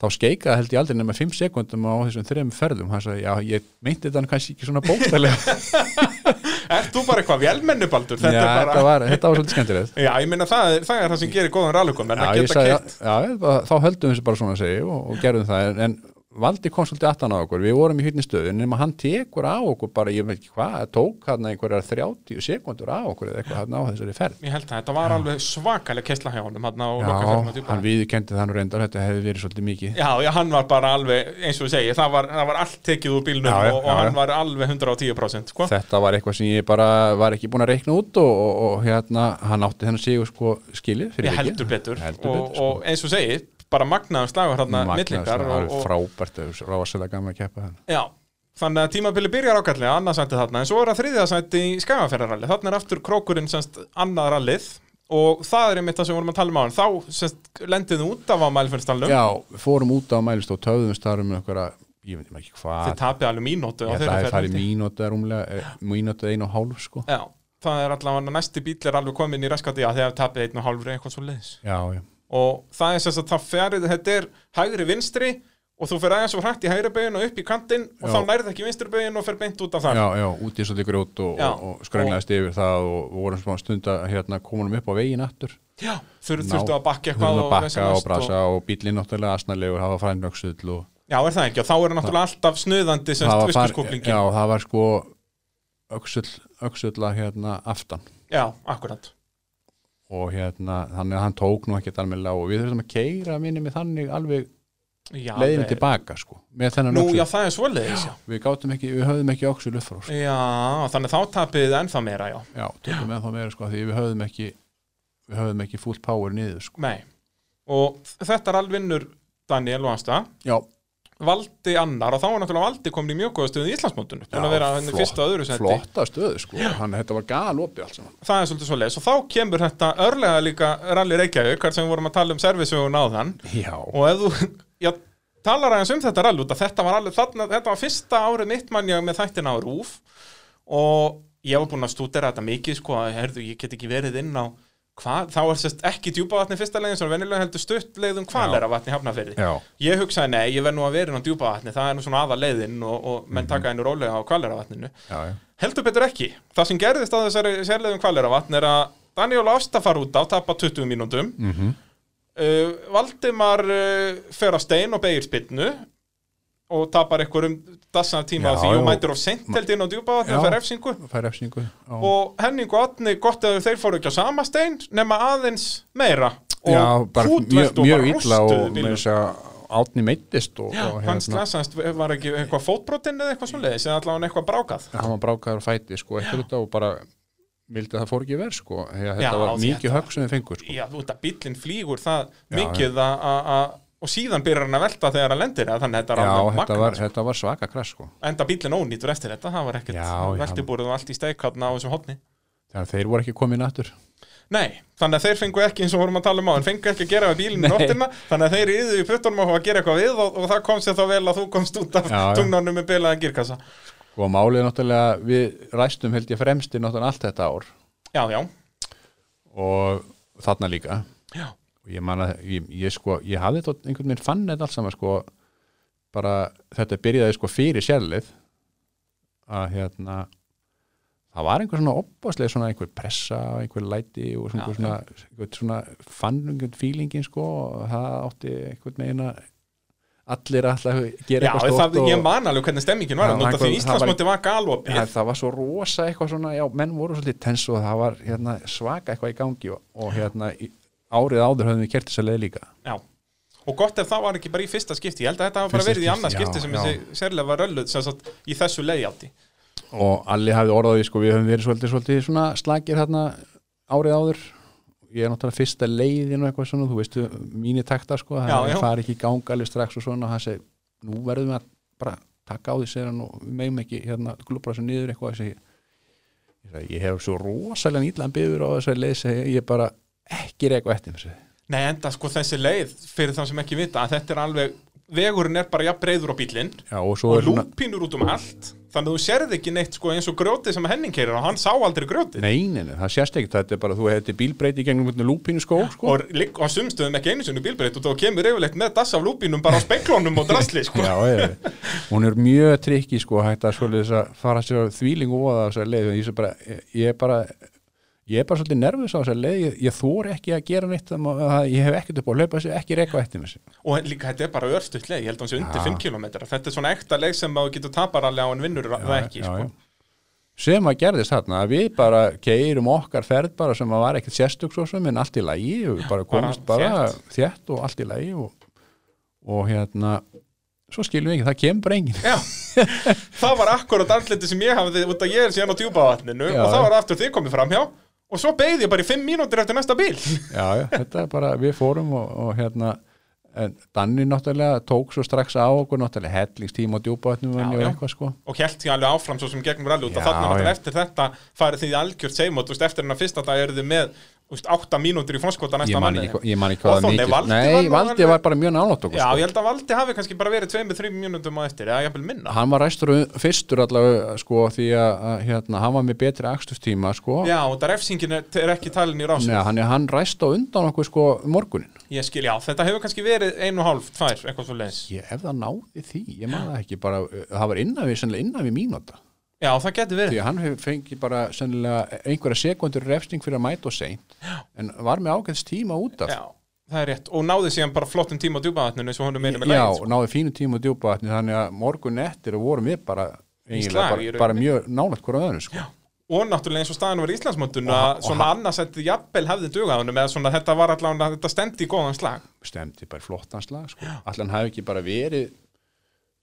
þá skeikaði held ég aldrei nema 5 sekundum á þessum þrejum ferðum, hann sagði, já, ég meinti þetta nú kannski ekki svona bókstælega ert þú bara eitthvað velmennubaldur, þetta, þetta er þetta, bara var- þetta var svolítið skemmtilegt já, ég meina það, er- það er það sem gerir góðan rallugum en Já, að ég geta sagði, keitt, já, já, bara- þá höldum við þessu bara svona að segja og, og gerðum það, en, en Valdi kom svolítið aftan á okkur, við vorum í hýtni stöðu nema hann tekur á okkur bara, ég veit ekki hvað tók hann einhverjar 30 sekundur á okkur eða eitthvað hann á þessari ferð ég held það, þetta var alveg svakaleg keisla hjá honum hann á lokaferðinni á Já, hann Djúpavatni. viðkendi þann reyndar, þetta hefði verið svolítið mikið Já, já, hann var bara alveg, eins og ég segi, það var, það var allt tekið úr bílnum Já, já, og, og já, já. hann var alveg 110% sko? Þetta var eitthvað sem ég bara var ekki búin að reikna út og, og, og hérna, hann átti þennan sigur sko skilið fyrir Ég heldur betur, heldur og, betur sko. og eins og segi bara magnaðum slagur hérna Magnað, millingar það var og, og, frábært, það var rosalega gaman að keppa hann já, þannig að tímabili byrjar ákallega annarsætti þarna, en svo er það þriðasætti í skagaferðarallið, þarna er aftur krókurinn semst annað rallið og það er einmitt það sem við vorum að tala um á hann þá semst lendið þið út af á mælfinnstallum Já, við fórum út á mælist og töðum starum einhverja, ég veit ekki hvað þið tapið alveg mínútu á Ég held þeirra að það færi ferðinni. mínúta rúmlega, mínúta einu og hálf sko. Já, það er allavega næsti bíl er alveg komin í reskati að þið hafið tapið einn og hálfri eitthvað svo leiðis Já, já. og það er semst að það ferið þetta er hægri vinstri og þú fer aðeins og hrætt í hægri begin og upp í kantinn og Já. þá nærið ekki vinstri begin og fer beint út af það Já, já, út í svolítið grjót og, Já. og, og skrönglaðist yfir það og og vorum svona stund að hérna, komunum upp á veginn aftur. Já, þur, Ná- þurftu að bakka þurfum eitthvað að bakka og vesenast brasa og, og bílinn náttúrulega asnalegur, það var frænöksull og Já, er það ekki, og þá er náttúrulega alltaf snuðandi sem það var, tvistuskúplingin já, já. það var sko öksull, öksulla hérna aftan akkurat og hérna, þannig að hann tók nú ekkert almennilega og við þurfum að keira minni með þannig alveg já, leiðin alveg. tilbaka sko, með þennan Nú, já, öksull. það er svoleiðis já. Við gátum ekki, við höfðum ekki öksull upp frá sko. já, þannig þá tapið þið ennþá meira, já Já, tökum ennþá meira sko því við höfðum ekki við höfðum ekki full power niður sko. Nei, og þetta er alvinnur Daniel og Ansta Já, Valdi annar, og þá er náttúrulega Valdi komin í mjög góða stöðu í Íslandsmótinu Búin að vera henni fyrsta og öðru seti Flotta stöðu sko, hann þetta var galopið allt saman. Það er svolítið svoleiðis, og þá kemur þetta örlega líka Rally Reykjavík, hvar sem við vorum að tala um servisögun áðan Já, og ef þú já, talar aðeins um þetta rally út að þetta var alveg þarna, þetta var fyrsta árið mitt mann ég með þættina á RÚF og ég var búinn að stúdera þetta mikið sko að herðu, ég get ekki verið inn á hvað, þá er sérst ekki djúpa vatni fyrsta leiðin sem er venilega heldur stutt leiðum hvalera vatni hafnafyrði Já. ég hugsaði nei, ég verð nú að vera inn á djúpa vatni það er nú svona aða leiðin og, og Mhm. menn taka hennu rólega á hvalera vatninu Já, já. Heldur betur ekki. Það sem gerðist á þessari sérleiðum kvaleravatn er að Daniel Ásta far út á, tapa 20 mínútum. Mm Mhm. Valdimar uh, fer á stein og beigir spinnu og tapar einhverjum dassan tíma Já, á því og já. mætir of seint held inn á djúpavatn og Já. fer efsingu. Fær efsingu. Já. Og Henning og Atni gott að þeir fóru ekki á sama stein nema aðeins meira. Og já, bara kútveltu mjög, og mjög bara illa rústuðu og bílnum. með þess að átni meittist og, Já, og hérna. hann slasaðist, var ekki eitthvað fótbrotinn eða eitthvað svoleiðis, eða allavega eitthvað brákað. hann var brákaður á fæti sko eftir þetta og bara vildi að það fór ekki verð sko þegar Já, þetta var því mikið högg sem þið fengur sko já, þú veit að bíllinn flýgur það mikið að- að að- og síðan byrjar hann að velta þegar hann lendir að þannig að þetta er já, alveg þetta magna var, þetta var svaka krass sko enda bíllinn ónýtur eftir þetta, það var ekkert Já, já. veltibúrið og allt í steikatna á þessu hotni þannig að þeir voru ekki komin aftur Nei, þannig að þeir fengu ekki eins og vorum að tala um á en fengu ekki að gera við bílinn í nóttina þannig að þeir yðu í puttunum og að gera eitthvað við og, og það kom sér þá vel að þú komst út af Já, já. tungnanum með bilaðan girkassa og málið er náttúrulega við ræstum held ég fremsti náttúrulega allt þetta ár Já, já, og þarna líka já, og ég man að ég, ég sko ég hafði þetta einhvern veginn fann þetta alls saman sko bara þetta byrjaði sko fyrir sérlið að hérna það var einhver svona opbáslega svona einhver pressa og einhver læti og svona, Já, einhver svona, einhver svona fann einhvern fílingin sko og það átti einhvern veginn að allir alltaf gera já eitthvað það, stórt og ég man alveg hvernig stemmingin var Já, þannig að því það var- Íslandsmóti var galopið það, það var svo rosa eitthvað svona já, menn voru svolítið tens og það var hérna, svaka eitthvað í gangi og, og hérna í, árið áður höfðum við kert þess að leið líka Já, og gott ef það var ekki bara í fyrsta skipti, ég held að þetta hafa bara Fyrsta verið í skipti, annað já, skipti sem já. þessi sérlega var rölluð sem sagt í þessu leiðjátti. og Alli hafði orðaði sko, við höfum verið svolítið, svolítið svona slagir hérna árið áður ég er náttúrulega fyrsta leiðin og eitthvað svona þú veistu, mínir taktar sko Já, já. það fari ekki í gang alveg strax og svona og hann segi, nú verðum við að bara taka á því segir hann og við megum ekki hérna glúbra þessu niður eitthvað segi, ég, segi, ég hef svo rosalega nýtlan byður á þessu leið segi, ég bara ekki reyku eftir þessu Nei, enda sko þessi leið, fyrir þá sem ekki vita, að þetta er alveg, vegurinn er bara jafn breyður á bílinn já, og svo og er svona, lúpínur út um allt, þannig að þú sérð ekki neitt sko eins og grjótið sem Henning keirir og hann sá aldrei grjótið. neynin, það sést ekki þetta er bara, þú hefði bílbreyti í gegnum lúpínu skó sko. Og, lík- og sumstöðum ekki einu sinni bílbreyt og þá kemur yfirleitt með dass af lúpínum bara á speklónum og drasli sko. Já, ég, hún er mjög trikki sko hægt að svolítið að fara sér á þvíling og að þessar leið ég, sé bara, ég er bara ég er bara svolítið nervus á þessar leið ég, ég þór ekki að gera neitt um að, að ég hef ekkert upp á að hlaupa þessu, ekki reyka eftir mér og líka þetta er bara örstutt leið, ég held að hann sé undir Já. 5 km þetta er svona ekta leið sem maður getur tapar alveg á en vinnur það ekki sko. sem að gerðist þarna að við bara keirum okkar ferð bara sem að var ekkert sérstök svo sem en allt í lagi og við bara komumst bara bara, þétt. og allt í lagi og, og hérna svo skilum við ekki, það kemur bara enginn Já, það var akkurat andliti sem ég hafði út að ég er síðan á djúpavatninu Já. og það var aftur þið komið framhjá og svo beigði ég bara í fimm mínútur eftir næsta bíl já, já, þetta er bara, við fórum og, og hérna, en Danni náttúrulega tók svo strax á okkur náttúrulega hellingstíma og djúpaðnum Já, og já. eitthvað sko og held því alveg áfram svo sem gegnum rally út Já, að þarna var já. eftir þetta farið þið í algjört seimot úst, eftir hennar fyrsta dag eru þið með úst, átta mínútur í fórskota ég næsta man manni ekki, ég man ekki Og Þór, hvað nei, mikið Valdi var nei, nú Valdi alveg- var bara mjög nálátt okkur Já, sko. ég held að Valdi hafi kannski bara verið tveimur, þrjum mínútum á eftir eða jafnvel minna hann var ræstur fyrstur allavega sko því að, að hérna, hann var með betri akstustíma sko Já, og það refsingin er, er ekki talin í rásu Nei, hann, hann ræst á undan okkur sko morgunin Ég skil, já, þetta hefur kannski verið einu og hálf, tvær, eitthvað svo leins ég, ef það náði því, ég man það ekki bara, uh, það var innan við, sennilega innan við mínúta Já, það getur verið því að hann hefur fengið bara sennilega eh, einhverja sekundur refsting fyrir að mæta og seint en var með ágæðs tíma út af Já, það er rétt og náði síðan bara flottum tíma á djúbaðatninu eins og honum meina með já, lægin sko. náði fínu tíma og djúpa vatni þannig að morgun eftir vorum við bara, eiginlega slag í bara, rauninni. bara mjög nálægt hvora öðru sko. og náttúrulega eins og staðan var í Íslandsmótun að svona annars þetta jafnvel hefði dugað honum eða svona þetta var allavega þetta stendi í góðan slag stemdi bara flottanslag sko. allan hafi ekki bara verið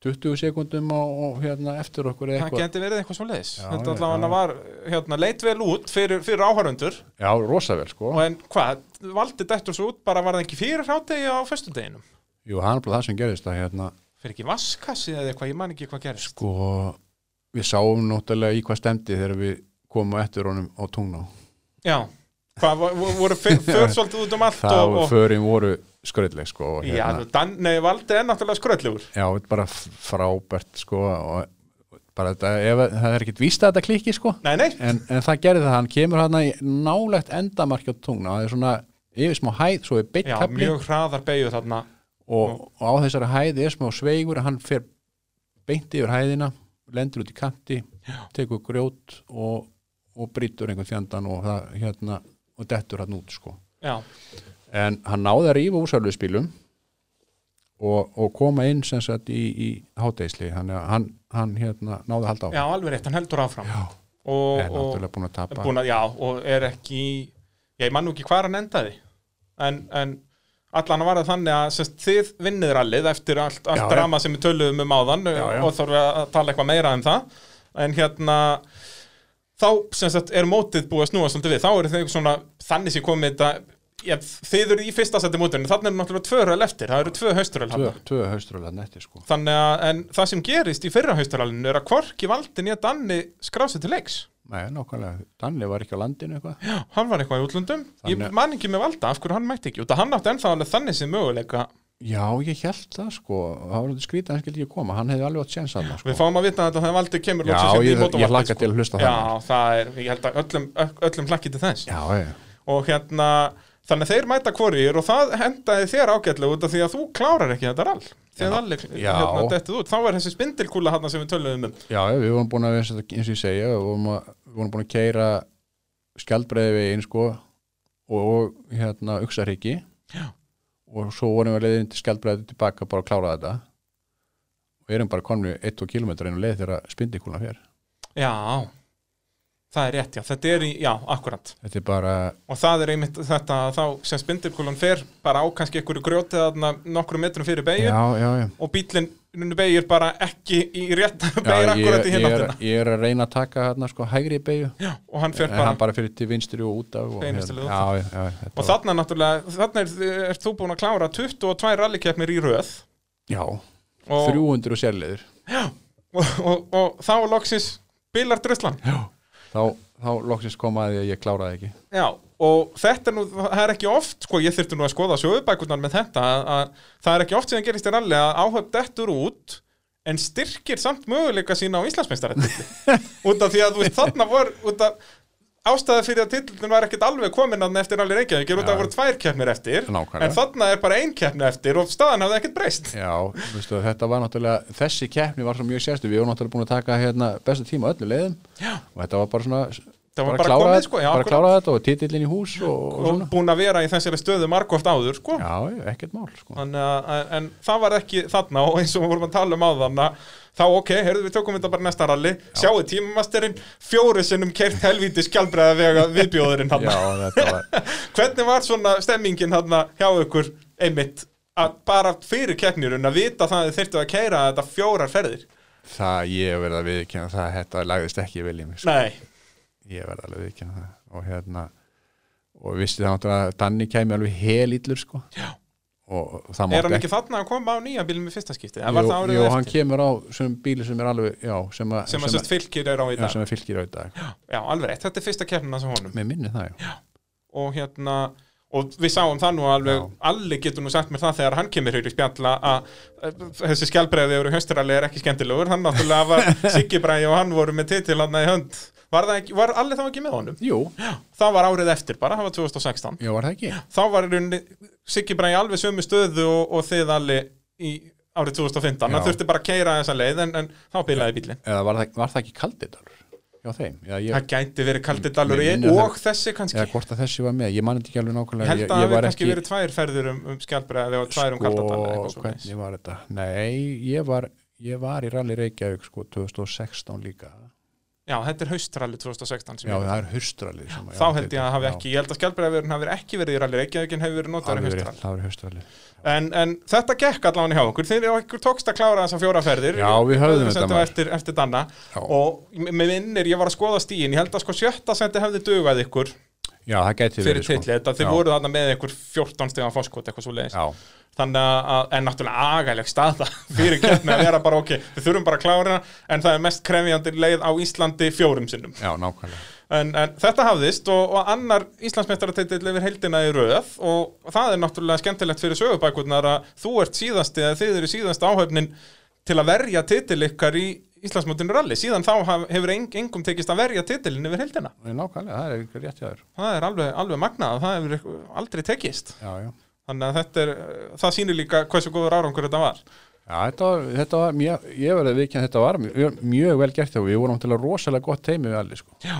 20 sekundum og, og hérna eftir okkur eða það eitthvað geti verið eitthvað svo leis Já, þetta já, allavega já. var hérna, leit vel út fyrir, fyrir áhörundur já, rosavel sko og en hvað, valdi dættur svo út bara var það ekki fyrir hrátegi á föstudeginum Jú, hann er bara það sem gerðist að hérna fyrir ekki vaskassi eða eitthvað, ég man ekki hvað gerist sko, við sáum náttúrulega í hvað stemdi þegar við komum á eftir honum á tungná já, hvað vo- vo- voru fyr- för svolítið út um allt þá og, og förin voru skröðleg sko og Já, þú- Dan, nei, Valdi er náttúrulega skröllugur Já, þetta er bara f- frábært sko og bara þetta, ef, það er ekkert víst að þetta klikki sko Nei, nei, en, en það gerði það, hann kemur hann í nálægt endamarki á tungna það er svona yfir smá hæð, svo er beitt já, kafli og, mjög hraðar beigju þarna og á þessari hæð er smá sveigur hann fer beint yfir hæðina lendur út í kanti, tekur grjót og, og brýtur einhvern fjandan og það hérna og dettur hann út sko Já, en hann náði að rífa úr sörluðspílum og, og koma inn sem sagt í, í háteisli hann, hann, hann hérna, náði að halda á já alveg rétt, hann heldur áfram Já, og, er náttúrulega búin að og, tapa búin að, Já, og er ekki Já, ég mann nú ekki hvar hann endaði En, en allan var það þannig að sest, þið vinnið rallið eftir allt, allt Já, já. drama sem við töluðum um áðan Já, já. og þarf að tala eitthvað meira um það en hérna þá sem sagt er mótið búið að snúa svolítið við, þá eru þau svona þannig sem komið þetta, ég, þið eru í fyrsta seti mótinu, þannig eru náttúrulega tvö röl eftir það eru tvö hausturöl tvö, hann tvö hauströla netti sko þannig að en það sem gerist í fyrra haustaralinu er að Kvorki valdi nýja Danni skrási til leiks Nei, nákvæmlega, Danli var ekki á landinu eitthvað Já, hann var eitthvað í útlöndum Þannig- ég man ekki með valda af hverju hann mætti ekki út að hann átti ennþá alveg þannig sem möguleika Já, ég held það sko það var þetta skrítið, hann skildi ekki koma, hann hefði alveg átt séns að sko. við fáum að vita þetta þegar valdi kemur Já, loksins hérna í ég- ég mótavarpið, hlakka til að hlusta á Já, það. það er, ég held að öllum, öllum hlakki til þess Já, ég, og hérna, þannig að þeir mæta hvorir og það hendaði þér ágætlega út af því að þú klárar ekki þetta rall þegar Já. allir Já. hérna dettið út þá er þessi spindilkúla hann sem við töluðum um já, ég, við vorum búin að eins og eins og ég segja, við vorum, að, við vorum búin að keira skjaldbreiði veginn sko og, og hérna uksarhyggi Já. og svo vorum við að leiðin til skjaldbreiði tilbaka bara að klára þetta og erum bara konum 1-2 km inn og leið þegar spindikúlan fyrir Já, það er rétt, já, þetta er í, já, akkurat þetta er bara, og það er einmitt þetta að þá sem spindilkúlan fer bara á kannski einhverju grjótið þarna nokkru metrum fyrir beigju já, já, já og bílinn beigir bara ekki í rétt beigir ég, akkurat í ég, hinn er, áttina ég er að reyna að taka hérna sko hægri beigju og hann fer en bara hann bara fyrir til vinstri og út af og, hérna. Beinustu leið út já, já, já, þetta og var- þarna náttúrulega, þarna er, er þú búin að klára 22 rallikeppnir í röð já, og, 300 sérleður og, og, og þá loksins bilar druslan þá, þá loksins komaði að ég kláraði ekki Já, og þetta er nú, það er ekki oft, sko, ég þyrfti nú að skoða sögubækurnar með þetta, að, að það er ekki oft sem það gerist í ralli að áhöfn dettur út en styrkir samt möguleika sína á Íslandsmeistarættildi. út af því að, þú veist, þarna vor, út af ástæða fyrir að titlunin var ekkert alveg komin að eftir ralli Reykjavík, er út af að Já. voru tvær keppnir eftir, Nákvæmlega. en þarna er bara ein keppni eftir og staðan hafði ekkert breyst. já, veistu, þetta var náttúrulega þessi keppni var svo mjög sérstu, við vorum náttúrulega búin að taka hérna, bestu tíma á öllu leiðum Já. og þetta var bara svona var bara klára, komið, sko, já, bara akkurat. klára þetta og titillin í hús og, og Og svona búin að vera í þessari stöðu margóft áður, sko. já, já, ekkert mál sko. Þannig að, en- en það var ekki þarna og eins og við vorum að tala um áðan að þá ok, heyrðu við tökum þetta bara næsta ralli sjáu tímamasterinn, fjóri sinnum kert helvíti skjálbreða vega viðbjóðurinn já, hann. þetta var Hvernig var svona stemmingin hann hjá ykkur einmitt að bara fyrir keppnirun að vita það að þið þyrftu að keira þetta fjórar ferðir? það ég hef verið að viðkjöna það þetta lagðist ekki vel í mig sko. Nei, ég verði alveg viðkjöna það og hérna og vissi það náttúrulega að Danni kæmi alveg helillur sko Já. og og það er mátti hann ekki þarna að koma á nýja bílum í fyrsta skipti? Eða var jú, það árið jú, eftir? hann kemur á sem bíli sem er alveg já, sem, a, sem að sérst fylgir er á í já, dag sem er fylgir á í dag Já, alveg rétt, þetta er fyrsta keppnina sem honum með minni það já, og hérna og við sáum það nú alveg, Já. allir getur nú sagt mér það þegar hann kemur hér í spjalla að að þessi skjálbreiði yfir hösturalli er ekki skemmtilegur, hann náttúrulega var Siggi Bræði og hann voru með titil hann í hönd var, það ekki, var allir þá ekki með honum? jú, Það var árið eftir bara, það var 2016 já var það ekki þá var í rauninni Siggi Bræði alveg sömu stöðu og, og þið allir í árið 2015, Já. hann þurfti bara að keira þessa leið en, en þá bilaði bílinn eða var það, var það ekki kaldidalur já þeim, já, ég, það gæti verið kaldið dalur Mér minnir og þessi kannski, eða hvort að þessi var með ég mann ekki alveg ég nákvæmlega held að ég, ég það var hefur kannski verið tvær ferðir um, um skjálbreiði og tvær um sko, kaldadalur hvernig var þetta nei, ég var, ég var í Rally Reykjavík sko 2016 líka Já, þetta er haustralli 2016 sem já, ég það er hustralið sem Þá held ég að hafi ekki, ég held að skjálbreiðavörun hafi ekki verið í ralli Reykjavík en hefur verið notaður í það haustralli. var í hustralið En, en þetta gekk allan hjá okkur, þeir eru okkur tókst að klára þessar fjóra ferðir. Já, við höfðum þetta þetta mál. Eftir, eftir danna Já. og m- með minnir ég var að skoða stíin, ég held að sko sjötta sendi hefði dugað ykkur já, það gæti fyrir verið sko. titli, þetta þið Já. voru þarna með ykkur 14 stegan foskot, eitthvað svo leiðis. já, Þannig að, en náttúrulega agaleg staða fyrir keppni að vera bara ok, við þurfum bara að klára hana, en það er mest krefjandi leið á Íslandi fjórum sinnum. já, nákvæmlega en, en þetta hafðist og, og annar Íslandsmeistaratitil yfir heldina í röð og það er náttúrulega skemmtilegt fyrir sögubækurnar að þú ert síðasti eða þið eru síðasti áhöfnin til að verja titil ykkar í Íslandsmótinu rally síðan þá haf- hefur eng, engum tekist að verja titilin yfir heldina Nákvæmlega, það er eitthvað rétt hjá þér. það er alveg, alveg magnað að það hefur ykkur- aldrei tekist Já, já. þannig að þetta er, það sýnir líka hversu góður árangur þetta var Já, þetta var, þetta var mjög, ég verði að viðkynna þetta var mjög, mjög vel gert og við vorum náttúrulega rosalega gott teimi við allir, sko. Já.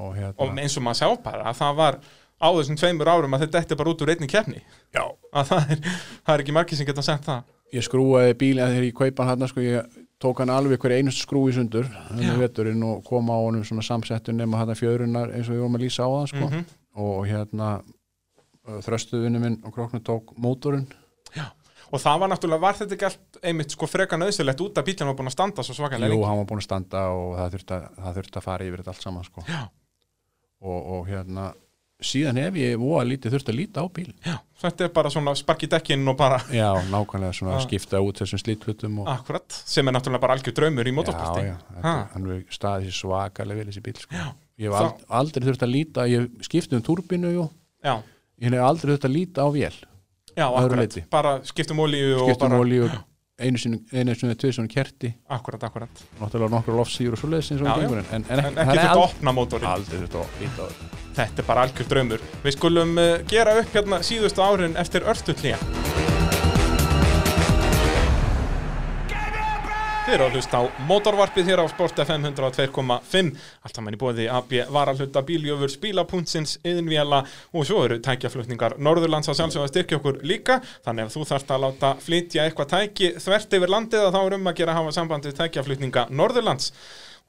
Og hérna, og eins og maður sjá bara að það var á þessum tveimur árum að þetta er bara út úr einni keppni já, að það er, það er ekki margir sem geta sett það ég skrúaði bílinn þegar ég kaupa hann hann, sko, ég tók hann alveg hverja einust skrú í sundur, hann veturinn og kom á honum svona samsettun nema hann fjörunar eins og við vorum að lýsa á það, sko. Og hérna, þröstuðunum minn og króknu tók mótorinn. og það var náttúrulega, var þetta ekki allt einmitt sko freka nöðsilegt út að bíljan var búin að standa svo svakalega Jú, lengi hann var búin að standa og það þurfti að, það þurfti að fara yfir þetta allt saman sko. Já. og, og hérna síðan hef ég voða lítið þurfti að líta á bíl Já, þetta er bara svona spark í dekkinn og bara Já, nákvæmlega svona Ah. að skipta út þessum slítlutum og... akkurat, sem er náttúrulega bara algjör draumur í Já, motorsporti já, þetta, Ha. hann hefur staðið sér svakalega vel þessi bíl sko. Ég hef Þá- ald, aldrei þurfti að líta ég skipti um turbinu jú. já, ég hef aldrei þurfti að líta á vél já, öðru akkurat, leyti. bara skiptum olíu og skiptum bara, olíu einu sinni, einu sinni, tvið sinni kerti akkurat, akkurat náttúrulega nokkru lofsýjur og svo leiðis eins og Já, hann já. gengur en, en, en ekki það er þetta ald- að opna mótorinn aldrei þurfti að líta á þetta þetta er bara algjör draumur við skulum eh, gera upp hérna síðustu árin eftir örstutlíja Þið eru að hlusta á mótorvarpið hér á Sport FM 102.5 Allt saman í bóði AB varalhuta bíljöfur spílapuntsins, yðinvjala og svo eru tækjaflutningar Norðurlands að sjálfsögða styrkja okkur líka þannig ef þú þarft að láta flytja eitthvað tæki þvert yfir landið að þá er um að gera að hafa samband við tækjaflutninga Norðurlands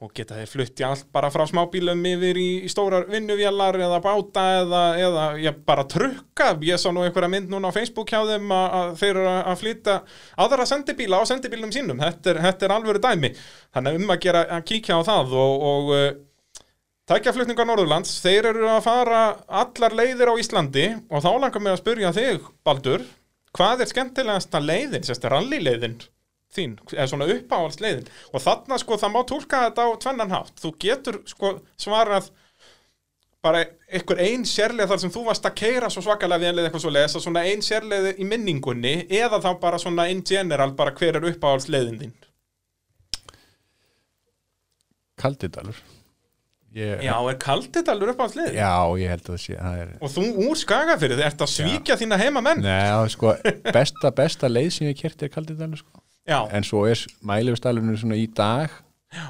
og geta þeir flutti allt bara frá smábílum yfir í, í stórar vinnuvélar eða báta eða, eða já, bara trukka, ég sá nú einhverja mynd núna á Facebook hjá þeim að, að þeir eru að- að flytta aðra sendibíla á sendibílum sínum þetta er, þetta er alvöru dæmi þannig að um að gera að kíkja á það og, og uh, Tækjaflutningar Norðurlands, þeir eru að fara allar leiðir á Íslandi og þá langar mig að spyrja þig, Baldur, hvað er skemmtilegasta leiðin, sérst rallyleiðin þín, eða svona uppáhaldsleiðin og þarna sko það má tólka þetta á tvennan hátt, þú getur sko svarað bara einhver ein sérleið þar sem þú varst að keira svo svakalega vel eða eitthvað svo lesa, svona ein sérleið í minningunni eða þá bara svona in general bara hver er uppáhaldsleiðin þín Kaldidalur ég, Já, er kaldidalur uppáhaldsleiðin? Já, ég held að það sé það er, Og þú úr skagafyrði, ert að svíkja þína heimamenn? Nei, það er sko, besta, besta leið sem ég kerti er Kaldidalur sko. Já, En svo er mælifistalunum svona í dag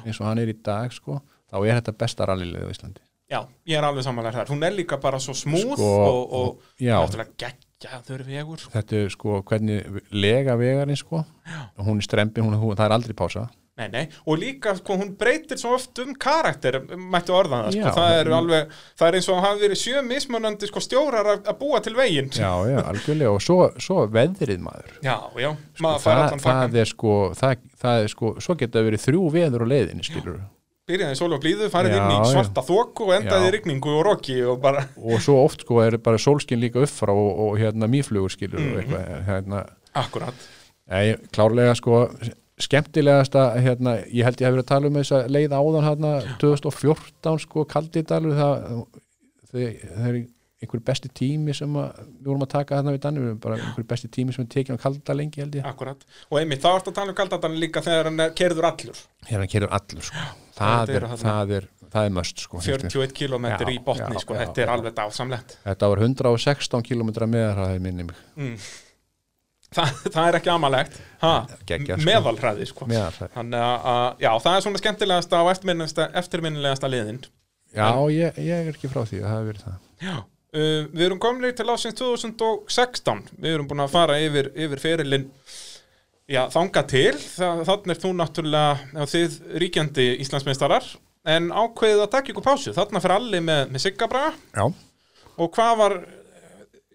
eins og hann er í dag sko þá er þetta besta rallileið á Íslandi já, ég er alveg samanlega þar. Hún er líka bara svo smúð Sko, og, og já. náttúrulega geggjaður vegur. Þetta er sko hvernig lega vegarinn sko og hún er strempi, hún, hún, það er aldrei pása Nei, nei, og líka sko, hún breytir svo oft um karakter, mættu orðan það, sko, Já. það er alveg, það er eins og hafa verið sjö mismunandi sko stjórar að, að búa til veginn. Já, já, algjörlega og svo, svo veðrið maður já, já, maður fær Sko, það, allan það fakkan, er sko, það, það er sko svo geta verið þrjú veður á leiðinni skilur byrjaði í sól og blíðu, farið Já, inn í já. svarta þóku og endaði Já. í rigningu og roki og bara, og svo oft sko er bara sólskinn líka upp frá og, og hérna mýflugur skilur og eitthvað hérna, akkurat, Nei, klárlega sko skemmtilegasta, hérna, ég held ég hef verið að tala um þess að leiða áðan hérna 2014 sko, kaldidalur það, það, það er einhver besti tími sem að, við vorum að taka þarna við Danni, við erum bara einhver besti tími sem við tekjum að kalda lengi held ég, akkurat. Og einmitt, þá ertu að tala um kaldatann líka þegar hann er kerður allur, hérna kerur allur sko, þetta eru það er, þarna- það er það er möst sko, finnst mér. 41 km í Já, botni, já, sko, já, þetta er já. alveg dásamlegt. þetta var 116 km meðarhraði minni mig, Þa, það er ekki amalegt ha, Geggjað, sko. meðalhræði sko. meðarhraði þannig að- að já, það er svona skemmtilegasta og eftirminnilegasta, eftirminnilegasta liðin já, ég, ég er ekki frá því, það hefur verið það já Uh, við erum komnir til ásins 2016 við erum búin að fara yfir, yfir ferilinn já, þanga til Þa, þannig er þú náttúrulega já, þið ríkjandi Íslandsmeistarar en ákveðið að taka ykkur pásu þannig fyrir allir með, með Siggabraga já, og hvað var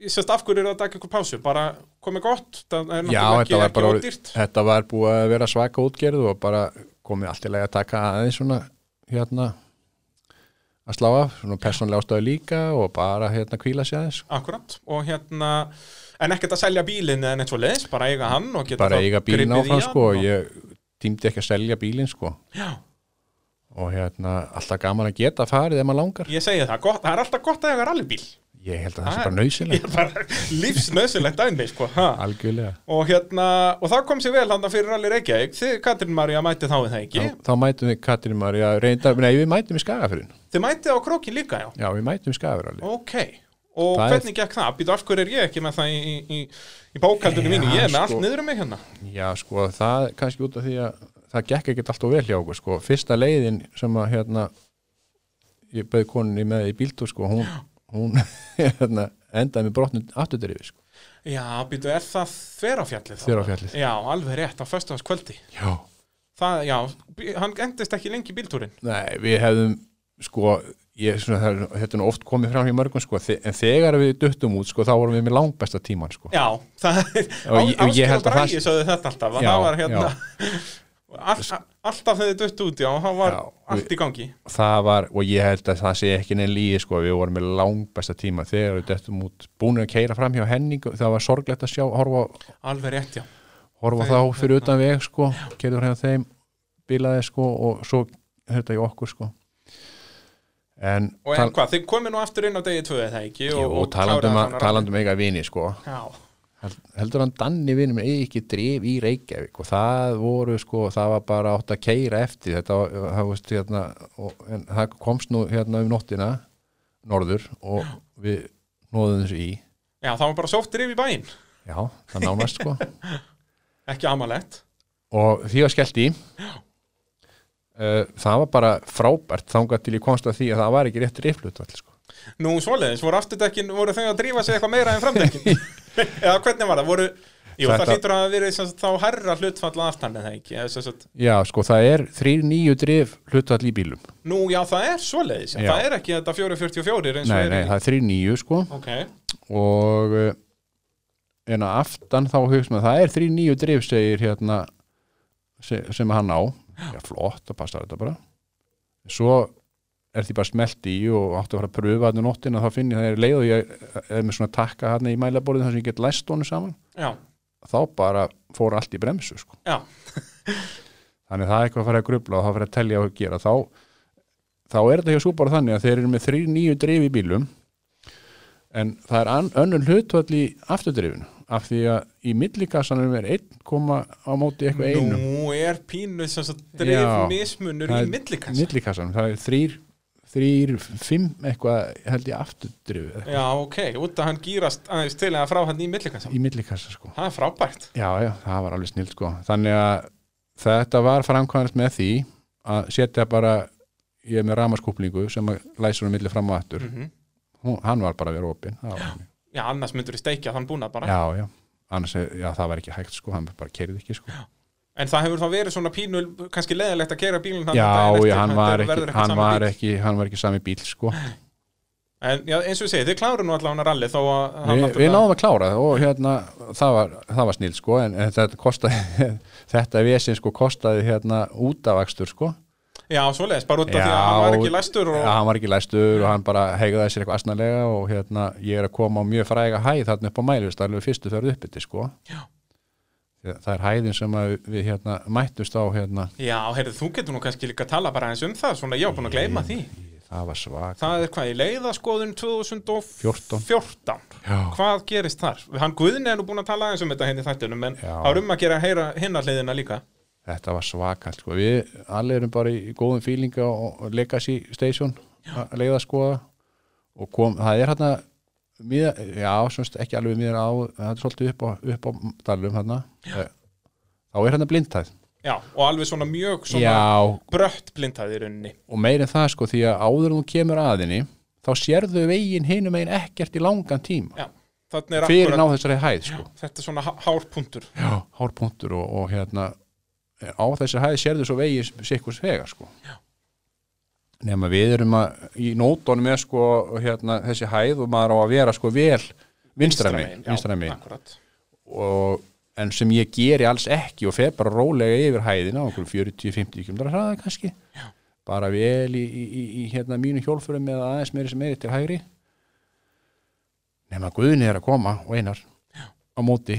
ég sérst af hverju er að taka ykkur pásu bara komið gott, það er Já, náttúrulega þetta ekki, var, ekki bara, ódýrt þetta var búið að vera svaka útgerð og bara komið allt í lagi að taka aðeins svona hérna að slá af, svona persónlega ástöðu líka og bara hérna kvíla sér aðeins Akkurat, og hérna en ekkert að selja bílinn eða neitt svo leiðis bara eiga hann og geta bara þá eiga gripið bílinn sko, í áfram hann sko og og... ég týmdi ekki að selja bílinn sko Já, og hérna, alltaf gaman að geta farið ef maður langar. Ég segi það, gott, það er alltaf gott að eiga rallybíl Ég held að það Það- sé bara Ég nöðsynlega, er bara lífsnöðsynlegt dæmi, sko ha. algjörlega. Og hérna, og það kom sér vel hann fyrir rally Reykjavík Þið, Katrín María, mætti þá við það ekki Þá, þá mætum við Katrin Marja, reyndar, nei, við mætum í Skagafyrin. Þið mættið á krókin líka, já Já, við mætum í Skagafyrin alveg. Ok, og Það er- hvernig gekk það? Býtu, af hverju er ég ekki með það í, í- í, í bókaldunum mínu? Já, Ég er með sko. allt niður um mig hérna Já, sko, það er kannski út af því að það gekk ekkert alltof vel hjá okkur, sko. Fyrsta leiðin sem að, hérna, ég bauð koninni með í bíltúr, sko, hún, hún hérna, endaði með brotnum afturdrifi, sko, Já, býtu, er það þverafjallið? þá? þér á fjallið. Já, alveg rétt, á föstudagskvöldi Já. Það, já, bí- hann endist ekki lengi í bíltúrin Nei, við hefðum, sko, ég, svona, það, er- þetta er nú oft komið fram í mörgum, sko, þe en þegar við duttum út, sko, þá vorum við með langbesta tíman, sko. Já, það er Og ég- og ég Áskil og held að Bragi það- sögðu þetta alltaf að Já, Það var hérna all, Alltaf þegar þið dutt út, já, það var Já, allt í gangi það var, og ég held að það sé ekki neinn líði sko, við vorum með langbesta tíma þegar við dettum út, búin að keira fram hjá Henning, það var sorglegt að sjá horfa, Alveg rétt, já horfa Þeir- þá fyrir utan veg sko, keirður hjá þeim bilaði sko og svo þetta í okkur sko en, Og en hvað, þið komið nú aftur inn á degi tvöðið það ekki jú, og kláraði talandum, að, hana talandum eiga vini sko, rally. Já, Held- heldur hann Danni vinur minn eigi ekki drif í Reykjavík og það voru sko, það var bara átt að keira eftir þetta var- það, veist, hérna, og, en það komst nú hérna um nóttina norður og við nóðum þessu í já, það var bara sóftir yfir bæinn já, það nánast sko Ekki amalett og því var skellt í uh, það var bara frábært þangað til ég komst að því að það var ekki rétt driflut sko. Nú, svoleiðis, voru afturdekkin, voru þau að drífa sig eitthvað meira en framdekkin? Eða hvernig var það? Voru, jú, það Þetta- hlýtur að hafa verið sem sagt, þá herra hlutfall að aftan eða ekki? Eða, sem sagt, já, sko, það er þrýr nýju drif hlutall í bílum nú, já, það er svoleiðis, já. Já. það er ekki þetta 444 eins og nei, er nei, í- það er þrýr nýju sko Ok, og eh, en að aftan þá hugst maður það er þrý nýju drif segir hérna se- sem hann á já, flott, það passar þetta bara svo er því bara smelt í og áttu að fara að pröfa hann um nóttina þá finn ég það er leið og ég eh, er með svona takka hann í mælaborðin þar sem ég get læst honum saman já, þá bara fór allt í bremsu sko. já, þannig það er eitthvað að fara að grubla og það að fara að telja og gera þá, þá er þetta hjá svo bara þannig að þeir eru með þrý nýju drif í bílum en það er ann- önnur hlutvall í afturdrifinu af því að í millikassanum er 1 koma á móti eitthvað einum nú er pínu sem sagt Já. dreif mismunur í Það er- millikassa millikassanum, það er þrýr þrýr, fimm eitthvað held ég afturdrif Já, ok, út að hann gýrast aðeins til eða frá hann í millikassa í millikassa sko Það er frábært já, já, það var alveg snill sko þannig að þetta var framkvæmst með því að setja bara ég er með ramaskúplingu sem að læsir um milli fram og aftur mm hún, hann var bara að vera opinn það var þannig. Já, annars myndur þú steikja þann búna bara já, já, annars er, já, það var ekki hægt sko, hann bara kerði ekki sko. En það hefur þá verið svona pínu kannski leðilegt að keira bílinn þarna já, daginn eftir, já, hann þetta var verður ekki ekkert hann sami var bíll. ekki, hann var ekki sami bíl sko. En já, eins og ég segi, þið kláru nú allavega hann rally þó að hann Vi, náttúrulega- við náðum að klára það og hérna, það var, það var snill sko, en þetta kostaði þetta vesinn sko kostaði hérna útavakstur sko Já, svoleiðis, bara út af Já, því að hann var ekki læstur og... Já, hann var ekki læstur og hann bara hegðaði sér eitthvað asnalega og hérna, ég er að koma á mjög fræga hæð þarna upp á mælvist, alveg fyrstu ferð uppbytti sko. Já. Þa- Það er hæðin sem að við hérna mættust á hérna, Já, heyrðu, þú getur nú kannski líka að tala bara eins um það svona, já, búin að gleyma því það var svak Það er hvað, í leiðaskoðun 2014 14. Já. Hvað gerist þar? Hann Guðni er nú búin að tala eins um þetta henni þættunum en Já. það er um að gera að heyra hinna hliðina líka Þetta var svakalt sko. Við allir erum bara í góðum fílinga og og legacy station að leiða skoða og kom, það er hérna miða, já, semst ekki alveg miður á það er svolítið upp á, upp á dalum hérna. þá er hérna blindtæð Já, og alveg svona mjög svona Já, brött blindhæði í rauninni og meir en það sko því að áður en þú kemur aðinni þá sérðu veginn hinum meginn ekkert í langan tíma Já, þannig er fyrir akkurat ná þessari hæð sko þetta er svona há- hárpunktur já, hárpunktur og, og hérna á þessari hæð sérðu svo veginn sikkurs vegar sko já. nema við erum að í nótunum er sko hérna, þessi hæð og maður á að vera sko vel vinstra meginn já, vinstra meginn akkurat. og en sem ég geri alls ekki og fer bara rólega yfir hæðina okkur 40-50 km hraða kannski Já. bara vel í, í, í, í hérna mínu hjólfurum eða aðeins meiri sem meiri til hægri nema Guðni er að koma og einar Já. á móti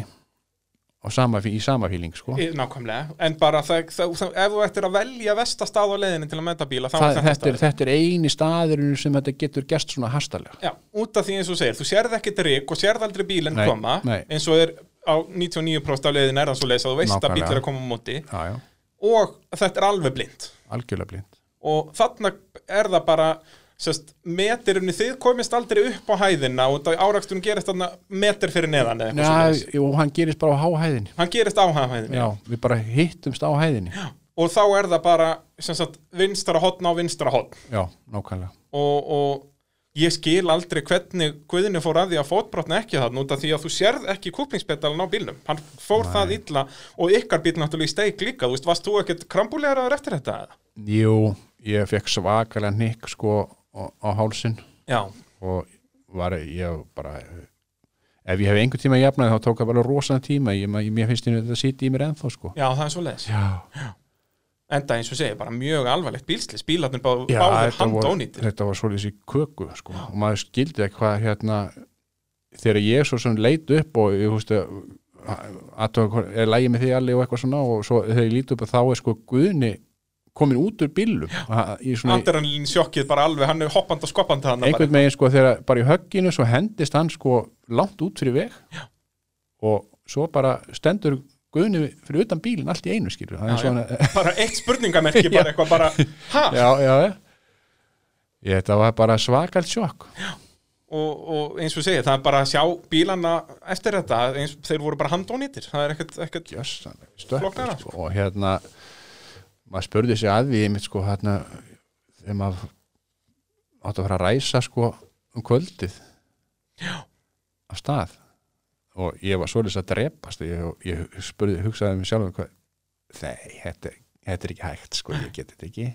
á sama, fí- í sama fíling sko. Í- Nákvæmlega, en bara það, það, það, ef þú ættir að velja vestastað á leiðinni til að mæta bíla þá það, þetta, er, staðurinn. þetta er eini staðurinn sem þetta getur gerst svona hastalega Já, út af því eins og þú segir, þú sérð ekkit rík og sérð aldrei bílinn Nei, koma nei. eins og er á 99% af leiðinni er það svo leiðis að þú veist að Nákvæmlega. bíl er að koma á móti já, já, og þetta er alveg blind algjörlega blind og þarna er það bara sest, metirunni þið komist aldrei upp á hæðina og það áraksturinn gerist þarna metir fyrir neðan eða eitthvað svoleiðis. já, og hann gerist bara á háhæðinni hann gerist á hæðinni já, við bara hittumst á hæðinni já, og þá er það bara sem sagt, vinstra hotn á vinstra hotn nákvæmlega og, og ég skil aldrei hvernig Guðinu fór að því að fótbrotna ekki þarna út af því að þú sérð ekki kúplingspedalin á bílnum hann fór það illa og ykkar bíl náttúrulega í steik líka, þú veist, varst þú ekkert krambulegraður eftir þetta? eða? jú, ég fekk svakalega nikk sko á, á hálsin Já, og var ég bara ef ég hef einhver tíma jafnaði þá tók það bara rosalega tíma ég, ma- mér finnst þetta að sitja í mér ennþá sko já, það er svo leiðis já, enda eins og segja, bara mjög alvarlegt bílslis bílarnir bá, já báður þetta, var, handónýtir þetta var svolítið í köku sko. og maður skildi ekki hvað hérna þegar ég svo sem leit upp og ég húst að athuga hvort- er lægi með því allir og eitthvað svona og svo þegar ég lít upp þá er sko guðni komin út úr bílum Ha- í svona, Adrenalin sjokkið bara alveg, hann er hoppandi og skoppandi hann Hérna bara, einhvern veginn sko þegar bara í högginu svo hendist hann sko langt út fyrir veg Já. og svo bara stendur guðni fyrir utan bílinn allt í einu skilur það er Já, svona bara eitt spurningamerki bara eitthvað bara, ha? já, já, já. Ég, þetta var bara svakalt sjokk og, og eins og segja, það er bara að sjá bílana eftir þetta, eins, þeir voru bara handónýtir það er ekkert, ekkert Jössanlega, stökkur Flóknara, sko. og hérna maður spurði sig að því einmitt sko hérna þegar maður átt að fara að ræsa sko um kvöldið Já. af stað og ég var svoleiðis að drepast ég, ég spurði, hugsaði um mig sjálf hvað, nei, þetta, þetta er ekki hægt sko, ég geti þetta ekki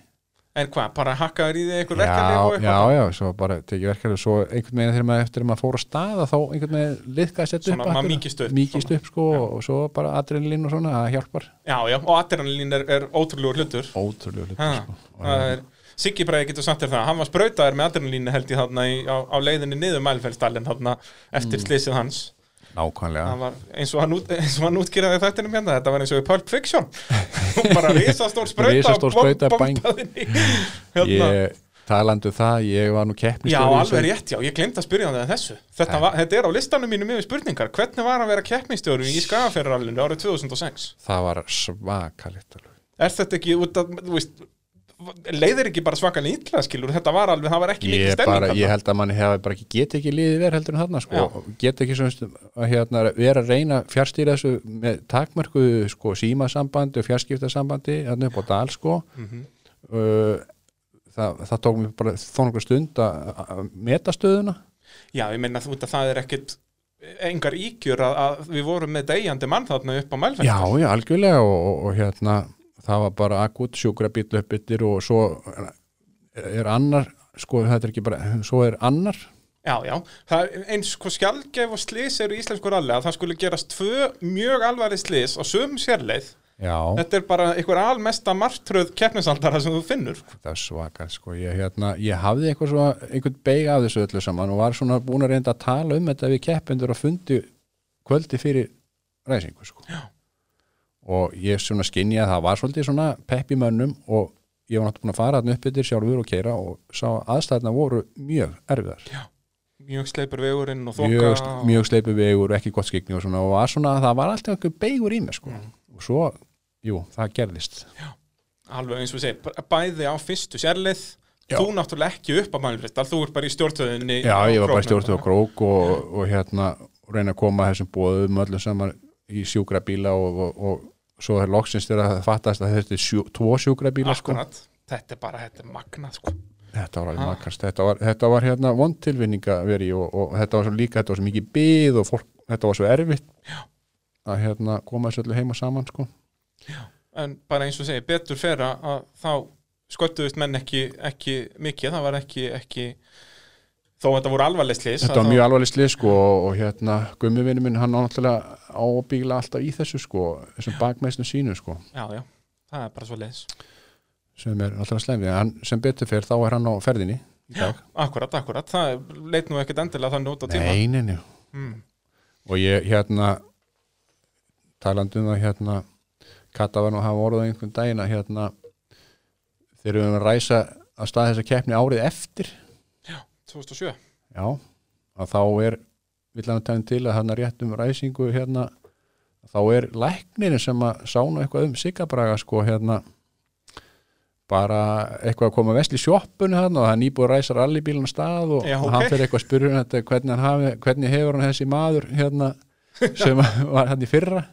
en hvað, bara hakkaður í því einhver verkefni og já, eitthvað já, já, svo bara tekið verkefni svo einhvern veginn þegar maður eftir að maður fór að staða þá einhvern veginn liðkaði þetta Svona, upp maður aftur. mýkist upp, mýkist svona. upp sko og svo bara adrenalin og svona, það hjálpar já, já, og adrenalín er, er ótrúlegur hlutur ótrúlega hlutur ha, sko. það er Siggi Bræði getur sagt þér það, hann var sprautaður með adrenalínu held ég þarna í, á, á leiðinni niður mælfellstallin þarna eftir Mm. slysið hans nákvæmlega það var eins og hann, út, eins og hann útgýraði þættinum hérna, þetta var eins og í Pulp Fiction Hún bara risastór sprauta Risastór sprauta, og bang. bombaði henni í- hérna. ég talandi um það, ég var nú keppnist Já, alveg rétt, já, ég glemt að spyrja það þessu þetta, var, þetta er á listanum mínum yfir spurningar Hvernig var að vera keppnistjóri í Skagaferralinu árið 2006? það var svakalitt alveg Er þetta ekki út að, þú veist leiðir ekki bara svakalega illa, skilur þetta var alveg, það var ekki mikið ég, stemming bara, þarna. ég held að manni hefði bara ekki get ekki liðið verð heldur en þarna Já. sko, og get ekki svona stu- að hérna, vera að reyna að fjárstýra þessu með takmörku sko, símasambandi og fjarskiptasambandi hérna upp á dal sko Mhm. uh, það, það tók mér bara þó nokkuð stund að að meta stöðuna Já, ég meina út að það er ekkit engar íkjur að, að við vorum með deyjandi mann þarna upp á mælfenn já, já, algjörlega og, og, og hérna það var bara akut sjúkra bíllöpbyttir og svo er annar sko þetta er ekki bara, svo er annar Já, já, það er eins sko skjálgef og slís eru í íslensku ralli að það skulle gerast tvö mjög alvarleg slís á sömu sérleið já, Þetta er bara einhver almesta martröð keppnisaldara sem þú finnur sko. það er svakar sko ég, hérna, ég hafði eitthvað svo, einhvern beig af þessu öllu saman og var svona búin að reynda að tala um þetta við keppendur og fundi kvöldi fyrir ræsingu sko. og ég svona skinni að það var svolítið svona pepp í mönnum og ég var náttúrulega búin að fara þarna upp yfir sjálfur og keira og sá að aðstæðna voru mjög erfiðar mjög sleipur vegurinn og þoka mjög, og- mjög sleipu vegur, ekki gott skikni og svona og var svona, það var alltaf einhver beigur í mér sko. og svo, jú, það gerðist alveg eins og við segja, bæði á fyrstu sérlið Já. þú náttúrulega ekki upp að mælfristal þú ert bara í stjórnstöðinni Já, á ég var bara króknum. stjórnum á krók og, og hérna og reyna að koma þessum bóðum öllum saman í sjúkra bíla og, og, og svo er loksins þegar það fattast að þetta er sjú, tvo sjúkra bíla sko. Akkurat, þetta er bara, þetta er magnað sko. Þetta var alveg makast, þetta var, þetta var hérna vondtilvinninga verið og, og þetta var svo líka, þetta var svo mikið byð og fólk, þetta var svo erfitt Já. að hérna koma þessu öllu heima saman sko. en bara eins og segja, betur fer að að þá sköttuðust menn ekki, ekki mikið, það var ekki, ekki þó að þetta voru alvarleg slis Þetta var mjög alvarleg slið sko og, og hérna gummivinni minn hann á náttúrulega á að bíla alltaf í þessu sko, þessum bakmeistum sínu sko. já, já, það er bara svo leis sem er alltaf slemmi hann, sem betur fyrir þá er hann á ferðinni í dag. akkurat, akkurat, það er- leit nú Hmm, ekkit endilega þannig út á tíma nei, nei, nei. Mm. og ég hérna talandi um það hérna Kata var nú að hafa orðað einhvern daginn að hérna þegar við höfum að ræsa að staða þessa keppni árið eftir 2007 já, að þá er vill hann tæn til að hann rétt um ræsingu hérna, þá er læknirinn sem að sána eitthvað um sigabraga sko hérna bara eitthvað að koma vest í sjoppun hann og hann íbúið að ræsa rallybílun stað og Já, og ok. hann fyrir eitthvað að spyrja hann þetta, hvernig, hann hafi, hvernig hefur hann þessi maður hérna sem var hann í fyrra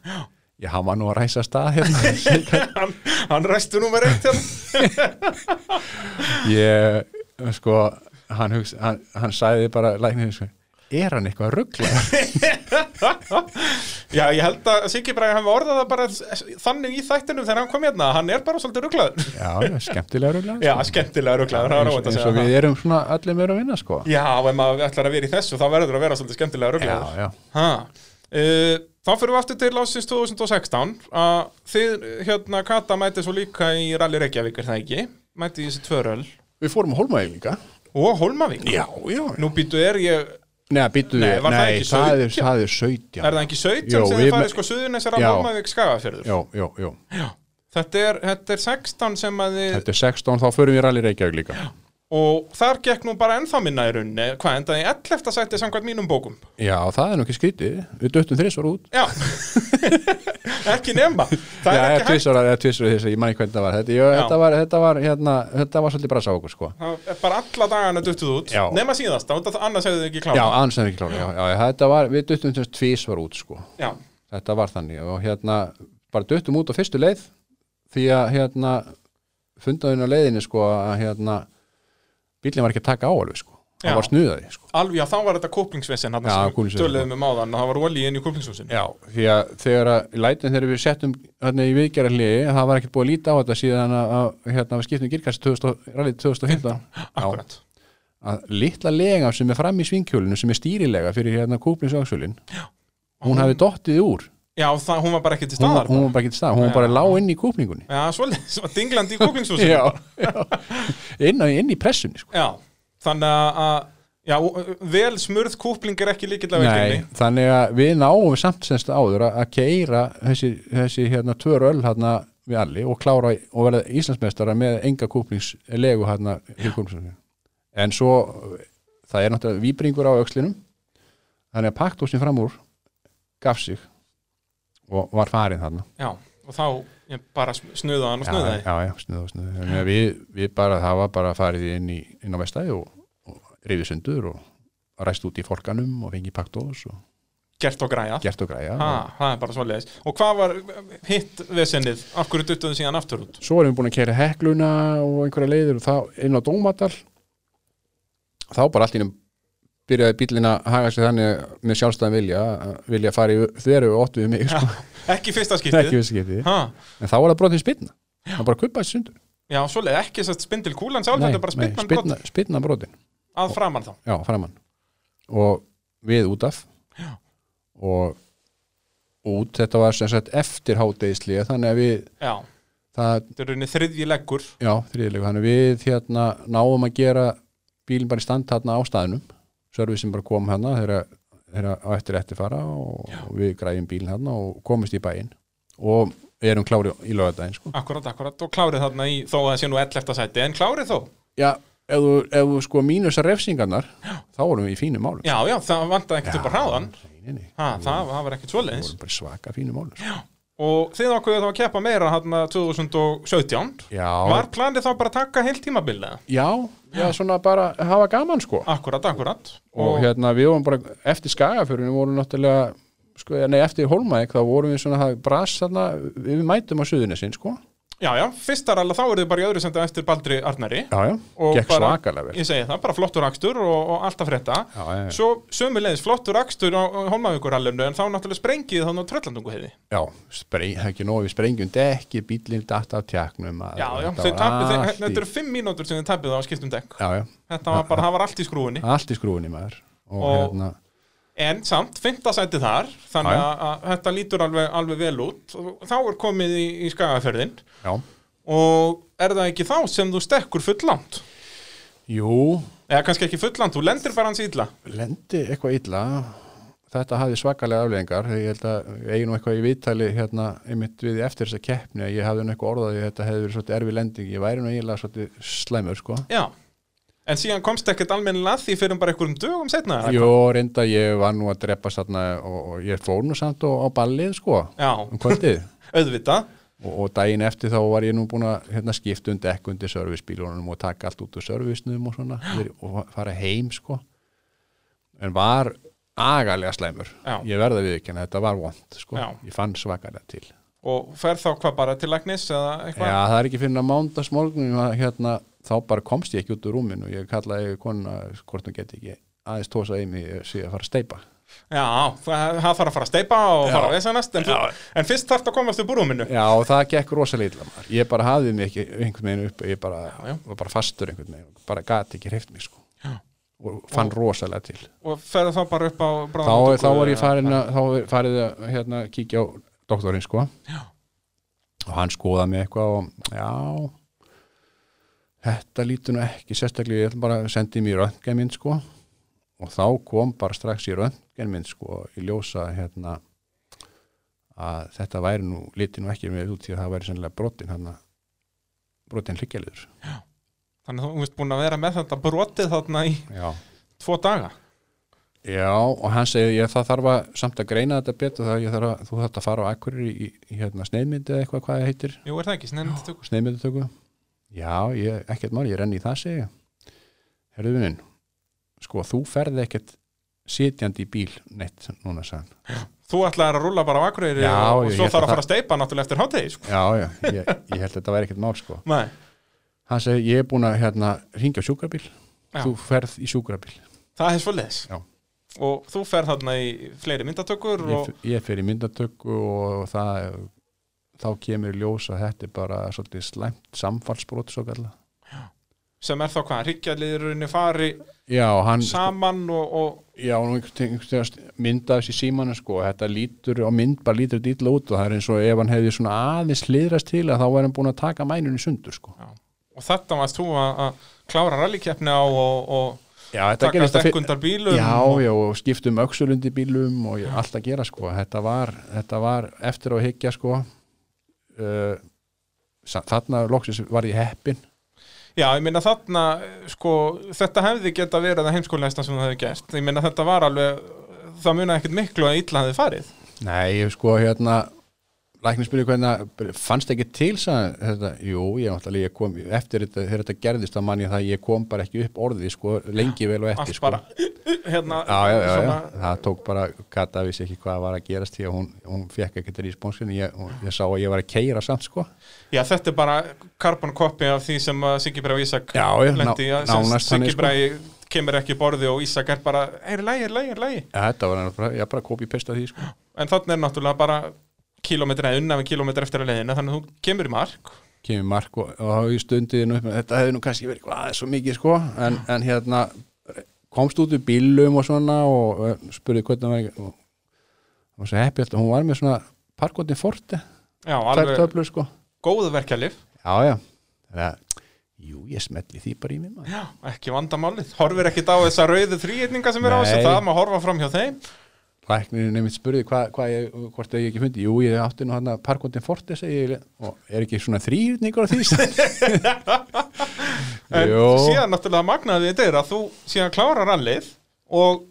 já, hann var nú að ræsa stað hérna hann, hann ræstu númer eitt hérna. ég, sko hann, hugsa, hann, hann sagði bara læknir, sko, er hann eitthvað ruggla Já, ég held að Siggi Bræði hafa orðað það bara s- þannig í þættinum þegar hann kom hérna hann er bara svolítið rugglaður já, já, skemmtilega ruggla Já, skemmtilega rugglaður, það er eins, óvænt að eins segja og það við erum svona allir meira að vinna sko Já, ef maður ætlar að vera í þessu þá verður að vera svolítið skemmtilega já, rugglaður já, Ha. Uh, þá fyrir við aftur til ásins 2016 að þið, hérna, Kata mæti svo líka í Rally Reykjavík, er það ekki? Mæti í þessi tvöröl við fórum að hólmaði líka og Holmavík já, já, Nú býtu er ég, neða, býttu Nei, við var það nei, ekki það er 17? það er 17 er það ekki 17 Jó, sem við þið farið me- sko suðunessar af Já. Holmavík skagafjörður já, já, já, þetta er, þetta er 16 sem að þið þetta er 16 þá förum við rally reykjavík líka og þar gekk nú bara ennþá minna í runni hvað endaði í 11. sætti samkvæmt mínum bókum já, það er nú ekki skrítið, við döttum þrissvar út já ekki nema það já, er eða ekki hægt tvisvar, eða tvisvar þess að ég manni hvernig það var þetta, jú, Já. þetta var, þetta var, hérna, þetta var svolítið brasa á okkur sko það er bara alla dagana duttuð út Já. nema síðast, annars hefðu þið ekki Já, kláð annars er ekki klára, já, já, já, þetta var, við duttum þess tvís var út, sko, já, þetta var þannig og hérna, bara duttum út á fyrstu leið því að hérna fundaðin á leiðinni, sko, að hérna bílinn var ekki að taka á alveg, sko Já. það var snuðaði, sko alveg, já, þá var þetta kóplingsvesen hann Já, sem kúplingsvesen. töluðum um áðan og það var olíin í kóplingshúsinu Já, því að þegar að lætin þegar við settum hérna í viðgerðarliði, það var ekkert búið að líta á þetta síðan að, að hérna, við skiptum girkast 2000, rallið 2015 Já, akkurat, að litla lega sem er fram í svinghjólinu sem er stýrilega fyrir hérna kúplingsvagsjólin hún hafi dottið úr já, það, hún var bara ekki til hún, staðar hún var bara ekki til stað, hún var bara lág inn í kúpningunni já, svolítið, svo dinglandi í kóplingshúsinu já, já. inn, á, inn í pressunni sko. já, þannig að- að já, vel smurð kópling er ekki líkilega Nei, velkjöfni þannig að við náum samt semst áður að keira þessi, þessi hérna tvör öll hérna við allir og klára í- og verða Íslandsmeistara með enga kúplingslegu hérna í kúplingsvagsjólinu en svo það er náttúrulega víbringur á aukslinum þannig að paktósin fram úr gaf sig og var farin þarna já, og þá ég bara snuða hann og Já, snuða já, já, snuða, snuða. Þannig að Við, við bara, það var bara farið inn, í, inn á vestæði og, og reyfið sundur og ræst út í forkanum og fengið paktós og gert og græjað gert og græja ha, það er bara svoleiðis og hvað var eh, hitt vesennið af hverju duttuðu síðan aftur út svo erum við búin að kæra hekluna og einhverja leiðir og þá inn á Dómadal þá bara allt innum byrjaði bíllinn að haga sér þannig með sjálfstæðan vilja, að vilja fara í þveru og óttu við mig, sko, ekki fyrsta ekki skiptið vissi getið ha, en þá var það brotið spilna, það bara kuppaði sundur já, svoleið, ekki sérst spindil kúlan sjálf Nei, þetta er bara nei, spinnan spyrna, brot spyrna brotin að framan þá já, framann og við út af Já. og út, þetta var sem sagt eftir hádegislega, þannig að við já, það, þetta er runni þriðji leggur já, þriðilegu, þannig að við hérna náum að gera bílinn bara í stand hérna á staðnum servicin bara kom hérna þegar þegar á eftir eftir fara og við græjum bílinn hérna og komumst í bæinn og erum klári í lögadaginn sko. akkurat, akkurat, og klárið þarna í þó að það sé nú 11. sæti, en klárið þó já, ef þú, ef þú sko mínusar refsingarnar, þá vorum við í fínum málum já, já, það vantaði ekkert upp að hráðan Nei, nei, nei. ha, það, það var ekkert Við svoleiðis vorum bara í svaka fínum málum sko. og þið ákveðu þá að keppa meira hérna 2017 Já. var planið þá bara að taka heilt tímabilið eða? Já, já, svona bara hafa gaman sko akkurat, akkurat og hérna við vorum bara eftir skagaförunum vorum náttúrulega sko, nei, eftir Hólmæk þá vorum við svona það bras þarna, við mætum á suðunessin sko Já, já, fyrsta ralla þá eru þið bara í öðru senda eftir Baldri Arnari Já, já, Og gekk bara- svakalega vel Ég segi það, bara flottur akstur og, og allt að frétta Já, já, já. Svo sömulegis flottur akstur á á Hólmavíkurrallinu en þá náttúrulega sprengið þannig á Tröllandungu heiði Já, spreng, það er ekki nóg við sprengjum dekki, bílinn datt af tjaknum Já, já, þau tapið, þau- þetta eru fimm mínútur sem þið tapið á að skiptum dekk Já, já, Þetta var bara, það var allt í skrúinni allt í skrúinni maður og, Og- hérna, En samt, fymta sæti þar þannig Já, já. að, að þetta lítur alveg, alveg vel út og þá er komið í, í skagaferðin já og er það ekki þá sem þú stekkur fulland Jú, eða kannski ekki fulland, þú lendir bara hans illa lendi eitthvað illa þetta hafði svakalega afleðingar ég held að ég eigi nú eitthvað í viðtali hérna einmitt við eftir þessa keppni að ég hafði nú eitthvað orðaði þetta hefði verið svolítið erfi lending ég væri nú eiginlega svolítið slæmur sko Já, en síðan komst ekkert almennilega að því fyrir bara einhverjum dögum setna eða? Jó, reynda ég var nú að drepa þarna og, og ég fór nú samt á, á ballið sko Já, um kvöldið auðvitað og, og daginn eftir þá var ég nú búin að hérna, skipta um dekk undir servicebílunum og taka allt út úr servicenum og svona verið- og fara heim sko en var agalega slæmur Já. ég verða við ekki en þetta var vond sko. Já. ég fann svakalega til Og fer þá hvað bara til lagnis eða eitthvað? Já, það er ekki fyrir að mánda smálgnum hérna, þá bara komst ég ekki út úr rúminu og ég kallaði konuna hvort hún geti ekki aðeins tósa í mig síðan að fara að steipa Já, það, það þarf að fara að steipa og Já. fara að vesanast en, þú- Já. en fyrst þarf það að komast upp úr rúminu Já, og það gekk rosalega illa maður. Ég bara hafði mig ekki einhvern veginn upp ég bara, já. var bara fastur einhvern veginn bara gat ekki hreift mig sko og fann rosalega til og fer þá bara upp á þá, bráðamóttöku þá var ég eða- farin að, þá er farið að hérna, kíkja á doktorinn sko Já. og hann skoðaði mig eitthvað og já þetta lítur nú ekki sérstaklega ég ætla bara að sendi mér röntgenmynd sko og þá kom bara strax í röntgenmynd sko í ljósa hérna að þetta væri nú lítið nú ekki með út því að það væri sennilega brotin hann brotin hryggjaldur Þannig að þú veist búin að vera með þetta brotið þarna í já tvo daga Já, og hann segi ég það þarf að samt að greina þetta betur það ég þarf að þú þarf að fara á akkurir í, í hérna sneiðmyndi eða eitthvað hvað það heitir Jú, er það ekki, snennið tökur sneiðmyndatöku Já, ég, ekkert mál, ég renni í það segi ég. Herðu minn sko þú ferði ekkert sitjandi í bíl neitt núna sann Þú ætlaðir að rúlla bara á akureyri Já, og, og ég- svo ég þarf að ætla fara að steipa náttúrulega eftir hátegi sko. Já, já, ég, ég held að þetta væri ekkert mál sko Nei, Hann segi ég er búin að hérna ringja á sjúkrabíl Já. þú ferð í sjúkrabíl það er svoleiðis Já. Og þú fer þarna í fleiri myndatökur ég, og, f- ég fer í myndatöku og það þá kemur í ljós að þetta er bara svolítið slæmt samfallsbrot svo kalla sem er þá hvað, hryggjarliðurinni fari Já, hann saman og, og já, nú einhvern tímann- einhvern tímann myndaðis í símanu sko, og þetta lítur og mynd bara lítur dýtla út og það er eins og ef hann hefði svona aðeins hliðrast til að þá væri hann búin að taka mænunni sundur sko. og þetta varst þú að að klára rallikeppni á og, og Já, þetta taka gerist að stekkundar bílum Já, og, já, og skiptum öxulundi bílum og ég- allt að gera sko, þetta var, þetta var eftir á að higgja sko uh, sa- þarna loksins var ég heppin já, ég meina þarna sko, þetta hefði geta verið að heimskólaðistan sem það hefði gert ég meina þetta var alveg það munaði ekkert miklu að illa hefði farið Nei, ég sko hérna læknir spyrir hvernig fannst ekki til sagði, hann, þetta, jú, ég náttúrulega ég kom eftir þetta, þegar þetta gerðist að manni það ég kom bara ekki upp orðið sko, lengi vel og allt eftir sko. bara hérna, Já, já, já, já, svona- það tók bara Kata vissi ekki hvað var að gerast því að hún, hún fekk ekkert responsinn, ég, hún- ég sá að ég var að keira samt sko. Já, þetta er bara carbon copy af því sem að Siggi Brei og Ísak Já, já, ná- lendi í að sem nánast þannig, Siggi sko. Brei kemur ekki í borði og Ísak er bara, er lægi, er lægi, er lægi Ja, þetta var náttúrulega, ég bara kopi pesta því sko. en þannig er náttúrulega bara kilometri eða unna við kilometri eftir að leiðina þannig að þú kemur í mark kemur mark og, og ég stundi nú upp með þetta hefði nú kannski verið hvað það er svo mikið sko en, en hérna komst út úr bílum og svona og eh, spurði hvernig það var ekki og það var svo heppi alltaf, hún var með svona parkotin forti, Já, þær alveg töflur sko góðu verkjalif já já þannig að, jú ég smelli því bara í mig maður. Já, ekki vandamálið, horfir ekkit á þessa rauðu þrýirninga sem er á þessu, Nei. það má horfa fram hjá þeim læknirinn nefnitt spurði hva, hva ég, hvort ég ekki fundi, jú ég átti nú hann parkotin forti segi ég og er ekki svona þrýrningur á því en Jó. síðan náttúrulega magnaði þetta er að þú síðan klárar allið og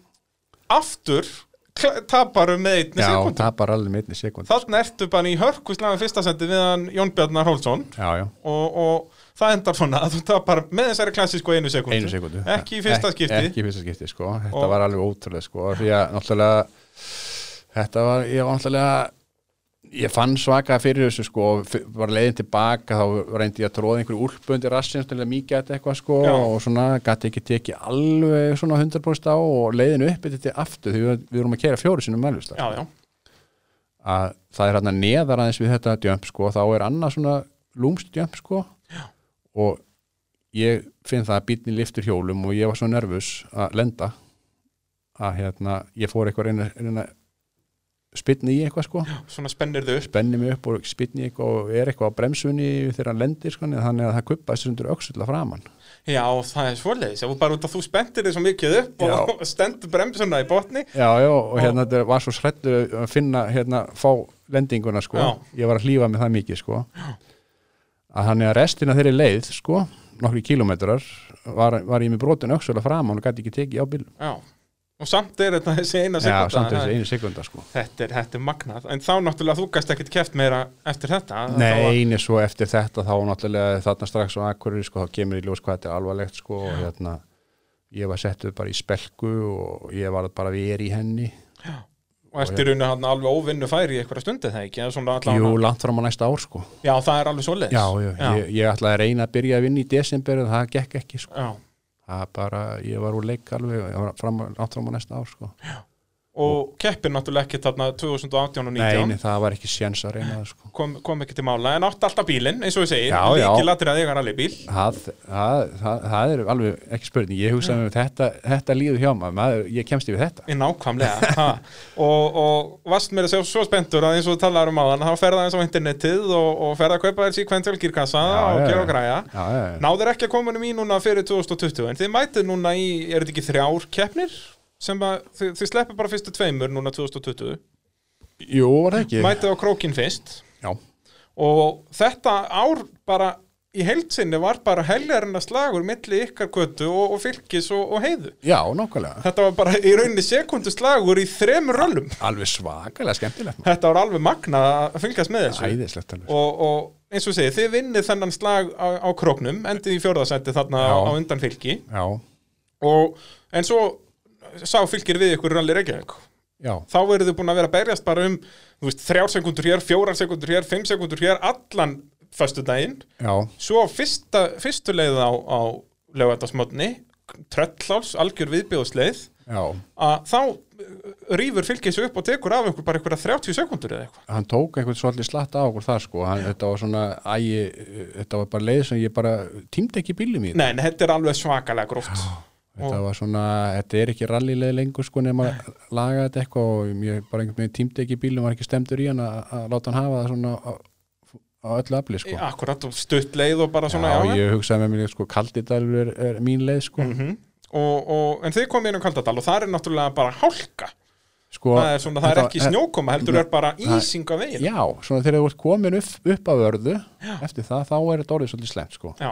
aftur kla- taparum með einni já, sekundu það bara alveg með einni sekund Þannig ertu bara í hörkuslega fyrsta sendi við hann Jón Bjarnar Hólsson já já og, og það endar svona að þú tapar með þessari klassísku einu sekundu. einu sekundu Ekki í fyrsta skipti. ekki í fyrsta skipti sko þetta Og- var alveg ótrúlega sko því að náttúrulega þetta var ég var náttúrulega ég fann svaka fyrir þessu sko og f- var leiðin tilbaka þá reyndi ég að tróða einhverju úlpundi rassin til að mikið þetta eitthvað sko Já. og svona gæti ekki tekið alveg svona 100% á og leiðin upp þetta aftur því við, við erum að kera fjóru sinum mælust Já, já. að það er hérna neðar aðeins við þetta djömp sko, þá er annað svona lúmst djömp sko Já. og ég finn það að bílni liftur hjólum og ég var svo nervus að lenda að hérna, ég fór eitthvað reyna, reyna spynni í eitthvað sko svona spennir þau upp spenni mig upp og spynni í eitthvað og er eitthvað á bremsunni þegar hann lendir sko þannig að það kuppast undir öxulla framann já, það er svoleiðis, ef þú bara út að þú spendir þig svo mikið upp og stendur bremsuna í botni já, já, og hérna þetta var svo srettur að finna, hérna, fá lendinguna sko, Já. ég var að hlýfa með það mikið sko að hann er að restina þeirri leið sko, nokkri kílómetrar var, var ég með brotin öxulla framann og gæti ekki tekið á bílum já, og samt er þetta þessi eina já, sekúnda, samt það- þessi einu sekunda sko Þetta er, þetta er magnað, en þá náttúrulega þú gæst ekkert keft meira eftir þetta Nei, eini svo eftir þetta þá náttúrulega þarna strax á Akureyri sko, þá kemur í ljós hvað þetta er alvarlegt sko, og hérna, ég var settuð bara í spelku og ég var bara verið í henni Þá- og ertu í rauninu hann alveg óvinnu færi í einhverja stundu það ekki, eða svona Jú, allavega langt fram á næsta ár sko. Já, það er alveg svoleiðis Já, já, já, Ég, ég ætlaði að reyna að byrja að vinna í desember en það gekk ekki sko. já. það bara, ég var úr leik alveg ég var fram, langt fram á næsta ár sko. Og keppir náttúrulega ekki þarna 2018 og Nei, 19 nei, það var ekki séns að reyna það sko. kom, kom ekki til mála, en átti alltaf bílinn eins og við segir, Já, já. líkilatir að eiga rallybíl Það, það, það, það er alveg ekki spurning ég hugsaði með þetta, þetta líður hjá maður, maður ég kemst yfir þetta Í nákvæmlega ha. og, og varst mér að segja svo spenntur að eins og þú talar um áðan, þá ferða eins á internetið og, og ferða að kaupa þér síkventil gírkassa Já, og já, gera já. og græja já, já, já. Náður ekki að koma um í núna fyrir 2020 en þið mætið núna í, er þetta ekki þrjár keppnir? sem að, þið, þið sleppið bara fyrstu tveimur núna 2020 Jú, var það ekki mætið á krókin fyrst Já, og þetta ár bara í heildsinni var bara helgarina slagur milli ykkar kvötu og, og fylgis og, og heiðu já nokkulega þetta var bara í rauninni sekundu slagur í þremur röllum Alveg svakalega skemmtilegt maður. þetta var alveg magna að fylgjast með þessu Æðislegt alveg og, og eins og segið, þið vinnið þennan slag á, á króknum, endið í fjórðasendi þarna Já. á undan fylgi Já, og, en svo sá fylgir við ykkur ralli Reykjavík já, þá verður þið búin að vera að berjast bara um þú veist, þrjár sekundur hér, fjórar sekundur hér, fimm sekundur hér allan föstudaginn já svo á fyrsta, fyrstu leið á, á lögvættasmotni tröllháls, algjör viðbjóðsleið Já, að þá eh, rýfur fylgið sig upp og tekur af ykkur bara einhverja 30 sekundur eða eitthvað hann tók einhvern svolítið slatta á okkur þar sko hann, Þetta var svona, æ, þetta var bara leið sem ég bara tímdi ekki bílum í þetta. Nei, en þetta er alveg svakalega gróft Þetta var svona, þetta er ekki rallileið lengur sko nema að laga þetta eitthvað og ég bara einhvern veginn tímdi ekki bílum var ekki stemdur í hann að að láta hann hafa það svona á, á öllu afli sko Akkurat og stutt leið og bara svona Já, ég hugsaði með mér sko kaldidalur er, er mín leið sko Mhm. og, og, En þið komið inn um Kaldadal og það er náttúrulega bara hálka Sko, það er svona, það er þetta- ekki snjókoma heldur er bara ísing á veginn Já, svona þegar þú ert komin upp, upp af örðu eftir það, þá er þetta orðið svolítið slemt sko. já,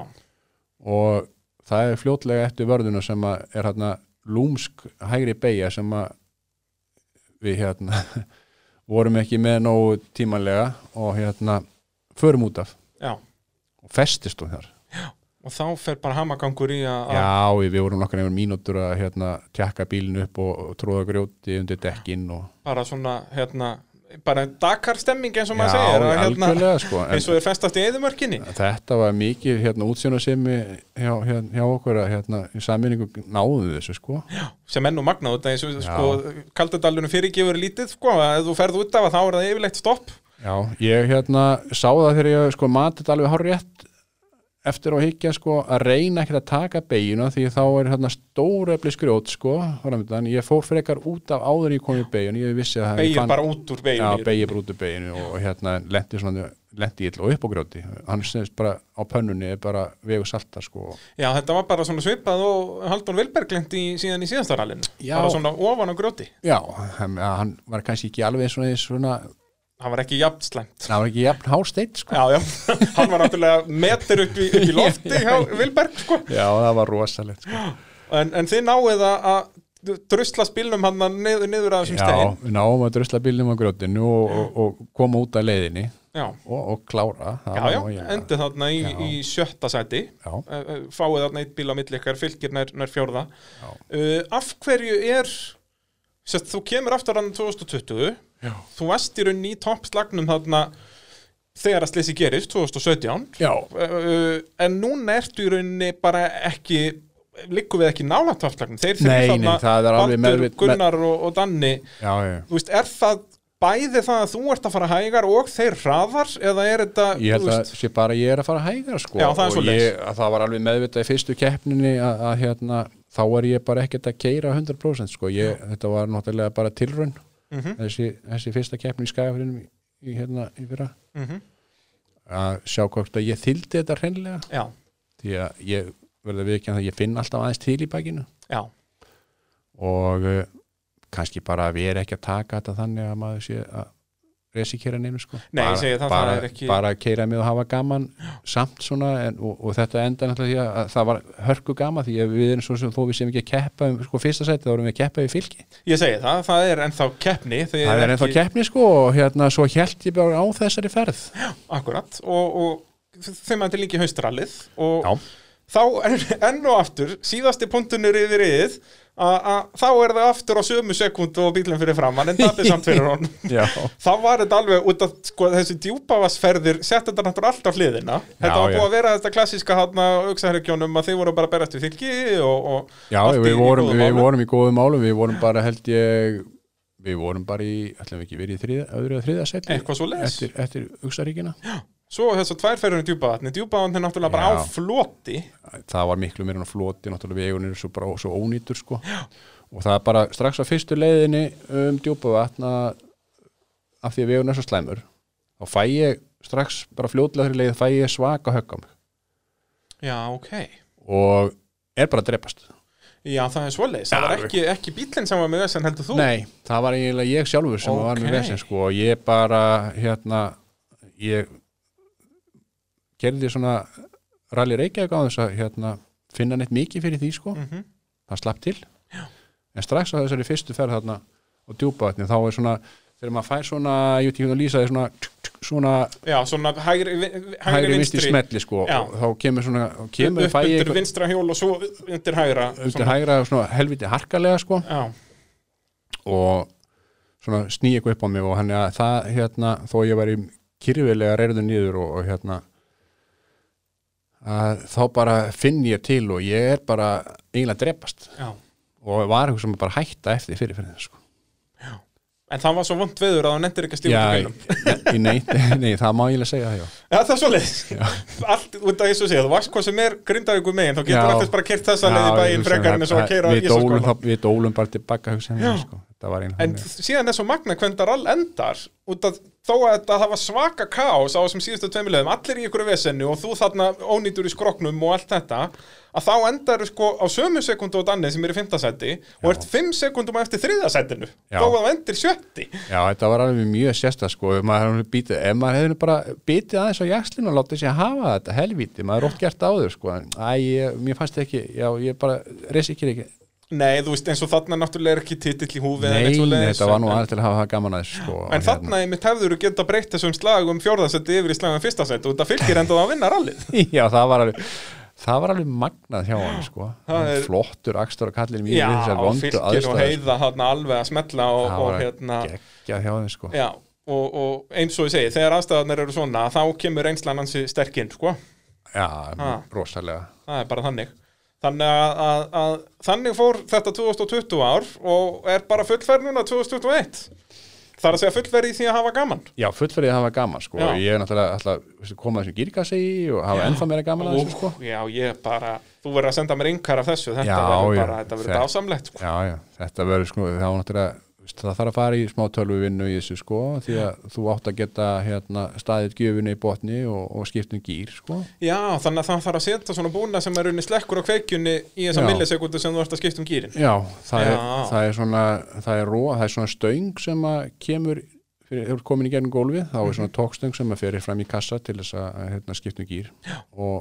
og það er fljótlega eftir vörðuna sem að er hérna lúmsk hægri beigja sem að við hérna vorum ekki með nógu tímanlega og hérna förum út af já og festist hún þar og þá fer bara hamagangur í að að- Já, við vorum nokkar einhver mínútur að hérna tjekka bílinn upp og, og tróða grjóti undir dekkin og bara svona, hérna bara Dakar stemming eins og Já, maður segir að, hérna, algjörlega sko en- eins og er festast í eðumörkinni Þetta var mikið hérna, útsjónasemi hjá, hjá, hjá okkur að hérna, í sammenningu náðu þessu sko. sem enn og magnað út eins og Já. sko, kaldadalunum fyrirgefur lítið sko, að ef þú ferð út af að þá er það yfirleitt stopp Já, ég hérna, sá það þegar ég sko, mati þetta alveg hárétt eftir á higgja sko, að reyna ekkert að taka beiguna því þá er hérna, stórefli skrjót sko, framöndan. ég fór frekar út af áður en ég kom í beiginu ég vissi að ég beigir bara út úr Já, beigir beigir bara út af beiginu og hérna, lendi, svona, lendi ill og upp á grjóti hann semst bara á pönnunni er bara vegu saltar sko. já, þetta var bara svona svipað og Halldór Vilberg lendi í, síðan í síðastarallinu Já. bara svona ofan á grjóti Já, hann hann var kannski ekki alveg svona, svona það var ekki jafn slæmt Það var ekki jafn hársteitt sko. Já, já, hann var náttúrulega metur upp í, upp í lofti hjá Vilberg sko. Já, það var rosalegt sko. en, en þið náið að- að drusla spilnum hann niður, niður að þessum Já, stein við náum að drusla bílnum á grjótinu og, og, og koma út af leiðinni Já, og, og klára það já, var já, nú eiginlega- endið þarna í, Já. í sjötta sæti Já. Eh, eh, fáið þarna eitt bíl á milli ykkar fylgir nær, nær fjórða Já. uh, Af hverju er sérst, þú kemur aftur hann 2020 Já. þú varst í rauninni í toppslagnum þarna þegar að slisi gerist 2017 já, uh, en núna ertu í rauninni bara ekki liggum við ekki nálægt toppslagnum þeir þrír Nei, nei, þarna, það er alveg Baldur, meðvit- Gunnar og, og Danni já, já. þú veist, er það bæði það að þú ert að fara hægar og þeir hraðar eða er þetta, Ég þú held að veist, sé bara að ég er að fara hægara sko. Já, það er og svoleiðis. ég, að það var alveg meðvitað í fyrstu keppninni að, að hérna, þá er ég bara ekkert að keira 100% sko. ég, þetta var náttúrulega bara tilraun Mhm. þessi, þessi fyrsta keppni í skæðafrinum í, í, hérna, í fyrra Mhm. að sjá hvort að ég þyldi þetta hreinlega Já, því að ég verða við ekki að ég finn alltaf aðeins til í bakinu já, og uh, kannski bara að við erum ekki að taka þetta þannig að maður sé að resikera neinu sko Nei, ég bara, segi það, það bara, er ekki- bara að keira með og hafa gaman samt svona en, og, og þetta enda náttúrulega því að, að það var hörku gaman því að við erum svo sem þó við sem ekki að keppa um sko fyrsta sæti þá erum við að keppa við fylki ég segi það, það er ennþá keppni það er ennþá keppni sko og hérna svo held ég bara á þessari ferð Akkurat, og, og þeim að þetta líki haustrallið og Já. þá enn, enn og aftur, síðasti punktunir yfir yðið að þá er það aftur á sömu sekund og bílum fyrir framann en það er samt fyrir honum já, Þá var þetta alveg út af sko, þessi djúpavasferðir sett þetta náttúrulega allt á hliðina Þetta var já. búið að vera þetta klassíska hana auksaðherkjónum að þið voru bara að berast við fylki og, og já allt í- í við, vorum, góðum við málum. vorum í góðum málum við vorum bara held ég við vorum bara í, ætlum við ekki verið í þriða, öðru að þriða sæti Eitthvað svo les eftir, eftir Uxaríkina Svo þess að tvær ferðurinn djúpavatni Djúpavatni er náttúrulega bara á Já. floti það var miklu meira en að floti náttúrulega vegunir er svo bara svo ónýtur sko. og það er bara strax á fyrstu leiðinni um djúpavatn að af því að vegun er svo slæmur þá fæ ég strax bara fljótlega þeirri leið fæ ég svaka högg á mig Já, ok og er bara að drepast Já, það er svoleiðis, það var Já. ekki, ekki bílinn sem var með þess en heldur þú Nei, það var eiginlega ég sjálfur sem var Ókei. með vesinn sko og ég bara hérna ég gerði svona rally reykjaðu á þess að hérna, finna neitt mikið fyrir því sko Mhm. það slapp til Já. en strax á þessari fyrstu ferð þarna og djúpaðatni þá er svona þegar maður fær svona, ég veit ekki hvernig að lýsa því svona, tsk, tsk, svona Já, svona hægri, vi- hægri, hægri vinstri vinstri smelli sko Já. og þá kemur svona, þá kemur upp fæ ég undir eitthvað- vinstra hjól og svo undir hægra undir svona. hægra svona helviti harkalega sko Já, og svona sný eitthvað upp á mig og hann að það hérna þó ég væri kyrfilega reyrðu nýður og, og hérna að þá bara finn ég til og ég er bara eiginlega að drepast já og var eitthvað sem bara hætta eftir fyrir fyrir sko. En það var svo vond veður að það nettir ekki að stífa út í Já, bílum í nei, nei, það má eiginlega segja það já. Já, það er svoleiðis Allt út af þessu séð, þú varst hvað sem er grindavíku megin þá getur Já. alltaf bara kert þessa leið í Já, bæinn ég frekar en þess hugsa að að- keira við dólum, þá, við dólum bara tilbaka hugsanlega Já. sko. þetta var eiginlega En þannig. síðan er svo magna hvernig það all endar út að þó að þetta hafa svaka kaos á þessum síðustu tveimilegum, allir í ykkur vesennu og þú þarna ónýtur í skroknum og allt þetta að þá endar sko á sömu sekundu og danni sem er í fimmtasætti og ert fimm sekundum eftir þriðasættinu Já. þó að það endir sjötti Já, þetta var alveg mjög sérsta sko ef maður hefði bítið, ef maður hefði nú bara bítið aðeins á jakslinu og látið sér hafa þetta helvíti, maður er ótt gert áður sko en æ, ég, mér fannst ekki, já, ég bara resikir ekki, Nei, þú veist eins og þarna náttúrulega er ekki titill í húfið eða nei, neitt nei, svoleiðis, þetta var nú en- aðeins til að hafa gaman aðeins sko sko. En þarna einmitt hefður þú geta breytt þessum slag um fjórðasætti yfir í slagum fyrstasætti út að fylgir enda að vinna rallið Já, það var alveg það var alveg magnað hjá hann sko Það Hann er- flottur akstur og kallir mjög Já, við þessar vondu fylgir og aðstæður, sko. heiða hann alveg að smetla og, og það var hérna geggjað hjá þeim sko Já, og, og eins og ég segi, þegar aðstæðarnir eru svona þá kemur reynslan hansi sterkinn, sko Já, Ha. rosalega það er bara þannig þannig að, að, að þannig fór þetta 2020 ár og er bara fullferð núna 2021 það er að segja fullferð í því að hafa gaman Já, fullferðið hafa gaman sko Já. Ég er náttúrulega alltaf komað þessum gírkassi og hafa ennþá meira gaman að Ó, þessu sko Já, ég bara, þú verður að senda mér yngar af þessu, þetta Já, verður já, bara þetta verður þetta- dásamlegt, sko Já, já, þetta verður sko, þá náttúrulega veist, það þarf að fara í smá tölvuvinnu í þessu sko, því að þú átt að geta hérna, staðið gjöfunni í botni og, og skipt um gýr sko. Já, þannig að það þarf að setja svona búna sem er unni slekkur á kveikjunni í þessa Já. millisekundu sem þú ert að skipta um gýrin Já, það, Er, Já. það er svona það er, ró, það er svona stöng sem að kemur fyrir, hefur komin í gerðin gólfið þá er svona tókstöng sem að fyrir fram í kassa til þess að að, hérna, skipta um gýr já. og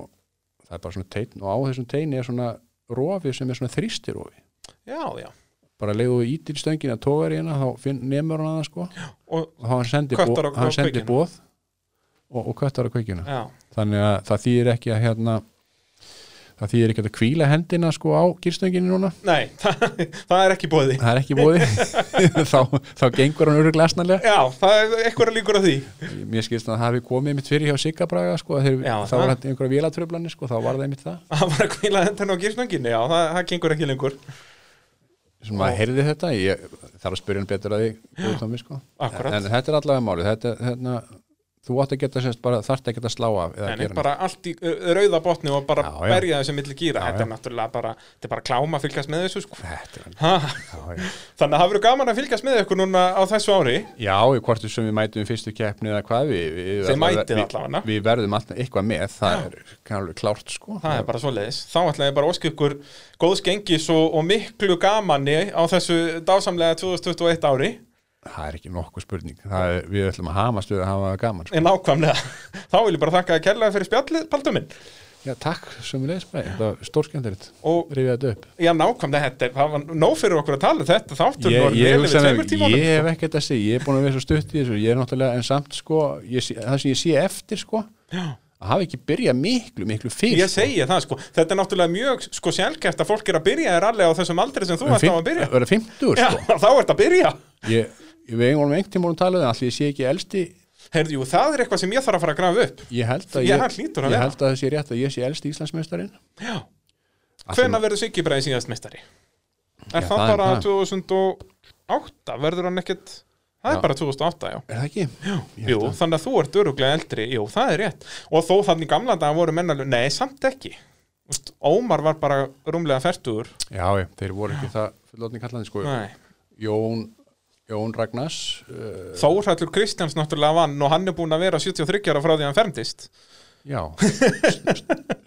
það er bara svona teitn og á þessum teini er svona rofi sem er svona þrýstirofi Já, já, bara leiðu ítir stöngina, tógar í hana þá finn, nemur hann að það sko og, og hann sendi, Köttar bó, á- á hann sendi kveikjuna. bóð og, og köttar á kveikjuna já, þannig að það þýðir ekki að hérna það þýðir ekki að kvíla hendina sko á gýrstönginu núna nei, það, það er ekki bóði það er ekki bóði þá, þá gengur hann öruglega snarlega Já, það er eitthvað líkur á því mér skilst að það hafi komið mitt fyrir hjá Sigga Braga sko, þeir, Já, þá var það. þetta einhverja vélatröflani sko, þá var það einmitt það Það var að kvíla hendurinn á gírsnönginu, já, það, það gengur ekki lengur sem maður heyrði þetta, ég þarf að spyrja hann betur að því góðu tómi, sko. Akkúrat. en þetta er allavega málið þetta, þetta, hérna, þú átt að geta sérst bara þarft ekki að slá af eða En gera er bara allt í ö, rauða botni og bara Já, já. berja þessu milli gíra Já, Þetta er já. náttúrulega bara, þetta er bara kláma að fylgjast með þessu sko. neitt. Þetta er alveg- Ha, já, já. Þannig að það verður gaman að fylgjast með ykkur núna á þessu ári Já, í hvort sem við mætum í fyrstu keppni eða hvað við, við Þið allavega- mætið við- allavega. Við verðum alltaf eitthvað með, það er kannski klárt sko Það er bara svoleiðis. Þá ætla ég bara að óska ykkur góðs gengis og, og miklu gamani á þessu dásamlega 2021 ári. Það er ekki nokkuð spurning það er, Við ætlum að hamast við að hafa það gaman sko. En nákvæmlega, þá vil ég bara þakka að kærlega fyrir spjallið, Paldur minn. Já, takk sem við leysum Það var stórskemmtilegt, Og rifið þetta upp já, nákvæmlega, þetta, er- það var nóg fyrir okkur að tala um þetta. Þáttur Ég, var ég, vel hugsa yfir með- tveimur tímanum. ég hef ekkert að segja, ég er búin að vera svo stutt í þessu Ég er náttúrulega, en samt sko ég, sé- Það sem ég sé eftir sko Já. að hafa ekki byrjað miklu, miklu fyrr Ég segi það sko, þetta er náttúrulega mjög sko sjálfkæft að fólk er að byrja þér alveg á þessum aldri sem þú ert á að byrja. Verða 50 Já, sko þá ert að byrja. Ég, ég við einhvern veginn tíma að tala um það allir ég sé ekki elsti Heyrðu, jú, það er eitthvað sem ég þarf að fara að grafa upp. Ég held að Já, ég, hann hlýtur að ég vera. held að það sé rétt að ég sé elsti Íslandsmeistarinn Já. Allt Hvenna verður Siggi Bræði síðast meistari? Er það, Já, það er bara það. 2008? Verður hann ekkert Það er Já. bara 2008, já. Er það ekki? Já, Jú, þannig að þú ert öruglega eldri, jú, það er rétt. Og þó þannig gamla dag voru mennalög, nei, samt ekki. Úst, Ómar var bara rúmlega færtur. Já, ég, þeir voru ekki það fullotni kallandi sko Nei. Jón, Jón Ragnars uh, Þórhallur Kristjáns náttúrulega vann og hann er búinn að vera 73 ára frá því að hann fermdist. Já,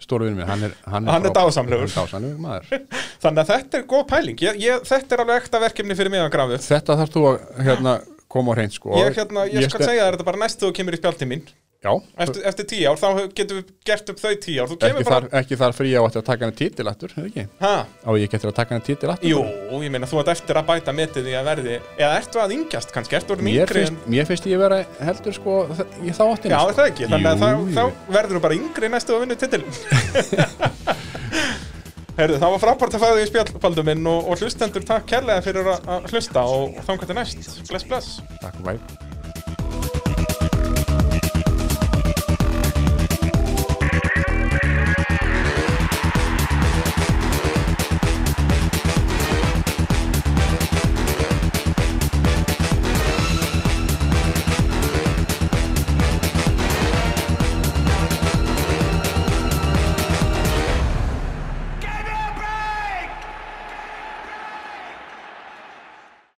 stórvinn minn Hann er, hann Hann er frábær. dásamlegur. Hann er Dásamlegur maður Þannig að þetta er góð pæling. Ég, ég, þetta er alveg ekta verkefni fyrir mig að grafa upp. Þetta þarf þú að hérna, koma á hreint sko Ég, hérna, ég, skal ste- segja þér þetta bara næst þú kemur í spjaldi mín. Já, Eftir, eftir tíu ár, þá getum við gert upp þau tíu ár. Þú ekki kemur bara þar, ekki þar fyrir ég á eftir að taka hana títilættur ekki? Ha? Á ég getur að taka hana títilættur Jú, ég meina þú ert eftir að bæta metið í að verði eða ertu að yngjast kannski, ertu orðin Mér yngri en... finnst, mér finnst ég vera heldur sko þ- í þá Já, áttina er sko. það ekki, þannig að Jú, þá, jú. þá verður þú bara yngri næstu að vinna titilin Herðu, það var frábært að fæða því í spjallbaldum minn og, og hlustendur takk kærlega fyrir að að hlusta og þangar til næst, bless bless Takk fyrir